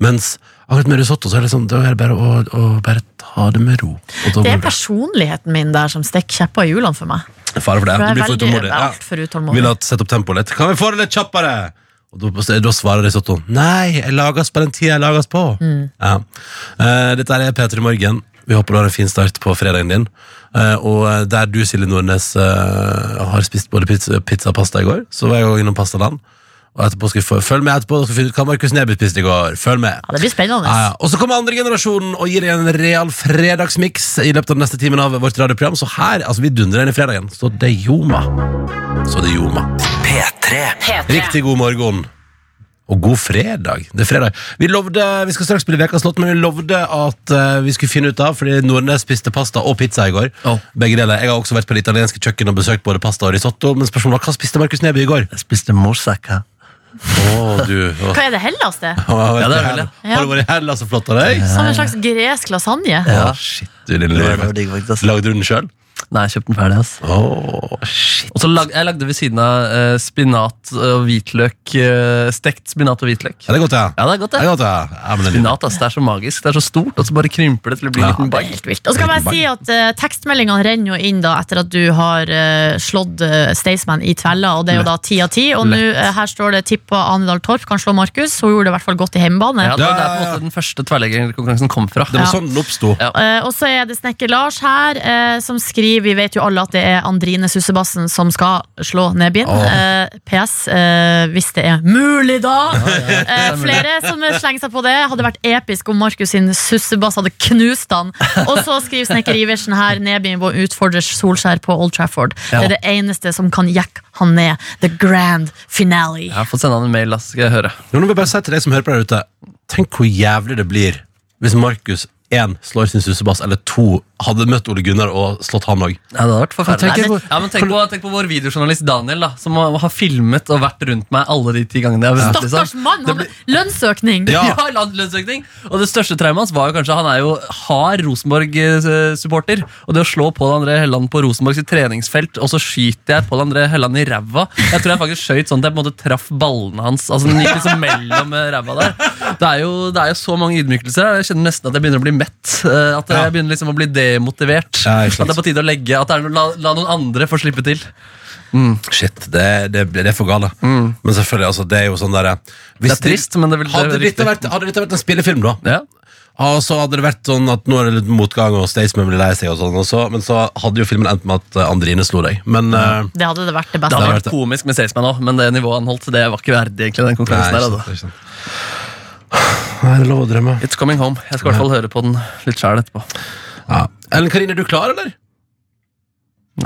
Speaker 3: Mens akkurat med risotto så er det sånn, da er det bare å, å bare ta det med ro. Og da
Speaker 5: Det
Speaker 3: blir
Speaker 5: er personligheten min der som stikker kjepper i hjulene for meg.
Speaker 3: Fare for det.
Speaker 5: For
Speaker 3: Du
Speaker 5: jeg er
Speaker 3: blir for
Speaker 5: veldig-
Speaker 3: utålmodig.
Speaker 5: jeg er
Speaker 3: Ja.
Speaker 5: altfor utålmodig.
Speaker 3: Vil at sette opp tempoet litt. Kan vi få det litt kjappere? Og da, da svarer risottoen Nei, jeg lages på den tida jeg lages på.
Speaker 5: Mm.
Speaker 3: Ja. Eh, dette er Peter i morgen. Vi håper du har en fin start på fredagen din. Eh, og der du, Silje Nordnes, eh, har spist både pizza, pizza og pasta i går, så var jeg også innom Pastaland. Og etterpå skal vi få, Følg med etterpå, da skal vi finne ut hva Markus Neby spiste i går. Følg med.
Speaker 5: Ja, det blir spennende.
Speaker 3: Ja, ja. Og så kommer andre generasjonen og gir deg en real fredagsmiks i løpet av den neste timen av vårt radioprogram. Så her, altså vi dundrer inn i fredagen. Så det er Joma. Så det er Joma.
Speaker 1: P3
Speaker 3: Riktig god morgen. Og god fredag. Det er fredag. Vi, lovde, vi skal straks spille Vekas låt, men vi lovde at eh, vi skulle finne ut av, fordi Nordnes spiste pasta og pizza i går. Begge deler. Jeg har også vært på det italienske kjøkkenet og besøkt både pasta og risotto. Men spørsmålet var, hva spiste Markus Neby i går?
Speaker 13: Jeg spiste moussaka.
Speaker 3: Å, du.
Speaker 5: Hva er det Hellas, det?
Speaker 3: Ja, det er vel,
Speaker 5: Ja.
Speaker 3: Har du vært i Hellas og flotta deg?
Speaker 5: Som en slags gresk lasagne.
Speaker 3: Å, shit, du lille lille. Lagde du den sjøl?
Speaker 6: Nei, jeg kjøpte den ferdig. ass Og så lag, Jeg lagde ved siden av eh, spinat og hvitløk eh, Stekt spinat og hvitløk.
Speaker 3: Ja, det er godt, ja.
Speaker 6: det er godt, det.
Speaker 3: Det er godt, ja. Ja, men det er
Speaker 6: spinat ass, det er så magisk. Det er så stort, og så bare krymper det til å bli en liten bag.
Speaker 5: Og så kan jeg si at eh, Tekstmeldingene renner jo inn da etter at du har eh, slått eh, Staysman i tvella, og det er jo da ti av ti. Og nå,
Speaker 6: Lett.
Speaker 5: eh, her står det tipp på Anedal Torp kan slå Markus. Hun gjorde det i hvert fall godt i hjemmebane.
Speaker 6: Ja, det var der på en måte den første tverrleggerkonkurransen kom fra.
Speaker 5: Det var Ja. sånn
Speaker 3: den oppsto.
Speaker 5: Eh, og så er det snekker Lars her, eh, som skriver Vi vet jo alle at det er Andrine Sussebassen som skal slå Nebyen.
Speaker 9: Åh.
Speaker 5: Eh, PS, eh, hvis det er mulig, da! Eh,
Speaker 9: det er mulig.
Speaker 5: flere som slenger seg på det. Hadde vært episk om Markus sin sussebass hadde knust han. Og så skriver snekker Iversen her Nebyen vår utfordrer Solskjær på Old Trafford.
Speaker 6: Ja.
Speaker 5: Det er det eneste som kan jekke han ned. The grand finale.
Speaker 6: Jeg har fått sende han en mail, ass, skal jeg høre.
Speaker 3: Jo, nå vil jeg bare si til deg som hører på der ute Tenk hvor jævlig det blir hvis Markus 1 slår sin sussebass, eller 2 hadde møtt Ole Gunnar og slått han òg.
Speaker 6: Ja, det hadde vært
Speaker 3: Tenk
Speaker 6: forferdelig.
Speaker 3: hvor-
Speaker 6: Ja, men tenk på, tenk på vår videojournalist Daniel, da, som har har filmet og vært rundt meg alle de ti gangene. jeg har vært, liksom.
Speaker 5: Stakkars mann! Han, lønnsøkning!
Speaker 6: Ja. la- lønnsøkning. Og det største traumet hans var jo kanskje Han er jo hard Rosenborg-supporter. Og det å slå Pål André Helland på Rosenborgs treningsfelt, og så skyter jeg Pål André Helland i ræva Jeg tror jeg faktisk skøyt sånn at jeg på en måte traff ballene hans. Altså den gikk liksom mellom eh, ræva der det er, jo, det er jo så mange ydmykelser. her. Jeg kjenner nesten at jeg begynner å bli mett. eh, At jeg begynner liksom å bli demotivert. at det er på tide å legge At det er noe, la, la noen andre få slippe til.
Speaker 3: Mm. Shit, det, det, det er for gale. Men selvfølgelig, altså, det er jo sånn derre
Speaker 6: Mm. Det er trist, men det vil- det er
Speaker 3: hadde, dette
Speaker 6: riktig.
Speaker 3: vært, hadde dette vært en spillefilm, da Og så hadde det vært sånn at nå er det litt motgang, og Staysman blir lei seg, og sånn, og så, men så hadde jo filmen endt med at eh, Andrine slo deg. Men eh,
Speaker 5: Det hadde det vært det
Speaker 6: Det
Speaker 5: beste.
Speaker 6: hadde vært komisk med Staysman òg, men det nivået han holdt, det var ikke verdig. egentlig den konkurransen
Speaker 3: Nei,
Speaker 6: der
Speaker 3: ikke
Speaker 6: altså.
Speaker 3: sant, Nei, det er lov å drømme.
Speaker 6: It's coming home. Jeg skal i hvert fall høre på den litt sjæl etterpå.
Speaker 3: Ellen Karine, er du klar, eller?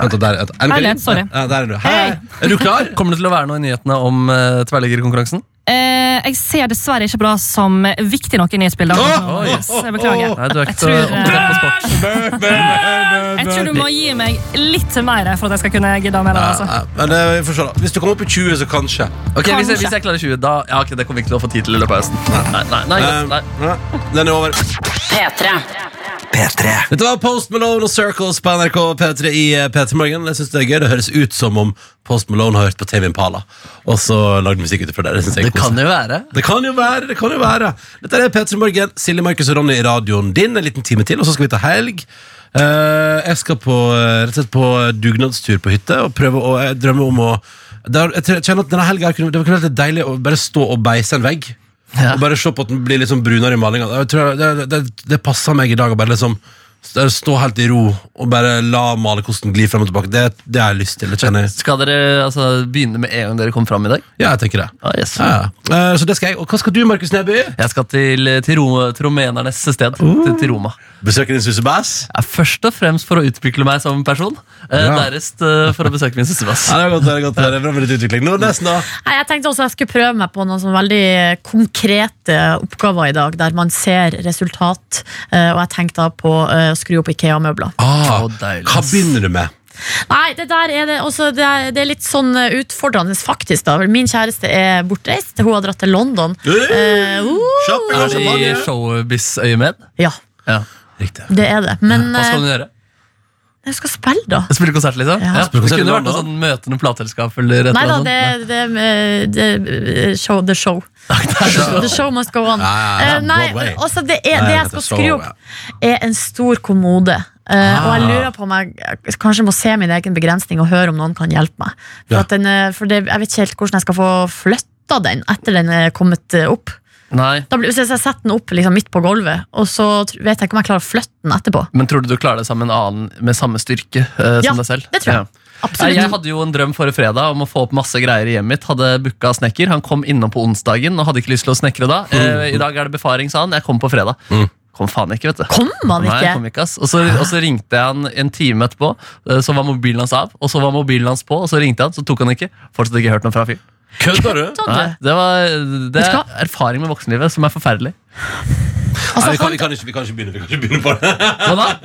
Speaker 3: Vent, da, der, Ellen
Speaker 6: Hei,
Speaker 3: Karine?
Speaker 6: Len, sorry.
Speaker 3: Ja, der er du. Hei. Er du klar?
Speaker 6: Kommer det til å være noe i nyhetene om uh, tverrliggerkonkurransen?
Speaker 13: Eh, jeg ser dessverre ikke bra som viktig nok i nyhetsbildet.
Speaker 6: Åh! Oi.
Speaker 13: Så jeg beklager.
Speaker 6: Nei, du er ikke
Speaker 13: Jeg
Speaker 6: så
Speaker 13: tror, eh,
Speaker 6: opptatt på sport.
Speaker 13: Jeg tror du må gi meg litt mer for at jeg skal kunne gidde å melde det. Altså.
Speaker 3: Men eh, vi får se, da. Hvis du kommer opp i 20, så kanskje.
Speaker 6: Ok, hvis jeg, hvis jeg klarer 20, da Ja, ok, det kommer vi ikke til å få tid til i løpet av høsten. Nei, nei, nei, nei,
Speaker 3: Eh, Den er over.
Speaker 2: P3.
Speaker 3: Dette var Post Malone og Circles på NRK P3 i eh, P3 Morgen. Jeg synes Det er gøy, det høres ut som om Post Malone har hørt på TV Impala og så lagd musikk ut ifra det. Det, synes jeg er
Speaker 6: Det kan
Speaker 3: koselig.
Speaker 6: jo være.
Speaker 3: det kan jo være. det kan jo være Dette er P3 Morgen. Silje, Markus og Ronny i radioen din en liten time til, og så skal vi ta helg. Eh, jeg skal på, eh, rett og slett på dugnadstur på hytte og prøve å jeg drømmer om å det har- jeg tror- jeg kjenner at denne helga kunne, det kunne vært litt deilig å bare stå og beise en vegg. Og bare se på at den blir litt sånn brunere i malinga. Jeg tror Det, det, det passer meg i dag å bare liksom st- stå helt i ro og bare la malerkosten gli frem og tilbake. Det, det har jeg lyst til. Det kjenner jeg.
Speaker 6: Skal dere altså, begynne med en gang dere kom fram i dag?
Speaker 3: Ja, jeg tenker det. Ja, ja. Eh, så det skal jeg. Og hva skal du, Markus Neby? Oh.
Speaker 6: Jeg skal til, eh, til Rom, tromenernes sted. Til, til Roma.
Speaker 3: Besøke din sussebass?
Speaker 6: Ja, først og fremst for å utvikle meg som person. eh,
Speaker 3: Ja.
Speaker 6: Dernest eh, for å besøke min sussebass.
Speaker 3: Ja, det er godt, det er godt. Det er bra med litt utvikling. Nordnes, da?
Speaker 5: Nei, jeg tenkte også jeg skulle prøve meg på noen sånn veldig konkrete oppgaver i dag, der man ser resultat. eh, Og jeg tenkte da på eh, å skru opp Ikea-møbler.
Speaker 3: Ah, hva begynner du med?
Speaker 5: Nei, det der er det også Det er, det er litt sånn eh, utfordrende, faktisk. da Min kjæreste er bortreist. Hun har dratt til London. Eh, uh,
Speaker 6: Er det i showbiz-øyemed?
Speaker 5: Ja.
Speaker 6: ja.
Speaker 5: det er det. Men
Speaker 6: Hva skal
Speaker 5: eh,
Speaker 6: du gjøre?
Speaker 5: jeg skal spille, da.
Speaker 6: Spille konsert, liksom?
Speaker 5: Ja.
Speaker 6: Ja.
Speaker 5: Spille
Speaker 6: Det
Speaker 5: konsert
Speaker 6: kunne
Speaker 5: i
Speaker 6: vært noe sånn møtende plateselskap eller et
Speaker 5: Nei
Speaker 6: eller
Speaker 5: da,
Speaker 6: annet.
Speaker 5: det, det, eh, det, eh, show, The show. The show must go on.
Speaker 6: Ja, ja, ja.
Speaker 5: Eh, Nei,
Speaker 6: Broadway.
Speaker 5: altså det, er,
Speaker 6: Nei,
Speaker 5: det jeg
Speaker 6: det er
Speaker 5: skal skru
Speaker 6: show,
Speaker 5: opp, er en stor kommode. Eh, og jeg lurer på om jeg kanskje må se min egen begrensning og høre om noen kan hjelpe meg. For,
Speaker 6: Ja.
Speaker 5: at den, eh, for det, jeg vet ikke helt hvordan jeg skal få flytta den etter den er kommet eh, opp.
Speaker 6: Nei.
Speaker 5: Da blir, hvis jeg setter den opp liksom, midt på gulvet, og så tr- vet jeg ikke om jeg klarer å flytte den etterpå.
Speaker 6: Men tror du du klarer det sammen med en annen med samme styrke eh,
Speaker 5: Ja,
Speaker 6: som deg selv?
Speaker 5: det tror jeg. Absolutt.
Speaker 6: Nei, Jeg hadde jo en drøm forrige fredag om å få opp masse greier i hjemmet mitt. Hadde booka snekker. Han kom innom på onsdagen og hadde ikke lyst til å snekre da.
Speaker 3: Mm.
Speaker 6: Eh, I dag er det befaring, sa han. Jeg kom på fredag. Kom faen ikke, vet du.
Speaker 5: Kom han ikke?
Speaker 6: Nei, kom ikke ass. Og, så, og så ringte jeg han en time etterpå, eh, så var mobilen hans av. Og så var mobilen hans på, og så ringte han, så tok han ikke. Fortsatt ikke hørt noe fra fyren.
Speaker 3: Kødder du?
Speaker 6: Nei, det, var, det
Speaker 5: Vet du
Speaker 6: er erfaring med voksenlivet som er forferdelig.
Speaker 3: Nei, vi, kan, vi, kan ikke, vi kan ikke begynne Vi kan ikke begynne på det.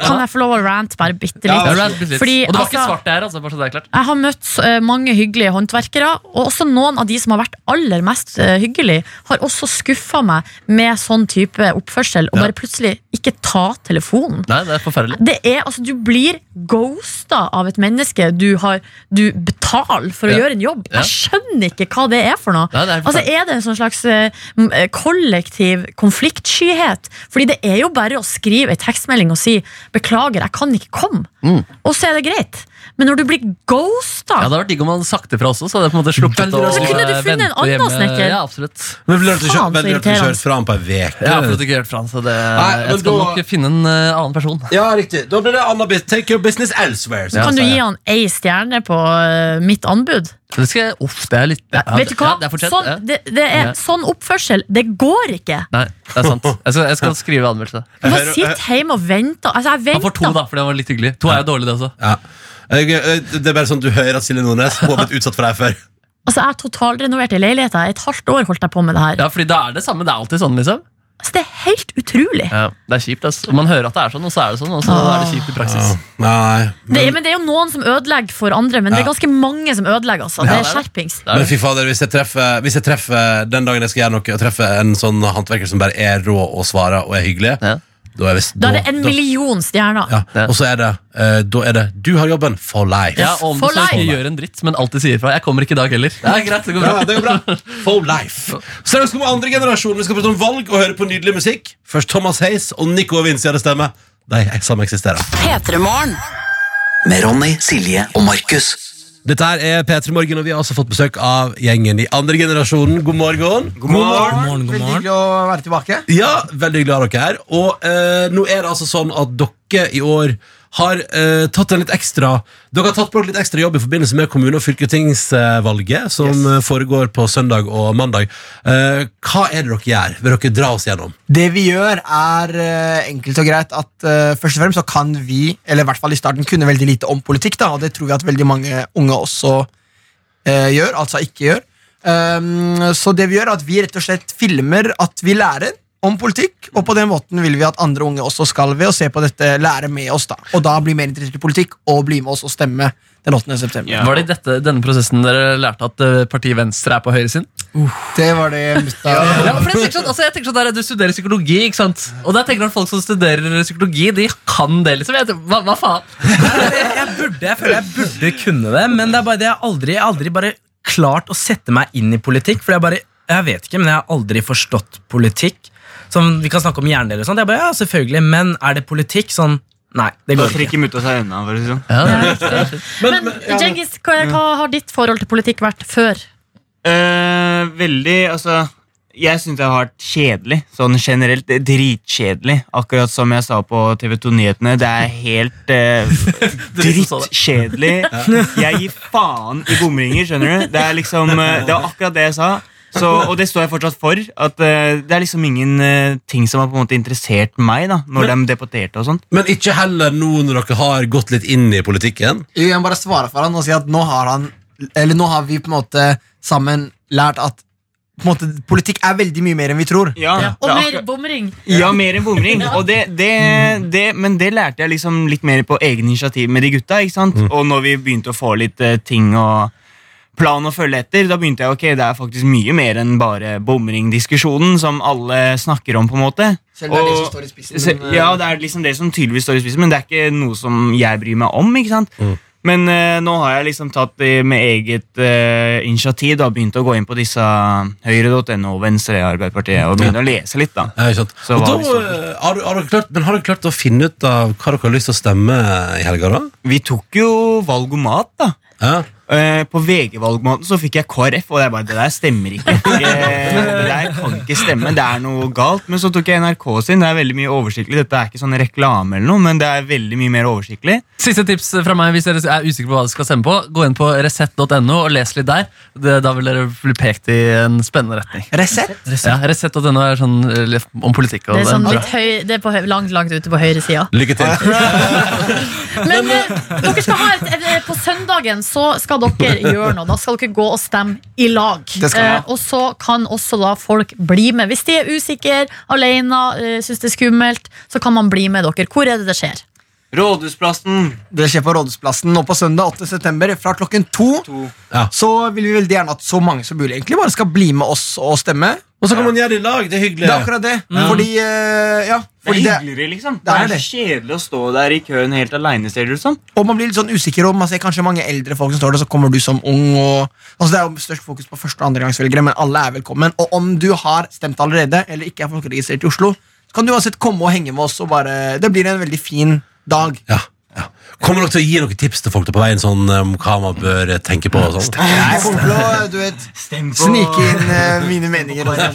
Speaker 5: Kan jeg få lov å rante bare bitte litt?
Speaker 3: Ja, rant bitte litt.
Speaker 5: Fordi,
Speaker 3: Og det var ikke
Speaker 5: altså,
Speaker 6: svart det her, altså, bare så det er klart.
Speaker 5: Jeg har møtt eh, mange hyggelige håndverkere, og også noen av de som har vært aller mest eh, hyggelige, har også skuffa meg med sånn type oppførsel, og
Speaker 6: Ja.
Speaker 5: bare plutselig ikke ta telefonen.
Speaker 6: Nei, det er forferdelig.
Speaker 5: Det er, altså, du blir ghosta av et menneske du, har, du betaler for å
Speaker 6: Ja.
Speaker 5: gjøre en jobb.
Speaker 6: Ja.
Speaker 5: Jeg skjønner ikke hva det er for noe.
Speaker 6: Nei, det er
Speaker 5: altså, er det en sånn slags eh, m- eh, kollektiv konfliktskyhet? Fordi det er jo bare å skrive ei tekstmelding og si 'beklager, jeg kan ikke komme', og så er det greit. Men når du blir ghosta
Speaker 6: Mm. Ja, Det hadde vært digg om han sakte fra også. Så hadde jeg på en måte sluppet å
Speaker 5: Så kunne du
Speaker 6: eh,
Speaker 5: funnet
Speaker 6: vente
Speaker 5: en annen
Speaker 6: hjemme.
Speaker 5: snekker.
Speaker 6: Ja, absolutt.
Speaker 3: Men ville du ikke
Speaker 6: Faen, så
Speaker 3: ville du ikke
Speaker 6: irriterende.
Speaker 3: kjørt fra han på en uke?
Speaker 6: Ja, for at du ikke har hørt fra han, så det,
Speaker 3: Nei, men
Speaker 6: jeg skal
Speaker 3: da-
Speaker 6: nok finne en eh, annen person.
Speaker 3: Ja, riktig. Da blir det Anna Biss. Take your business elsewhere.
Speaker 5: Så kan du gi han ei stjerne på eh, mitt anbud.
Speaker 6: Det skal jeg, uff, det er litt ja,
Speaker 5: Vet du hva?
Speaker 6: Ja, det er fortjent,
Speaker 5: sånn,
Speaker 6: ja.
Speaker 5: det, det er,
Speaker 6: Ja.
Speaker 5: sånn oppførsel, det går ikke.
Speaker 6: Nei, det er sant. Jeg skal, jeg skal skrive anmeldelse.
Speaker 5: Du må sitte hjemme og vente. Altså, jeg
Speaker 6: eh, Han får to,
Speaker 5: venter.
Speaker 6: da, for det var litt hyggelig. To er jo dårlig, det også.
Speaker 3: Ja. Eh, Det er bare sånn at du hører at Silje Nordnes hun har blitt utsatt for deg før.
Speaker 5: Altså, jeg har totalrenovert ei leilighet. jeg. Et halvt år holdt jeg på med det her.
Speaker 6: Ja, fordi da er det samme. Det er alltid sånn, liksom.
Speaker 5: Altså, det er helt utrolig. Ah.
Speaker 6: Ja, det er kjipt, ass. Og Man hører at det er sånn, og så er det sånn, og så er det kjipt i praksis.
Speaker 3: Nei.
Speaker 5: Det er, men det er jo noen som ødelegger for andre, men det er
Speaker 3: Ja.
Speaker 5: ganske mange som ødelegger. Altså.
Speaker 3: Ja,
Speaker 5: Det
Speaker 3: det
Speaker 5: er
Speaker 3: er det.
Speaker 5: skjerpings.
Speaker 3: Men fy fader, hvis jeg, treffer, hvis jeg treffer den dagen jeg skal gjøre noe, og treffer en sånn håndverker som bare er rå og svarer og er hyggelig, da er, visst-
Speaker 5: Da er det en
Speaker 3: da-
Speaker 5: million stjerner.
Speaker 3: Ja. Og så er det, eh, da er det 'du har jobben for life'.
Speaker 6: Ja, og om du
Speaker 5: For
Speaker 6: så ikke
Speaker 5: life.
Speaker 6: gjør en dritt, men alltid sier fra. Jeg kommer ikke i dag heller. Det er greit, det går bra.
Speaker 3: Ja, det går bra. For life. Straks kommer andre generasjon. Vi skal prate om valg og høre på nydelig musikk. Først Thomas Hayes og Nico og Vinci hadde stemme. De sameksisterer.
Speaker 2: P3morgen.
Speaker 1: Med Ronny, Silje og Markus.
Speaker 3: Dette her er P3 Morgen, og vi har også fått besøk av gjengen i andre generasjonen. God morgen.
Speaker 8: God morgen. Veldig hyggelig å være tilbake.
Speaker 3: Ja, veldig glad dere er. Og eh, nå er det altså sånn at dere i år har eh, tatt en litt ekstra Dere har tatt på dere litt ekstra jobb i forbindelse med kommune- og fylketingsvalget, som eh, foregår på søndag og mandag. Eh, hva er det dere gjør? Vil dere dra oss gjennom?
Speaker 8: Det vi gjør, er eh, enkelt og greit at eh, først og fremst så kan vi, eller i hvert fall i starten, kunne veldig lite om politikk, da, og det tror vi at veldig mange unge også eh, gjør, altså ikke gjør. Ehm, så det vi gjør, er at vi rett og slett filmer at vi lærer om politikk, og på den måten vil vi at andre unge også skal ved å se på dette, lære med oss, da. Og da bli mer interessert i politikk, og bli med oss og stemme den 8. september.
Speaker 6: Var det i dette, denne prosessen dere lærte at eh, partiet Venstre er på høyre sin?
Speaker 8: Det var det mutta
Speaker 6: Ja, for jeg tenker sånn, altså jeg tenker sånn der, Du studerer psykologi, ikke sant? Og da tenker jeg at folk som studerer psykologi, de kan det, liksom. Jeg tenker, hva, hva faen?
Speaker 14: burde, jeg føler jeg burde kunne det, men det er bare det jeg aldri, jeg har aldri bare klart å sette meg inn i politikk. For jeg bare, jeg vet ikke, men jeg har aldri forstått politikk. Sånn, vi kan snakke om hjerne eller sånt. Jeg bare, ja, selvfølgelig, men er det politikk? Sånn, nei, det går ikke.
Speaker 15: mutta seg unna, for å si sånn.
Speaker 5: Men Djengis, hva, hva har ditt forhold til politikk vært før?
Speaker 15: Eh, veldig, altså Jeg syns det har vært kjedelig. Sånn generelt eh, dritkjedelig. Akkurat som jeg sa på TV 2-nyhetene. Det er helt eh, drittkjedelig. Jeg gir faen i bomringer, skjønner du. Det er liksom eh, Det var akkurat det jeg sa. Så, og det står jeg fortsatt for. At eh, Det er liksom ingen eh, ting som har på en måte interessert meg. da Når de debatterte og sånt.
Speaker 3: Men ikke heller nå når dere har gått litt inn i politikken?
Speaker 8: Jo, Jeg må bare svare for han og si at nå har han Eller nå har vi på en måte sammen lært at på en måte, politikk er veldig mye mer enn vi tror.
Speaker 15: Ja, Ja.
Speaker 5: Og
Speaker 15: Ja,
Speaker 5: mer
Speaker 15: akkurat.
Speaker 5: bomring.
Speaker 15: Ja, mer enn bomring. Og det, det, det, men det lærte jeg liksom litt mer på egen initiativ med de gutta. ikke sant? Og når vi begynte å få litt eh, ting og plan å følge etter, da begynte jeg ok, det er faktisk mye mer enn bare bomringdiskusjonen som alle snakker om. på en måte.
Speaker 8: Selv om det er det som
Speaker 15: Og-
Speaker 8: står i spissen,
Speaker 15: se-
Speaker 8: men, eh,
Speaker 15: Ja, det er liksom det som tydeligvis står i spissen, men det er ikke noe som jeg bryr meg om. ikke sant?
Speaker 3: Mm.
Speaker 15: Men eh, nå har jeg liksom tatt det med eget eh, initiativ da, begynt å gå inn på disse høyre.no, Venstre, Arbeiderpartiet, og begynne å lese litt. da.
Speaker 3: Ja, ikke sant.
Speaker 15: Så
Speaker 3: og
Speaker 15: hva
Speaker 3: da,
Speaker 15: liksom-
Speaker 3: eh, har, du- har dere klart, men har dere klart å finne ut av hva dere har lyst til å stemme i helga, da?
Speaker 15: Vi tok jo valgomat, da. Eh, på VG-valgmaten så fikk jeg KrF, og jeg bare, det der stemmer ikke. Eh, det der kan ikke stemme, det er noe galt. Men så tok jeg NRK sin, det er veldig mye oversiktlig. Dette er ikke sånn reklame eller noe, men det er veldig mye mer oversiktlig.
Speaker 6: Siste tips fra meg hvis dere er usikre på hva dere skal stemme på. Gå inn på resett.no og les litt der. Det, da vil dere bli pekt i en spennende retning.
Speaker 8: Resett?
Speaker 6: Ja, Resett.no er sånn eh, litt om politikk. Og
Speaker 5: Det er, sånn
Speaker 6: bra.
Speaker 5: litt høy, det er på, høy- langt, langt ute på høyresida.
Speaker 3: Lykke til.
Speaker 5: Men eh, dere skal ha et, et, på søndagen så skal dere gjøre noe. Da skal dere gå og stemme i lag.
Speaker 2: Det skal vi ha.
Speaker 5: Eh, og så kan også da folk bli med. Hvis de er usikre, alene, eh, syns det er skummelt, så kan man bli med dere. Hvor er det det skjer?
Speaker 8: Rådhusplassen. Det skjer på Rådhusplassen nå på søndag 8. september fra klokken to. Så vil vi veldig gjerne at så mange som mulig egentlig bare skal bli med oss og stemme.
Speaker 3: Og så kan man gjøre det i lag. Det er hyggelig.
Speaker 8: Det er akkurat det.
Speaker 6: Mm.
Speaker 15: Ja.
Speaker 8: Fordi, eh, ja,
Speaker 15: Det er
Speaker 8: fordi
Speaker 15: hyggeligere, liksom. Det er, kjedelig å stå der i køen helt aleine, ser det ut som.
Speaker 8: Og man blir litt sånn usikker om man ser kanskje mange eldre folk som står der, så kommer du som ung. Og, altså det er jo størst fokus på første- og andregangsvelgere, men alle er velkommen. Og om du har stemt allerede, eller ikke er folkeregistrert i Oslo, så kan du uansett komme og henge med oss. Og bare, det blir en veldig fin dag.
Speaker 3: Kommer dere til å gi noen tips til folk der på veien sånn, om hva man bør eh, tenke på? Og sånn?
Speaker 8: Jeg kommer til å du vet, snike inn eh, mine meninger. Og sånn.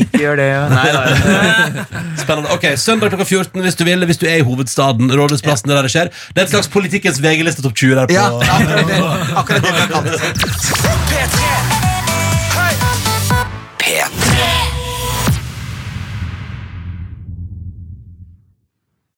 Speaker 15: ikke gjør det, ja. Nei,
Speaker 3: Spennende. Ok, Søndag klokka 14 hvis du vil, hvis du er i hovedstaden. Rådhusplassen det er der det skjer. Det er et slags Politikkens VG-liste topp 20 der på
Speaker 8: Ja, akkurat det, akkurat det vi har kalt det.
Speaker 2: P3.